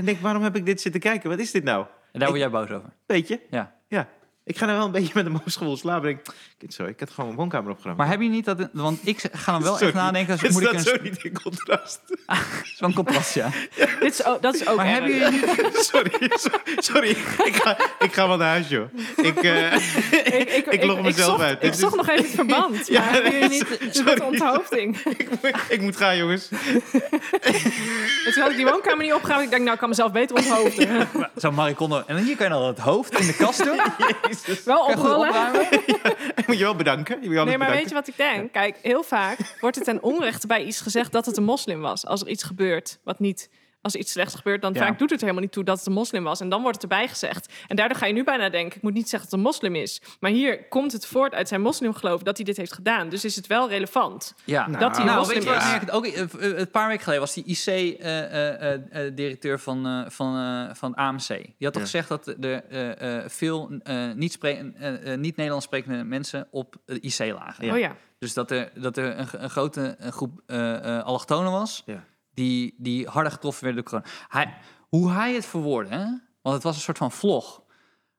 ik denk, waarom heb ik dit zitten kijken? Wat is dit nou? En daar Ik- word jij boos over. Weet je? Ja. Ja. Ik ga dan wel een beetje met een moosgevoel slapen. Ik denk, sorry, ik had gewoon mijn woonkamer opgeruimd. Maar heb je niet dat... Want ik ga dan wel Sorry. echt nadenken... Als, *laughs* is moet ik dat een, zo niet in contrast? Zo'n contrast, ja. Dit is, ook- dat is ook Maar erg. hebben jullie niet... Sorry, sorry, sorry. Ik ga, ik ga wel naar huis, joh. Ik, eh, ik, ik, Ik log mezelf zocht, uit. Ik Dit zocht is- nog even het *laughs* verband. Ja, maar hebben jullie nee, niet sorry. met de onthoofding? ik, moet- ik moet gaan, jongens. En Dus toen had ik die woonkamer niet opgehaald. Ik denk, nou, ik kan mezelf beter onthoofden. *laughs* Zo'n maricondo. En dan hier kan je dan het hoofd in de kast doen. Kan Jezus. Wel je goed oprollen. opruimen. Ik moet je wel bedanken. Je moet je Nee, altijd maar weet je bedanken. wat ik denk? Kijk, heel vaak wordt het ten onrechte bij iets gezegd dat het een moslim was. Als er iets gebeurt wat niet... Als er iets slechts gebeurt, dan Ja. vaak doet het er helemaal niet toe dat het een moslim was. En dan wordt het erbij gezegd. En daardoor ga je nu bijna denken, ik moet niet zeggen dat het een moslim is. Maar hier komt het voort uit zijn moslimgeloof dat hij dit heeft gedaan. Dus is het wel relevant. Ja. Nou, Dat hij een Nou, moslim weet je wat is. ik merk? ook eh, eh, een paar weken geleden was die IC-directeur van, eh, van, eh, van AMC. Die had toch Ja. gezegd dat er eh, eh, veel eh, niet, spre- eh, eh, niet Nederlands sprekende mensen op de IC lagen. Ja. Oh ja. Dus dat er, dat er een, ge- een grote eh, groep eh eh, allochtonen was Ja. die, die harder getroffen werden door corona. Hij, hoe hij het verwoordde, hè? want het was een soort van vlog.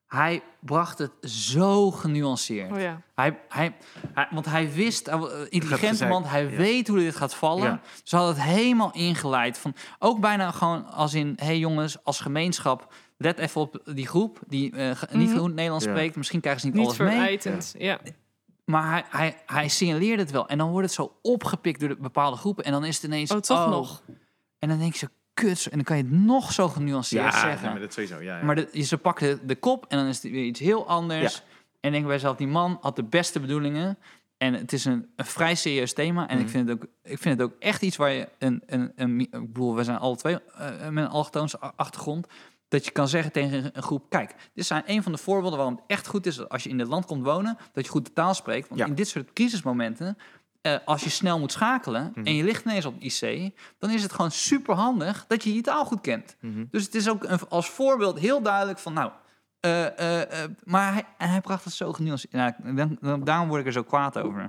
Hij bracht het zo genuanceerd. Oh ja. Hij, hij, hij- want hij wist, hij wa- eh, intelligente gezeik. man, hij Ja. weet hoe dit gaat vallen. Ja. Ze hadden het helemaal ingeleid. Van, ook bijna gewoon als in, hé hey jongens, als gemeenschap, let even op die groep die eh, ge- niet Mhm. goed Nederlands Ja. spreekt. Misschien krijgen ze niet, Niet alles mee. verwijtend. Ja. Maar hij, hij, hij signaleerde het wel. En dan wordt het zo opgepikt door de bepaalde groepen. En dan is het ineens... Oh, toch nog. En dan denk je, kut. En dan kan je het nog zo genuanceerd Ja, zeggen. nee, maar dat sowieso. Ja, ja. Maar de- ze pakken de, de kop en dan is het weer iets heel anders. Ja. En ik denk bij zelf, die man had de beste bedoelingen. En het is een, een vrij serieus thema. En ik, Mhm. vind het ook, ik vind het ook echt iets waar je een... een, een ik bedoel, we zijn alle twee eh, met een allochtoonse a- achtergrond. Dat je kan zeggen tegen een groep... Kijk, dit zijn een van de voorbeelden waarom het echt goed is... dat als je in dit land komt wonen, dat je goed de taal spreekt. Want Ja. in dit soort crisismomenten... eh, als je snel moet schakelen Mhm. en je ligt ineens op IC... dan is het gewoon superhandig dat je je taal goed kent. Dus het is ook een, als voorbeeld heel duidelijk van, nou, eh, eh, eh, maar hij, en hij bracht het zo genuanceerd. Nou, ik- dan, dan- daarom word ik er zo kwaad over.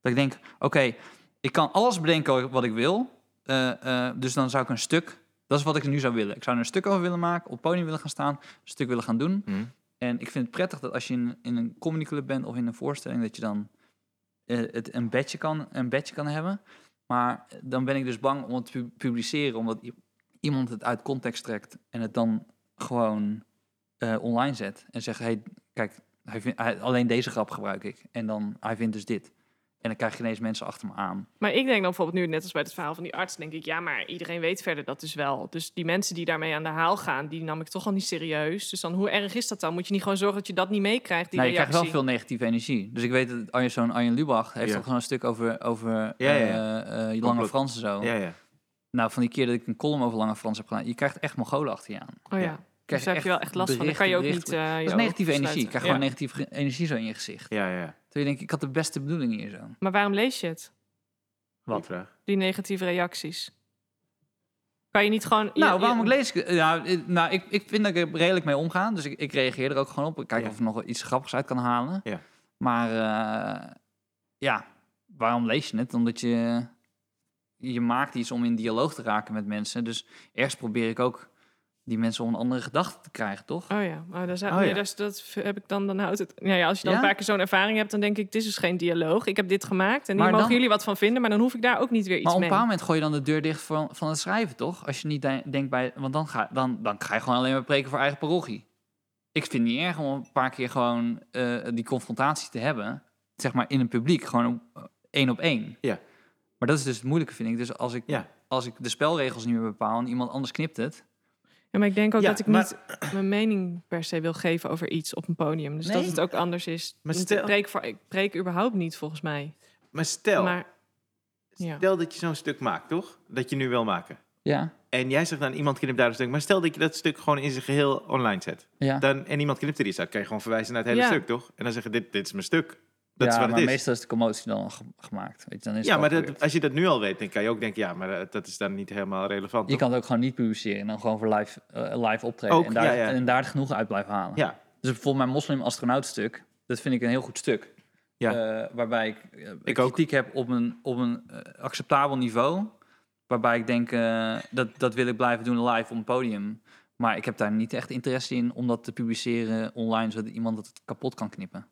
Dat ik denk, oké, ik kan alles bedenken wat ik wil, eh, eh, dus dan zou ik een stuk, dat is wat ik nu zou willen. Ik zou er een stuk over willen maken, op het podium willen gaan staan, een stuk willen gaan doen. Mhm. En ik vind het prettig dat als je in, in een comedyclub bent of in een voorstelling, dat je dan eh, het een badge, kan, een badge kan hebben. Maar dan ben ik dus bang om het te pu- publiceren, omdat i- iemand het uit context trekt en het dan gewoon eh, online zet. En zegt, hey, kijk, hij vindt, hij- alleen deze grap gebruik ik. En dan, hij vindt dus dit. En dan krijg je ineens mensen achter me aan. Maar ik denk dan bijvoorbeeld nu, net als bij het verhaal van die arts, denk ik, ja, maar iedereen weet verder dat dus wel. Dus die mensen die daarmee aan de haal gaan, die nam ik toch al niet serieus. Dus dan, hoe erg is dat dan? Moet je niet gewoon zorgen dat je dat niet meekrijgt, die Nou, je krijgt wel reactie? veel negatieve energie. Dus ik weet dat Arjen, zo'n Arjen Lubach heeft Ja. ook gewoon een stuk over, over ja, eh, ja. eh, Lange Complot. Frans en zo. Ja, ja. Nou, van die keer dat ik een column over Lange Frans heb gedaan, je krijgt echt Mongolen achter je aan. Je Oh ja, Ja. dus krijgt daar heb je wel echt last van. Dan kan je ook berichten, niet... berichten. eh, je Dat is ogen negatieve energie. sluiten. Ik krijg Ja. gewoon negatieve ge- energie zo in je gezicht. ja, ja. Toen denk ik, ik had de beste bedoeling hier zo. Maar waarom lees je het, Goeie Wat? vraag. die negatieve reacties? Kan je niet gewoon... Nou, je- waarom je- ik lees ik het? Nou, eh, nou ik, ik vind dat ik er redelijk mee omgaan. Dus ik, ik reageer er ook gewoon op. Ik kijk Ja. of ik nog wel iets grappigs uit kan halen. Ja. Maar eh, ja, waarom lees je het? Omdat je, je maakt iets om in dialoog te raken met mensen. Dus ergens probeer ik ook die mensen om een andere gedachte te krijgen, toch? Oh ja, oh, daar zou- Oh nee, ja. daar is- dat v- heb ik dan, dan houdt het. nou Ja, ja, als je dan Ja? een paar keer zo'n ervaring hebt, dan denk ik, dit is geen dialoog. Ik heb dit gemaakt en hier Maar mogen dan- jullie wat van vinden, maar dan hoef ik daar ook niet weer maar iets op een mee. bepaald moment gooi je dan de deur dicht van, van het schrijven, toch? Als je niet de- denkt bij... Want dan ga, dan, dan ga je gewoon alleen maar preken voor eigen parochie. Ik vind het niet erg om een paar keer gewoon eh, die confrontatie te hebben. Zeg maar in een publiek, gewoon op- eh, één op één. Ja. Maar dat is dus het moeilijke, vind ik. Dus als ik, Ja. als ik de spelregels niet meer bepaal en iemand anders knipt het... Ja, maar ik denk ook Ja, dat ik maar- niet mijn mening per se wil geven over iets op een podium. Dus dat Nee. het ook anders is. Maar Want stel- ik, preek voor, ik preek überhaupt niet, volgens mij. Maar stel, Maar ja. stel dat je zo'n stuk maakt, toch? Dat je nu wil maken. Ja, En jij zegt dan, iemand knipt daar een stuk. Maar stel dat je dat stuk gewoon in zijn geheel online zet. ja. Dan, en iemand knipt er iets uit. Kan je gewoon verwijzen naar het hele Ja. stuk, toch? En dan zeggen, dit, dit is mijn stuk. Dat is ja, wat maar het is. meestal is de commotie dan al ge- gemaakt. Weet je, dan is Ja, het maar al dat, gebeurd. als je dat nu al weet, dan kan je ook denken, ja, maar eh, dat is dan niet helemaal relevant. Je toch? kan het ook gewoon niet publiceren en dan gewoon voor live, eh, live optreden. Ook, en, daar, ja, ja. en daar het genoegen uit blijven halen. Ja, Dus bijvoorbeeld mijn moslim-astronaut-stuk, dat vind ik een heel goed stuk. Ja. Eh, waarbij ik, eh, Ik ook. kritiek heb op een, op een eh, acceptabel niveau. Waarbij ik denk, eh, dat, dat wil ik blijven doen live op een podium. Maar ik heb daar niet echt interesse in om dat te publiceren online, zodat iemand dat kapot kan knippen.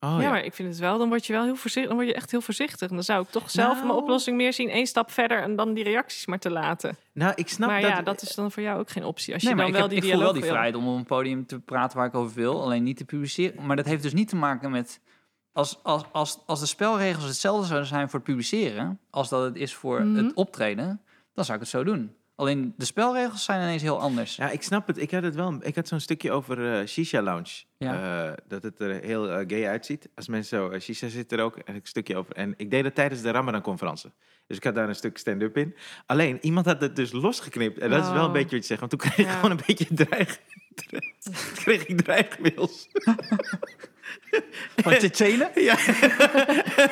oh, ja, ja. maar ik vind het wel. Dan word je wel heel voorzichtig. Dan word je echt heel voorzichtig. En dan zou ik toch zelf Nou. mijn oplossing meer zien. één stap verder en dan die reacties maar te laten. Nou, ik snap maar dat... ja, dat is dan voor jou ook geen optie. Als je nee, maar dan ik, wel heb, die ik voel dialoog wel die wil. vrijheid om op een podium te praten waar ik over wil, alleen niet te publiceren. Maar dat heeft dus niet te maken met. Als, als, als, als de spelregels hetzelfde zouden zijn voor het publiceren, als dat het is voor Mhm. het optreden, dan zou ik het zo doen. Alleen de spelregels zijn ineens heel anders. Ja, ik snap het. Ik had, het wel, ik had zo'n stukje over eh, Shisha Lounge. Ja. Eh, dat het er heel eh, gay uitziet. Als mensen zo... eh, Shisha zit er ook. En ik stukje over. En ik deed dat tijdens de Ramadan-conferentie. Dus ik had daar een stuk stand-up in. Alleen, iemand had het dus losgeknipt. En dat is wel een Oh. beetje wat je zegt. Want toen kreeg ik Ja. gewoon een beetje dreig... *laughs* Toen *laughs* kreeg ik dreigmails. Van Tsjetsjenen? Ja.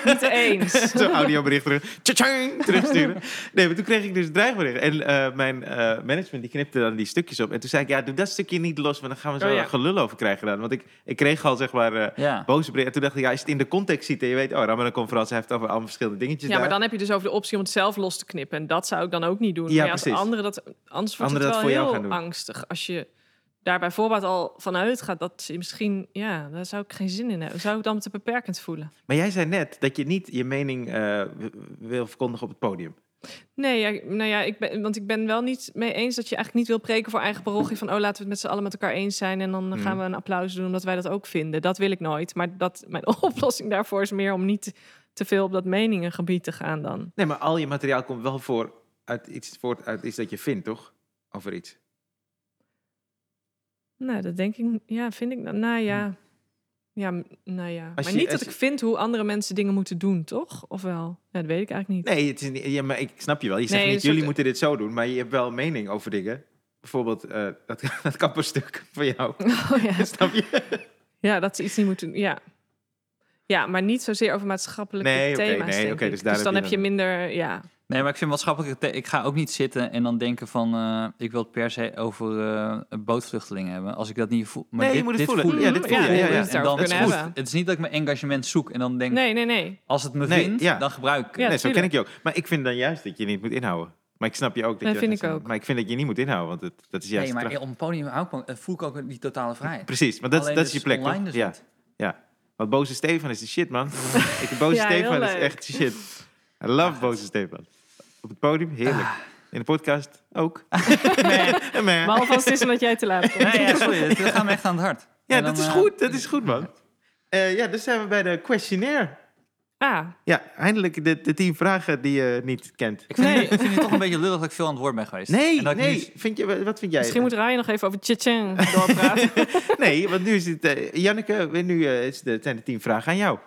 Niet eens. *laughs* Zo'n audiobericht terug. Tja-tjang, terugsturen. Nee, maar toen kreeg ik dus dreigbericht. En eh, mijn eh, management die knipte dan die stukjes op. En toen zei ik, ja, doe dat stukje niet los, want dan gaan we zo Oh, ja. een gelul over krijgen dan. Want ik, ik kreeg al, zeg maar, eh, Ja. boze berichten. En toen dacht ik, *laughs* ja, als je het in de context ziet en je weet, oh, Ramadan Conferentie heeft het over allemaal verschillende dingetjes Ja, maar daar. dan heb je dus over de optie om het zelf los te knippen. En dat zou ik dan ook niet doen. Ja, maar als precies. anderen dat, anders wordt Anderen het dat wel voor jou heel gaan doen. angstig. Als je daar bijvoorbeeld al vanuit gaat dat ze misschien... Ja, daar zou ik geen zin in hebben. Zou ik dan me te beperkend voelen? Maar jij zei net dat je niet je mening eh, w- wil verkondigen op het podium. Nee, ja, nou ja, ik ben, want ik ben wel niet mee eens dat je eigenlijk niet wil preken voor eigen parochie. Van, oh, laten we het met z'n allen met elkaar eens zijn. En dan Mhm. eh, gaan we een applaus doen omdat wij dat ook vinden. Dat wil ik nooit. Maar dat, mijn *laughs* oplossing daarvoor is meer om niet te veel op dat meningengebied te gaan dan. Nee, maar al je materiaal komt wel voor uit iets, voort uit iets dat je vindt, toch? Over iets. Nou, dat denk ik. Ja, vind ik. dat- Nou ja. Ja, m- nou ja. Hmm. Als maar je- niet dat als ik vind hoe andere mensen dingen moeten doen, toch? Of wel? Ja, dat weet ik eigenlijk *laughs* niet. Nee, het is niet, ja, maar ik snap je wel. Je zegt Nee, niet, dus jullie dat- moeten dit zo doen, maar je hebt wel een mening over dingen. Bijvoorbeeld eh, dat, *laughs* dat kapperstuk van jou. Oh, ja. snap je? *laughs* ja, dat ze iets niet moeten doen. Ja. Ja, maar niet zozeer over maatschappelijke Nee, oké, thema's. nee, denk oké, ik. dus dus, daar dan heb heb je je minder. Ja. Nee, maar ik vind het wel schappelijk. Ik- Ik ga ook niet zitten en dan denken van... eh, ik wil het per se over eh bootvluchtelingen hebben. Als ik dat niet voel. Maar Nee, je dit, moet het dit voelen. voel Ja, ik. dit voel je. Ja, ja, ja. En dan, Het daarover het, is kunnen goed. hebben. het is niet dat ik mijn engagement zoek en dan denk... Nee, nee, nee. als het me Nee, vindt, ja. dan gebruik ik het. Ja, nee, zo ken ik tuurlijk. je ook. Maar ik vind dan juist dat je niet moet inhouden. Maar ik snap je ook. Dat, Nee, je vind gaat ik zeggen, ook. Maar ik vind dat je niet moet inhouden, want het, dat is juist nee, de maar kracht. op een podium hou ik me- eh, voel ik ook die totale vrijheid. Precies, maar dat, Alleen dat is je plek, online toch? dus ja, *laughs* niet. ja. Want boze Stefan is de shit, *laughs* man. ik, boze Ja, heel Stefan is leuk. echt de shit. I love boze Stefan. Op het podium, heerlijk. Ah. In de podcast *laughs* ook. Man, man. Maar alvast is omdat jij te laat komt. Nee, ja, sorry, dat, dat gaat me echt aan het hart. *laughs* Ja, En dan, dat is eh, goed. Dat is goed, man. Eh, ja, dus zijn we bij de questionnaire. Ah, Ja, eindelijk de, de tien vragen die je niet kent. Ik vind, Nee. het, ik vind het toch een beetje lullig dat ik veel aan het woord ben geweest. Nee, En dat ik nee. nu- Vind je, wat vind jij? misschien moet Ryan nog even over Chechen *laughs* doorpraten. Nee, want nu is het... eh, Janneke, nu eh, is de, zijn de tien vragen aan jou.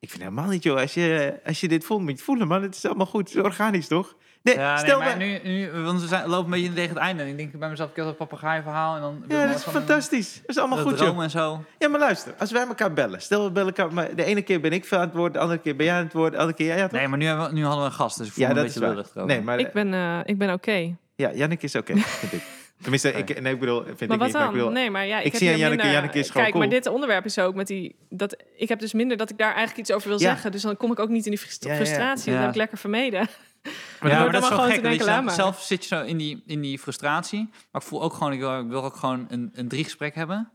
Ik vind helemaal niet, joh. Als je, eh, als je dit voelt, moet je het voelen, man. Het is allemaal goed. Het is organisch, toch? Nee, Ja, nee, Eh, stel maar maar... nu, nu, want we zijn, lopen een beetje tegen het einde. En ik denk bij mezelf, ik heb dat papegaaienverhaal. En dan Ja, dat is fantastisch. Dat is allemaal eh, Dat goed, joh. dromen en zo. Ja, maar luister. Als wij elkaar bellen. Stel, we bellen elkaar... Maar de ene keer ben ik veel aan het woord, de andere keer ben jij aan het woord, de andere keer jij aan het woord. Nee, maar nu, hebben we- nu hadden we een gast, dus ik voel ja, me een dat beetje is waar. lullig. erover. Nee, maar... ik ben, eh, ik ben oké. Ja, Janneke is *laughs* oké, vind ik. Tenminste, ik, nee, ik bedoel, vind Maar ik wat niet. Maar ik dan? bedoel, Nee, maar ja, ik, ik heb zie hier aan Janneke, minder... Janneke is gewoon Kijk, maar cool. dit onderwerp is ook met die... Dat, ik heb dus minder dat ik daar eigenlijk iets over Ja. wil zeggen, zeggen. Dus dan kom ik ook niet in die Ja, ja, ja. frustratie. Ja. Dat heb ik lekker *laughs* vermeden. Ja, maar Door dat er is maar wel gewoon gek. te Weet je, denken, dan- laat maar. zelf zit je zo in die, in die frustratie. Maar ik voel ook gewoon, ik wil, ik wil ook gewoon een, een drie gesprek hebben.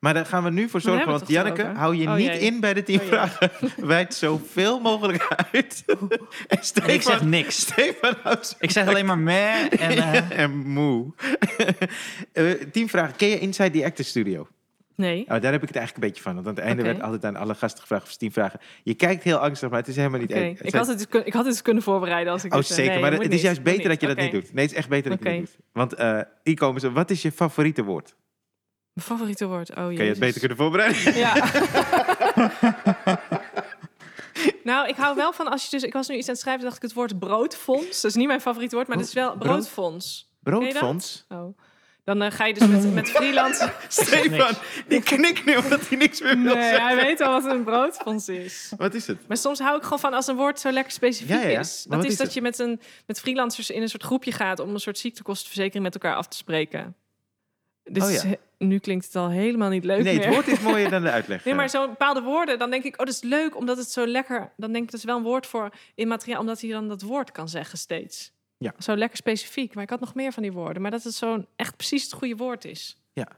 Maar daar gaan we nu voor Maar daar zorgen, want hebben we het toch Janneke, over? hou je Oh, niet jee. in bij de tien Oh, jee. vragen. *laughs* Wijd zoveel mogelijk *laughs* uit. en En ik zeg Stefan, niks. Stefan houdt zo- Ik zeg alleen maar meh *laughs* en... eh, en moe. *laughs* Eh, tien vragen. Ken je Inside the Actors Studio? Nee. Oh, daar heb ik het eigenlijk een beetje van. Want aan het einde Oké. werd altijd aan alle gasten gevraagd of ze tien vragen. Je kijkt heel angstig, maar het is helemaal niet... Oké. het Ik, zijn- had het, dus kun- ik had het dus kunnen voorbereiden als ik Oh, dit, eh, zeker. nee, maar moet het is niet, juist moet beter dat je dat Oké. niet doet. Nee, het is echt beter dat je Oké. dat niet doet. Want eh, hier komen ze. Wat is je favoriete woord? Mijn favoriete woord. Oh, Kan je het beter kunnen voorbereiden? *laughs* Ja. nou, ik hou wel van als je dus... Ik was nu iets aan het schrijven, dacht ik het woord broodfonds. Dat is niet mijn favoriete woord, maar dat is wel Brood- broodfonds. Broodfonds? Oh. Dan eh, ga je dus met, met *laughs* freelance... Stefan, die knikt nu omdat hij niks meer wil Nee, zeggen. hij weet al wat een broodfonds is. Wat is het? Maar soms hou ik gewoon van als een woord zo lekker specifiek Ja, ja, ja. is. Maar Dat wat is, is dat het? je met, een, met freelancers in een soort groepje gaat om een soort ziektekostenverzekering met elkaar af te spreken. Dus Oh, ja. nu klinkt het al helemaal niet leuk Nee, meer. het woord is mooier dan de uitleg. *laughs* eh. Nee, maar zo'n bepaalde woorden, dan denk ik, oh, dat is leuk, omdat het zo lekker... Dan denk ik, dat is wel een woord voor in materiaal, omdat hij dan dat woord kan zeggen steeds. Ja. Zo lekker specifiek. Maar ik had nog meer van die woorden. Maar dat het zo'n echt precies het goede woord is. Ja.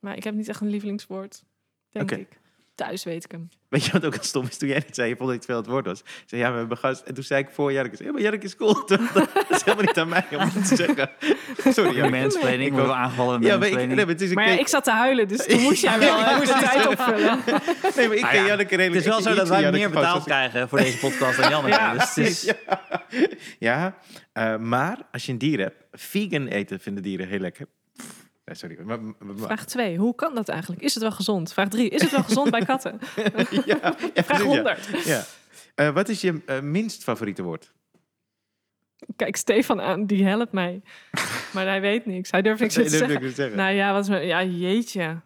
Maar ik heb niet echt een lievelingswoord, denk Oké. Dus ik. Thuis weet ik hem. Weet je wat ook stom is? Toen jij net zei, je vond dat het veel het woord was. Ik zei, ja, we hebben gast. En toen zei ik voor Jark, ik zei, ja, maar Jark is cool. *laughs* Toen- Dat is helemaal niet aan mij om dat te zeggen. Sorry, Jark. Mansplaining, Ik *laughs* worden ook. we aangevallen met Ja, maar ik, nee, mansplaining. maar het is een Maar ja, ik zat te huilen, dus toen moest *laughs* jij wel Ja, eh, ik moest de iets tijd zeggen. opvullen. Nee, maar ik ken Nou ja, Janneke redelijk. Het is wel ik zo ken dat iets van wij meer Janneke gewoon, betaald zoals krijgen voor deze podcast *laughs* dan Janneke. Ja, dus het is- ik- Ja, *laughs* eh, maar als je een dier hebt, vegan eten vinden dieren heel lekker. Nee, sorry. Maar, maar- maar- *laughs* Vraag 2, hoe kan dat eigenlijk? Is het wel gezond? Vraag 3, is het wel gezond bij katten? *laughs* ja, ja, Vraag precies, ja. 100. Ja. Eh, wat is je eh, minst favoriete woord? Kijk Stefan aan, die helpt mij. Maar hij weet niks, hij durft niks Nee, te dat wil zeggen. ik niet zeggen. Nou ja, wat is mijn... Ja, jeetje.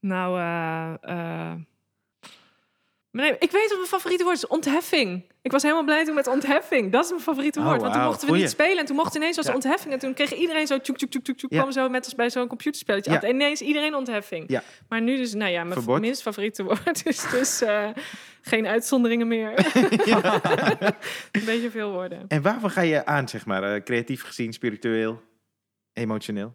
Nou, eh... eh. Maar Nee, ik weet wat mijn favoriete woord is. Ontheffing. Ik was helemaal blij toen met ontheffing. Dat is mijn favoriete Oh, woord. Want toen wauw. mochten we Goeie. niet spelen. En toen mocht ineens was Ja. ontheffing. En toen kreeg iedereen zo tjoek, tjoek, tjoek, tjoek, tjoek. Ja. Kwam zo met als bij zo'n computerspelletje. Ja. Had ineens iedereen ontheffing. Ja. Maar nu dus, nou ja, mijn Verbod. minst favoriete *laughs* woord is dus eh, geen uitzonderingen *laughs* meer. *laughs* Een beetje veel woorden. En waarvan ga je aan, zeg maar? eh, creatief gezien, spiritueel, emotioneel?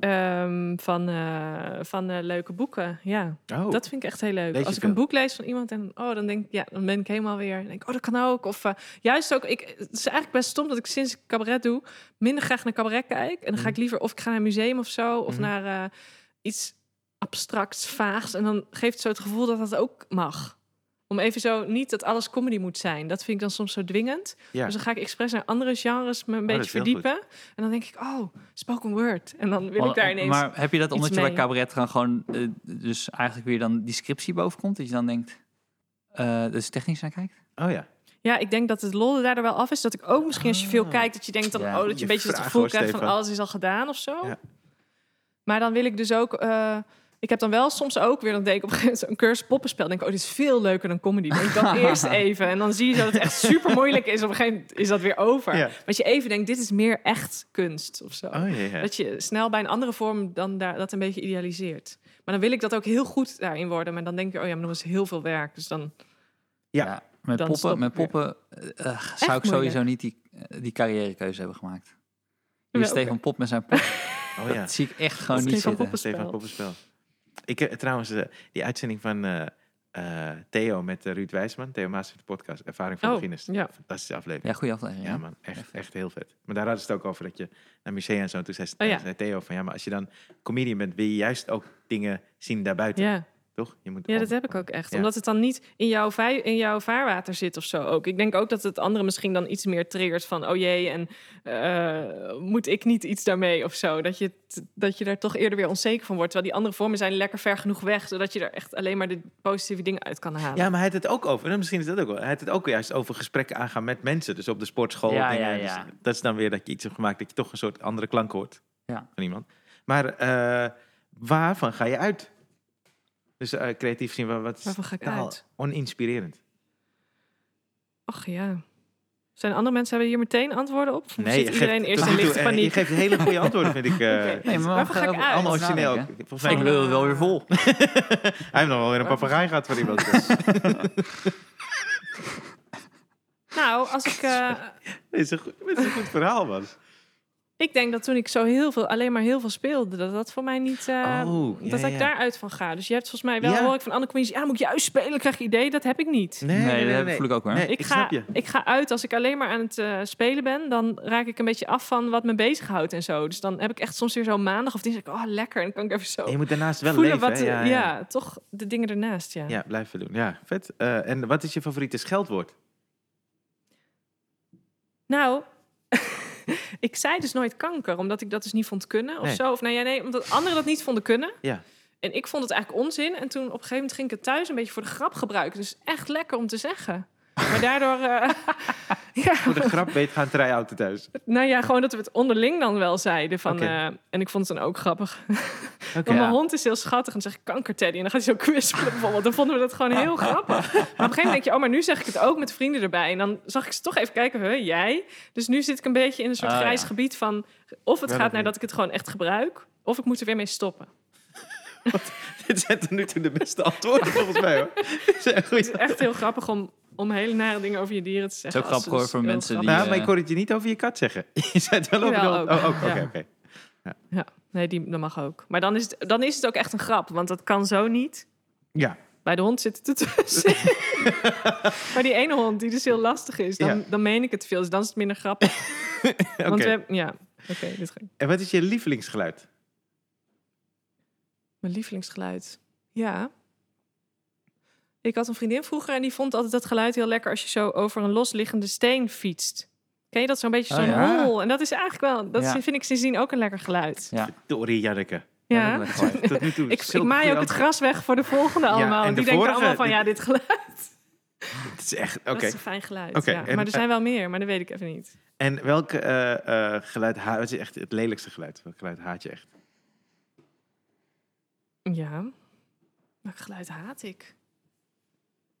Ehm, van eh, van eh, leuke boeken, ja. Oh, Dat vind ik echt heel leuk. Lees je Als ik veel? een boek lees van iemand en oh, dan denk ik, ja, dan ben ik helemaal weer. Dan denk ik, oh, dat kan ook. Of eh, juist ook, ik, het is eigenlijk best stom dat ik sinds ik cabaret doe, minder graag naar cabaret kijk. En dan Mm. ga ik liever of ik ga naar een museum of zo, of Mhm. naar eh, iets abstracts, vaags. En dan geeft het zo het gevoel dat dat ook mag. Om even zo niet dat alles comedy moet zijn. Dat vind ik dan soms zo dwingend. Ja. Oh, Dus dan ga ik expres naar andere genres me een dat beetje is heel goed. verdiepen. En dan denk ik, oh, spoken word. En dan wil Maar- ik daar ineens. Maar heb je dat omdat iets je bij mee. cabaret gaan gewoon... eh, dus eigenlijk weer dan die scriptie boven komt? Dat je dan denkt... eh dus technisch naar kijkt? oh ja. Ja, ik denk dat het lol er daardoor wel af is. Dat ik ook misschien als je veel Ah. kijkt, dat je denkt dan, Ja, oh, dat goeie je een beetje het vraag, gevoel hoor, krijgt van Stefan. alles is al gedaan of zo. Ja. Maar dan wil ik dus ook. eh, ik heb dan wel soms ook weer, dan denk ik op een gegeven moment, een cursus poppenspel. denk ik, oh, dit is veel leuker dan comedy. Denk ik *laughs* dan eerst even. En dan zie je dat het echt super moeilijk is. Op een gegeven moment is dat weer over. Ja. Want je even denkt, dit is meer echt kunst of zo. Oh, ja, ja. Dat je snel bij een andere vorm dan daar, dat een beetje idealiseert. Maar dan wil ik dat ook heel goed daarin worden. Maar dan denk ik, oh ja, maar dat is heel veel werk. Dus dan Ja. met Dan stop poppen, met ik weer. poppen eh, eh, zou ik sowieso moeilijk. niet die, eh, die carrièrekeuze hebben gemaakt. Ja, Hier oké. Stefan Pop met zijn *laughs* pop. Oh, ja. Dat zie ik echt gewoon Dat niet zitten. Stefan Poppenspel. Stefan Poppenspel. Ik heb trouwens eh, die uitzending van eh, eh, Theo met eh, Ruud Wijsman. Theo Maas van de podcast Ervaring van Oh, Beginners. ja. Fantastische Ja, aflevering. goede aflevering. Ja, hè? man, echt, echt heel vet. Maar daar hadden ze het ook over dat je naar musea en zo. Toen zei, Oh, ja. zei Theo van ja, maar als je dan comedian bent, wil je juist ook dingen zien daarbuiten. ja. Toch? Je moet Ja, dat om- heb ik ook echt. Ja. Omdat het dan niet in jouw, vij- in jouw vaarwater zit of zo ook. Ik denk ook dat het andere misschien dan iets meer triggert van... oh jee, en eh, moet ik niet iets daarmee of zo? Dat je, t- dat je daar toch eerder weer onzeker van wordt. Terwijl die andere vormen zijn lekker ver genoeg weg... zodat je er echt alleen maar de positieve dingen uit kan halen. Ja, maar hij had het ook over, en misschien is dat ook wel, hij had het ook juist over gesprekken aangaan met mensen. Dus op de sportschool. Ja, dingen. ja, Dus ja. dat is dan weer dat je iets hebt gemaakt dat je toch een soort andere klank hoort Ja. van iemand. Maar eh, waarvan ga je uit? Dus eh, creatief zien, wa- wat is Waarvan ga ik totaal uit? oninspirerend. Ach ja. Zijn andere mensen hebben hier meteen antwoorden op? Of je zit geeft iedereen tot eerst nu in toe, lichte eh, Je paniek? geeft hele goede antwoorden, *laughs* vind ik. eh Oké. maar Waarvoor ga ik uit? Allemaal origineel. nadenken. Volgens mij Ik lul wel weer vol. *laughs* Hij heeft nog wel weer een papegaai gehad van iemand. dus *laughs* Nou, als ik... eh, dit, is een goed, dit is een goed verhaal, man. Ik denk dat toen ik zo heel veel, alleen maar heel veel speelde, dat dat voor mij niet. eh, Oh, ja, dat ja, ik ja. daaruit van ga. Dus je hebt volgens mij wel Ja. hoor ik van andere comedies. Ja, dan moet je juist spelen, dan krijg je idee. Dat heb ik niet. Nee, dat voel ik ook hoor. Nee, ik, ga, snap je. ik ga uit als ik alleen maar aan het eh, spelen ben. Dan raak ik een beetje af van wat me bezighoudt en zo. Dus dan heb ik echt soms weer zo maandag of dinsdag. Oh, lekker. En dan kan ik even zo En je moet daarnaast wel voelen leven. wat. hè? de- ja, ja, ja. toch de dingen ernaast. Ja. Ja, blijven doen. Ja, vet. Eh, en wat is je favoriete scheldwoord? Nou, *laughs* ik zei dus nooit kanker, omdat ik dat dus niet vond kunnen of Nee. zo. Of nee, ja, nee, omdat anderen dat niet vonden kunnen. Ja. En ik vond het eigenlijk onzin. En toen op een gegeven moment ging ik het thuis een beetje voor de grap gebruiken. Dus echt lekker om te zeggen. Maar daardoor, eh, *laughs* Voor de grap weet gaan try-outen thuis. nou ja, gewoon dat we het onderling dan wel zeiden. Van, Oké. eh, en ik vond het dan ook grappig. Oké. Want mijn hond is heel schattig en dan zeg ik kankerteddy. En dan gaat hij zo kwispelen bijvoorbeeld. Dan vonden we dat gewoon *laughs* heel grappig. Maar op een gegeven moment denk je, oh, maar nu zeg ik het ook met vrienden erbij. En dan zag ik ze toch even kijken, huh, jij? Dus nu zit ik een beetje in een soort Ah, grijs ja. gebied van... of het Wel gaat of naar niet? dat ik het gewoon echt gebruik... of ik moet er weer mee *laughs* stoppen. *laughs* Dit zijn tot nu toe de beste antwoorden volgens mij *laughs* hoor. Dit zijn goeie- Het is echt heel grappig om, om hele nare dingen over je dieren te zeggen. ook als ze grappig, dus hoor, voor heel mensen die- grappig- Nou, maar ik hoor het je niet over je kat zeggen. *laughs* Je zei het wel over Jawel, de hond. Oh, ook. ook. Oké, Ja. oké. Ja, nee, die, dat mag ook. Maar dan is, het, dan is het ook echt een grap, want dat kan zo niet. Ja. Bij de hond zit *laughs* het ertussen. maar die ene hond, die dus heel lastig is, dan, Ja. dan meen ik het veel. Dus dan is het minder grappig. Oké. Want we hebben, ja, oké, dit ga ik. En wat is je lievelingsgeluid? Mijn lievelingsgeluid. Ja. Ik had een vriendin vroeger en die vond altijd dat geluid heel lekker als je zo over een losliggende steen fietst. Ken je dat zo'n beetje Oh, zo'n ja. hol? En dat is eigenlijk wel, dat Ja. vind ik sindsdien ook een lekker geluid. Ja. Dorie Janneke. Ja. dat *laughs* wil ik wel. Tot nu toe. Ik, ik zulke maai goeie ook het antwoorden. gras weg voor de volgende allemaal. en En de die denken vorige, allemaal van, die- ja, dit geluid. Het is echt, oké. Dat is een fijn geluid. Oké, ja. en- maar er zijn wel meer, maar dat weet ik even niet. En welk eh, eh, geluid haat wat is echt het lelijkste geluid? Welk geluid haat je echt? Ja. Welk geluid haat ik?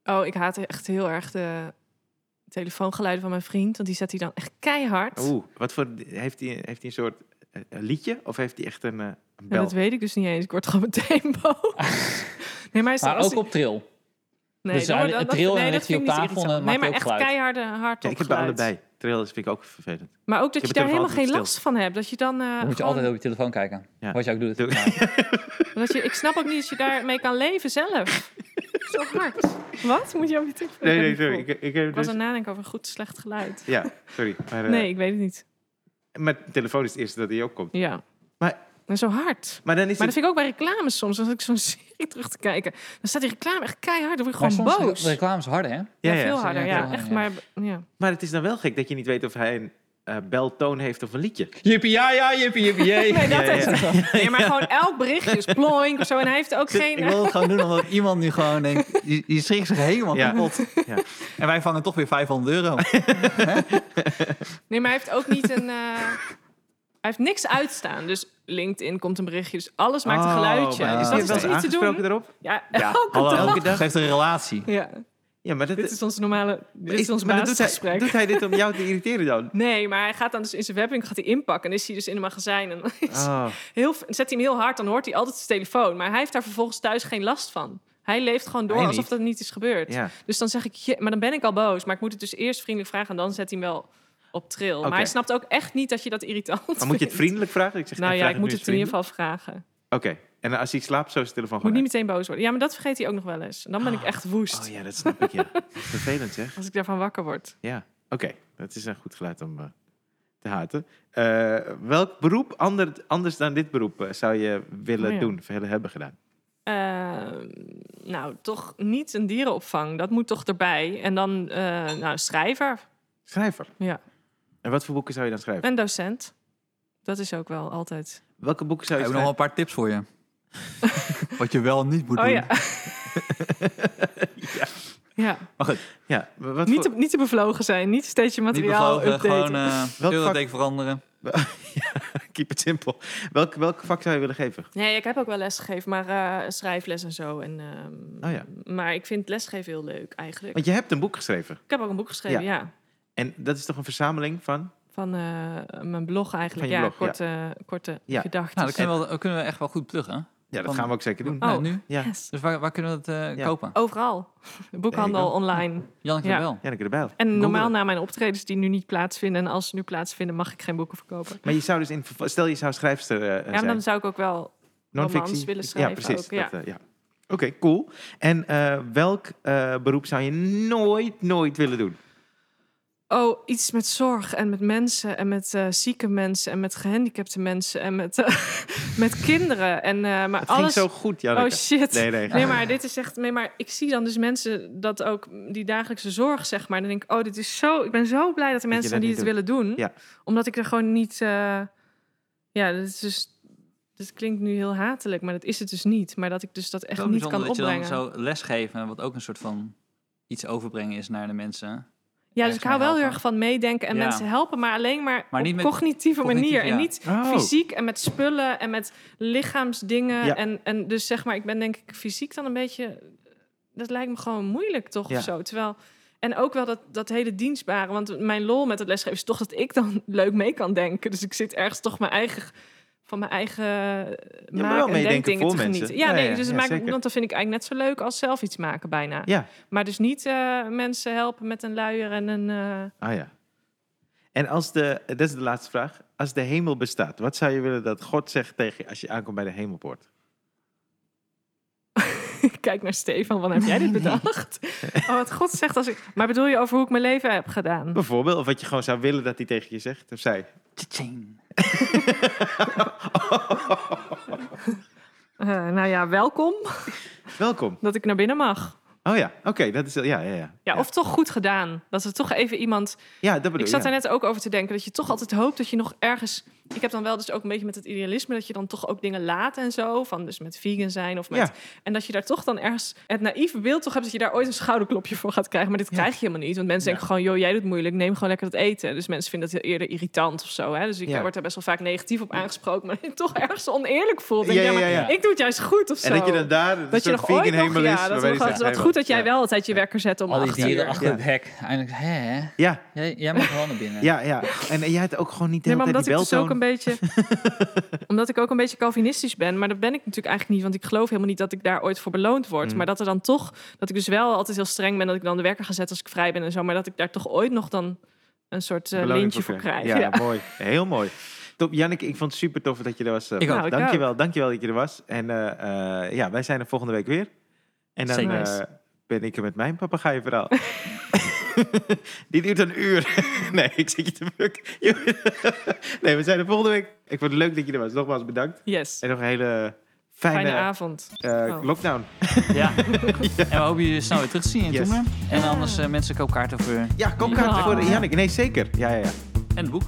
Oh, ik haat echt heel erg de telefoongeluiden van mijn vriend. Want die zet hij dan echt keihard. Oeh, wat voor, heeft hij heeft die een soort eh, een liedje of heeft hij echt een, eh, een En bel? dat weet ik dus niet eens. Ik word gewoon meteen *laughs* boos. Nee, maar, hij staat Maar ook op trill. nee, dus dan hij- wordt- het dat- trillen en nee, ligt dat hij vind op ik niet tafel en dan irritant. Nee, maakt maar hij echt ook keiharde hard Ja, op ik heb bij allebei. Trailers vind ik ook vervelend. Maar ook dat Ik je heb daar het telefoon helemaal geen altijd last van hebt. Dat je dan... eh, Dan moet je gewoon- altijd op je telefoon kijken. Ja. Wat je ook doet. Doe- *laughs* Ja. Dat je, ik snap ook niet dat je daarmee kan leven zelf. Zo hard. Wat? Moet je ook niet Nee, nee, sorry. Ik, ik heb Ik was dus... aan het nadenken over goed, slecht geluid. Ja, sorry. Maar, eh, Nee, ik weet het niet. maar de telefoon is het eerste dat hij opkomt. Ja. Maar- En zo hard. Maar dan is Maar dat het... vind ik ook bij reclames soms. Als ik zo'n *laughs* serie terug te kijken, dan staat die reclame echt keihard. Dan word ik Maar gewoon soms boos. De reclame is harder, hè? Ja, ja, veel ja. harder. ja, Ja, veel echt. Maar harder, *laughs* ja. Maar het is dan wel gek dat je niet weet of hij een eh, beltoon heeft of een liedje. Jippie, ja, ja, jippie, jippie, *laughs* jee. Nee, dat ja, is ja. het. Nee, maar gewoon elk berichtje is ploink of zo. En hij heeft *laughs* ook Ik geen... wil het gewoon doen omdat iemand nu gewoon denkt... Je, je schrikt zich helemaal Ja. kapot. Ja. En wij vangen toch weer 500 euro. Nee, maar hij heeft ook niet een... eh, Hij heeft niks uitstaan. Dus LinkedIn komt een berichtje. Dus alles maakt een Oh, geluidje. maar ja. Is Dus dat je is wel toch eens niet te aangesproken doen? erop? Ja, Ja, *laughs* elke hallo. dag. Elke dag geeft een relatie. Ja, Ja, maar dat dit is ons normale, dit is- is ons maar dat doet, hij, basisgesprek. doet hij dit om jou te irriteren *laughs* dan? Nee, maar hij gaat dan dus in zijn webbing gaat hij inpakken. En is hij dus in een magazijn. En dan *laughs* is Oh, heel, zet hij hem heel hard, dan hoort hij altijd zijn telefoon. Maar hij heeft daar vervolgens thuis geen last van. Hij leeft gewoon door Hij alsof niet. dat niet is gebeurd. ja. Dus dan zeg ik, je, maar dan ben ik al boos. Maar ik moet het dus eerst vriendelijk vragen en dan zet hij hem wel op trill. Oké. Maar hij snapt ook echt niet dat je dat irritant Maar moet je het vindt. vriendelijk vragen? Ik zeg, Nou ik ja, vraag ik moet nu het in eens Oh, ieder geval vragen. vriendelijk. Oké, en als hij slaapt, zo is de telefoon Ik moet gewoon niet meteen boos worden. Ja, maar dat vergeet hij ook nog wel eens. En dan ben ik echt woest uit. Oh ja, dat snap ik, ja. *laughs* Vervelend zeg. als ik daarvan wakker word. Ja, oké. Dat is een goed geluid om eh, te haten. Eh, welk beroep ander, anders dan dit beroep eh, zou je willen Oh ja. doen, of willen hebben gedaan? Ehm, nou, toch niet een dierenopvang. Dat moet toch erbij. En dan, eh, nou, schrijver. Schrijver. Ja. En wat voor boeken zou je dan schrijven? En docent. Dat is ook wel altijd. Welke boeken We zou je hebben nog wel een paar schrijven? tips voor je. Wat je wel en niet moet Oh doen. ja. ja. Ja, wa- wat Niet te, voor- niet te bevlogen zijn. Niet steeds je Niet materiaal bevlogen, updaten. gewoon eh Welk vak- pseudoteken veranderen. Keep it simple. Welk, welk vak zou je willen geven? Nee, ik heb ook wel lesgegeven, maar eh, schrijfles en zo. En, ehm, Oh ja. Maar ik vind lesgeven heel leuk eigenlijk. Want je hebt een boek geschreven. Ik heb ook een boek geschreven, ja. En dat is toch een verzameling van... Van eh, mijn blog eigenlijk. Van je ja, blog, ja. korte, korte Ja. gedachten. Nou, dat kunnen we, wel- dat kunnen we echt wel goed pluggen. Ja, dat Van- gaan we ook zeker doen. Nou, Oh. nu. Ja, Yes. Dus waar, waar kunnen we dat eh, Ja. kopen? Overal. *laughs* Boekhandel, There online. Janneke Ja. de wel. Janneke de Bijl. En normaal Googelen. na mijn optredens die nu niet plaatsvinden. En als ze nu plaatsvinden, mag ik geen boeken verkopen. Maar je zou dus in... verva- Stel, je zou schrijfster eh, Ja, maar zijn. dan zou ik ook wel... Non-fictie. romans willen Ja, schrijven precies. ook, ja. dat, eh, ja. Oké, cool. En eh, welk eh, beroep zou je nooit, nooit willen doen? Oh, iets met zorg en met mensen en met eh, zieke mensen en met gehandicapte mensen en met, eh, *laughs* met kinderen. En, eh, maar Het ging alles... zo goed, oh Janneke. shit. nee, nee. Nee, maar dit is echt. Nee, maar ik zie dan dus mensen dat ook die dagelijkse zorg, zeg maar. Dan denk ik, oh, dit is zo. Ik ben zo blij dat er je dat mensen zijn die niet het willen doen. Ja. Omdat ik er gewoon niet. eh, ja, dat is dus. Dat klinkt nu heel hatelijk, maar dat is het dus niet. Maar dat ik dus dat echt Wel niet bijzonder kan dat je dan opbrengen. zo lesgeven, wat ook een soort van iets overbrengen is naar de mensen. ja, dus ergens ik hou mee wel heel helpen. erg van meedenken en Ja. mensen helpen, maar alleen maar, Maar niet op met- cognitieve cognitief, manier. En ja. niet Oh. fysiek en met spullen en met lichaamsdingen. Ja. En, en dus zeg maar, ik ben denk ik fysiek dan een beetje... Dat lijkt me gewoon moeilijk toch Ja. of zo. Terwijl, en ook wel dat, dat hele dienstbare. Want mijn lol met het lesgeven is toch dat ik dan *laughs* leuk mee kan denken. Dus ik zit ergens toch mijn eigen... Van mijn eigen wel maak- en meedenken denkdingen voor te mensen. genieten. Ja, Ja, nee, ja, dus het ja, maakt, zeker. want dat vind ik eigenlijk net zo leuk als zelf iets maken bijna. Ja, Maar dus niet eh, mensen helpen met een luier en een... eh, ah ja. En als de, dat is de laatste vraag. Als de hemel bestaat, wat zou je willen dat God zegt tegen je als je aankomt bij de hemelpoort? *laughs* Ik kijk naar Stefan, van heb jij dit bedacht? Oh, wat God zegt als ik... Maar bedoel je over hoe ik mijn leven heb gedaan? Bijvoorbeeld, of wat je gewoon zou willen dat hij tegen je zegt of zij. Tjing. Eh, nou ja, welkom Welkom. dat ik naar binnen mag. Oh ja, oké, dat is ja, ja, ja. Ja, of toch goed gedaan. Dat er toch even iemand... ja, dat bedoel Ik zat ja. daar net ook over te denken, dat je toch altijd hoopt dat je nog ergens... Ik heb dan wel dus ook een beetje met het idealisme... dat je dan toch ook dingen laat en zo. Van dus met vegan zijn of met... Ja. En dat je daar toch dan ergens het naïeve beeld toch hebt... dat je daar ooit een schouderklopje voor gaat krijgen. Maar dit krijg je helemaal niet. Want mensen Ja. denken gewoon, joh, jij doet moeilijk. Neem gewoon lekker dat eten. Dus mensen vinden dat heel eerder irritant of zo. Hè? Dus ik Ja. word daar best wel vaak negatief op aangesproken. Maar *laughs* ik toch ergens oneerlijk voel. Denk, Ja, ja, ja, maar ja, ja. Ik doe het juist goed of zo. En dat je dan daar een Dat je soort nog ooit vegan nog- hemel is. ja, dat waarbij we die gewoon- zegt, wat hemel. goed dat jij Ja. wel altijd je wekker zet om Al die acht uur. dieren achter Ja. het hek. Eindelijk, hè? Ja, Jij, jij mag wel naar *laughs* binnen. ja, ja. En, en jij hebt ook gewoon niet de Nee, hele maar tijd omdat die ik dus ook beltoon. een beetje, omdat ik ook een beetje Calvinistisch ben, maar dat ben ik natuurlijk eigenlijk niet, want ik geloof helemaal niet dat ik daar ooit voor beloond word. Mm. Maar dat er dan toch, dat ik dus wel altijd heel streng ben, dat ik dan de werker ga zetten als ik vrij ben en zo, maar dat ik daar toch ooit nog dan een soort eh, Beloning lintje voor krijg. Ja, Ja, *laughs* mooi. Heel mooi. Top, Janneke, ik vond het super tof dat je er was. eh, Ik ook. Bas. Nou, ik dankjewel, dankjewel dat je er was. En eh, eh, ja, wij zijn er volgende week weer. En dan Zeker. eh, ben ik er met mijn papegaaienverhaal. *laughs* Die duurt een uur. *laughs* nee, ik zit je te buk. *laughs* nee, we zijn er volgende week. Ik vond het leuk dat je er was. Nogmaals bedankt. Yes. En nog een hele fijne, Fijne avond. eh, Oh. lockdown. Ja. En we hopen jullie snel weer terug te zien in Yes. Toemler. En anders eh, mensen koop kaarten voor Ja, kom kaarten Ja. voor Janneke. Nee, zeker. Ja, ja, ja. en het boek.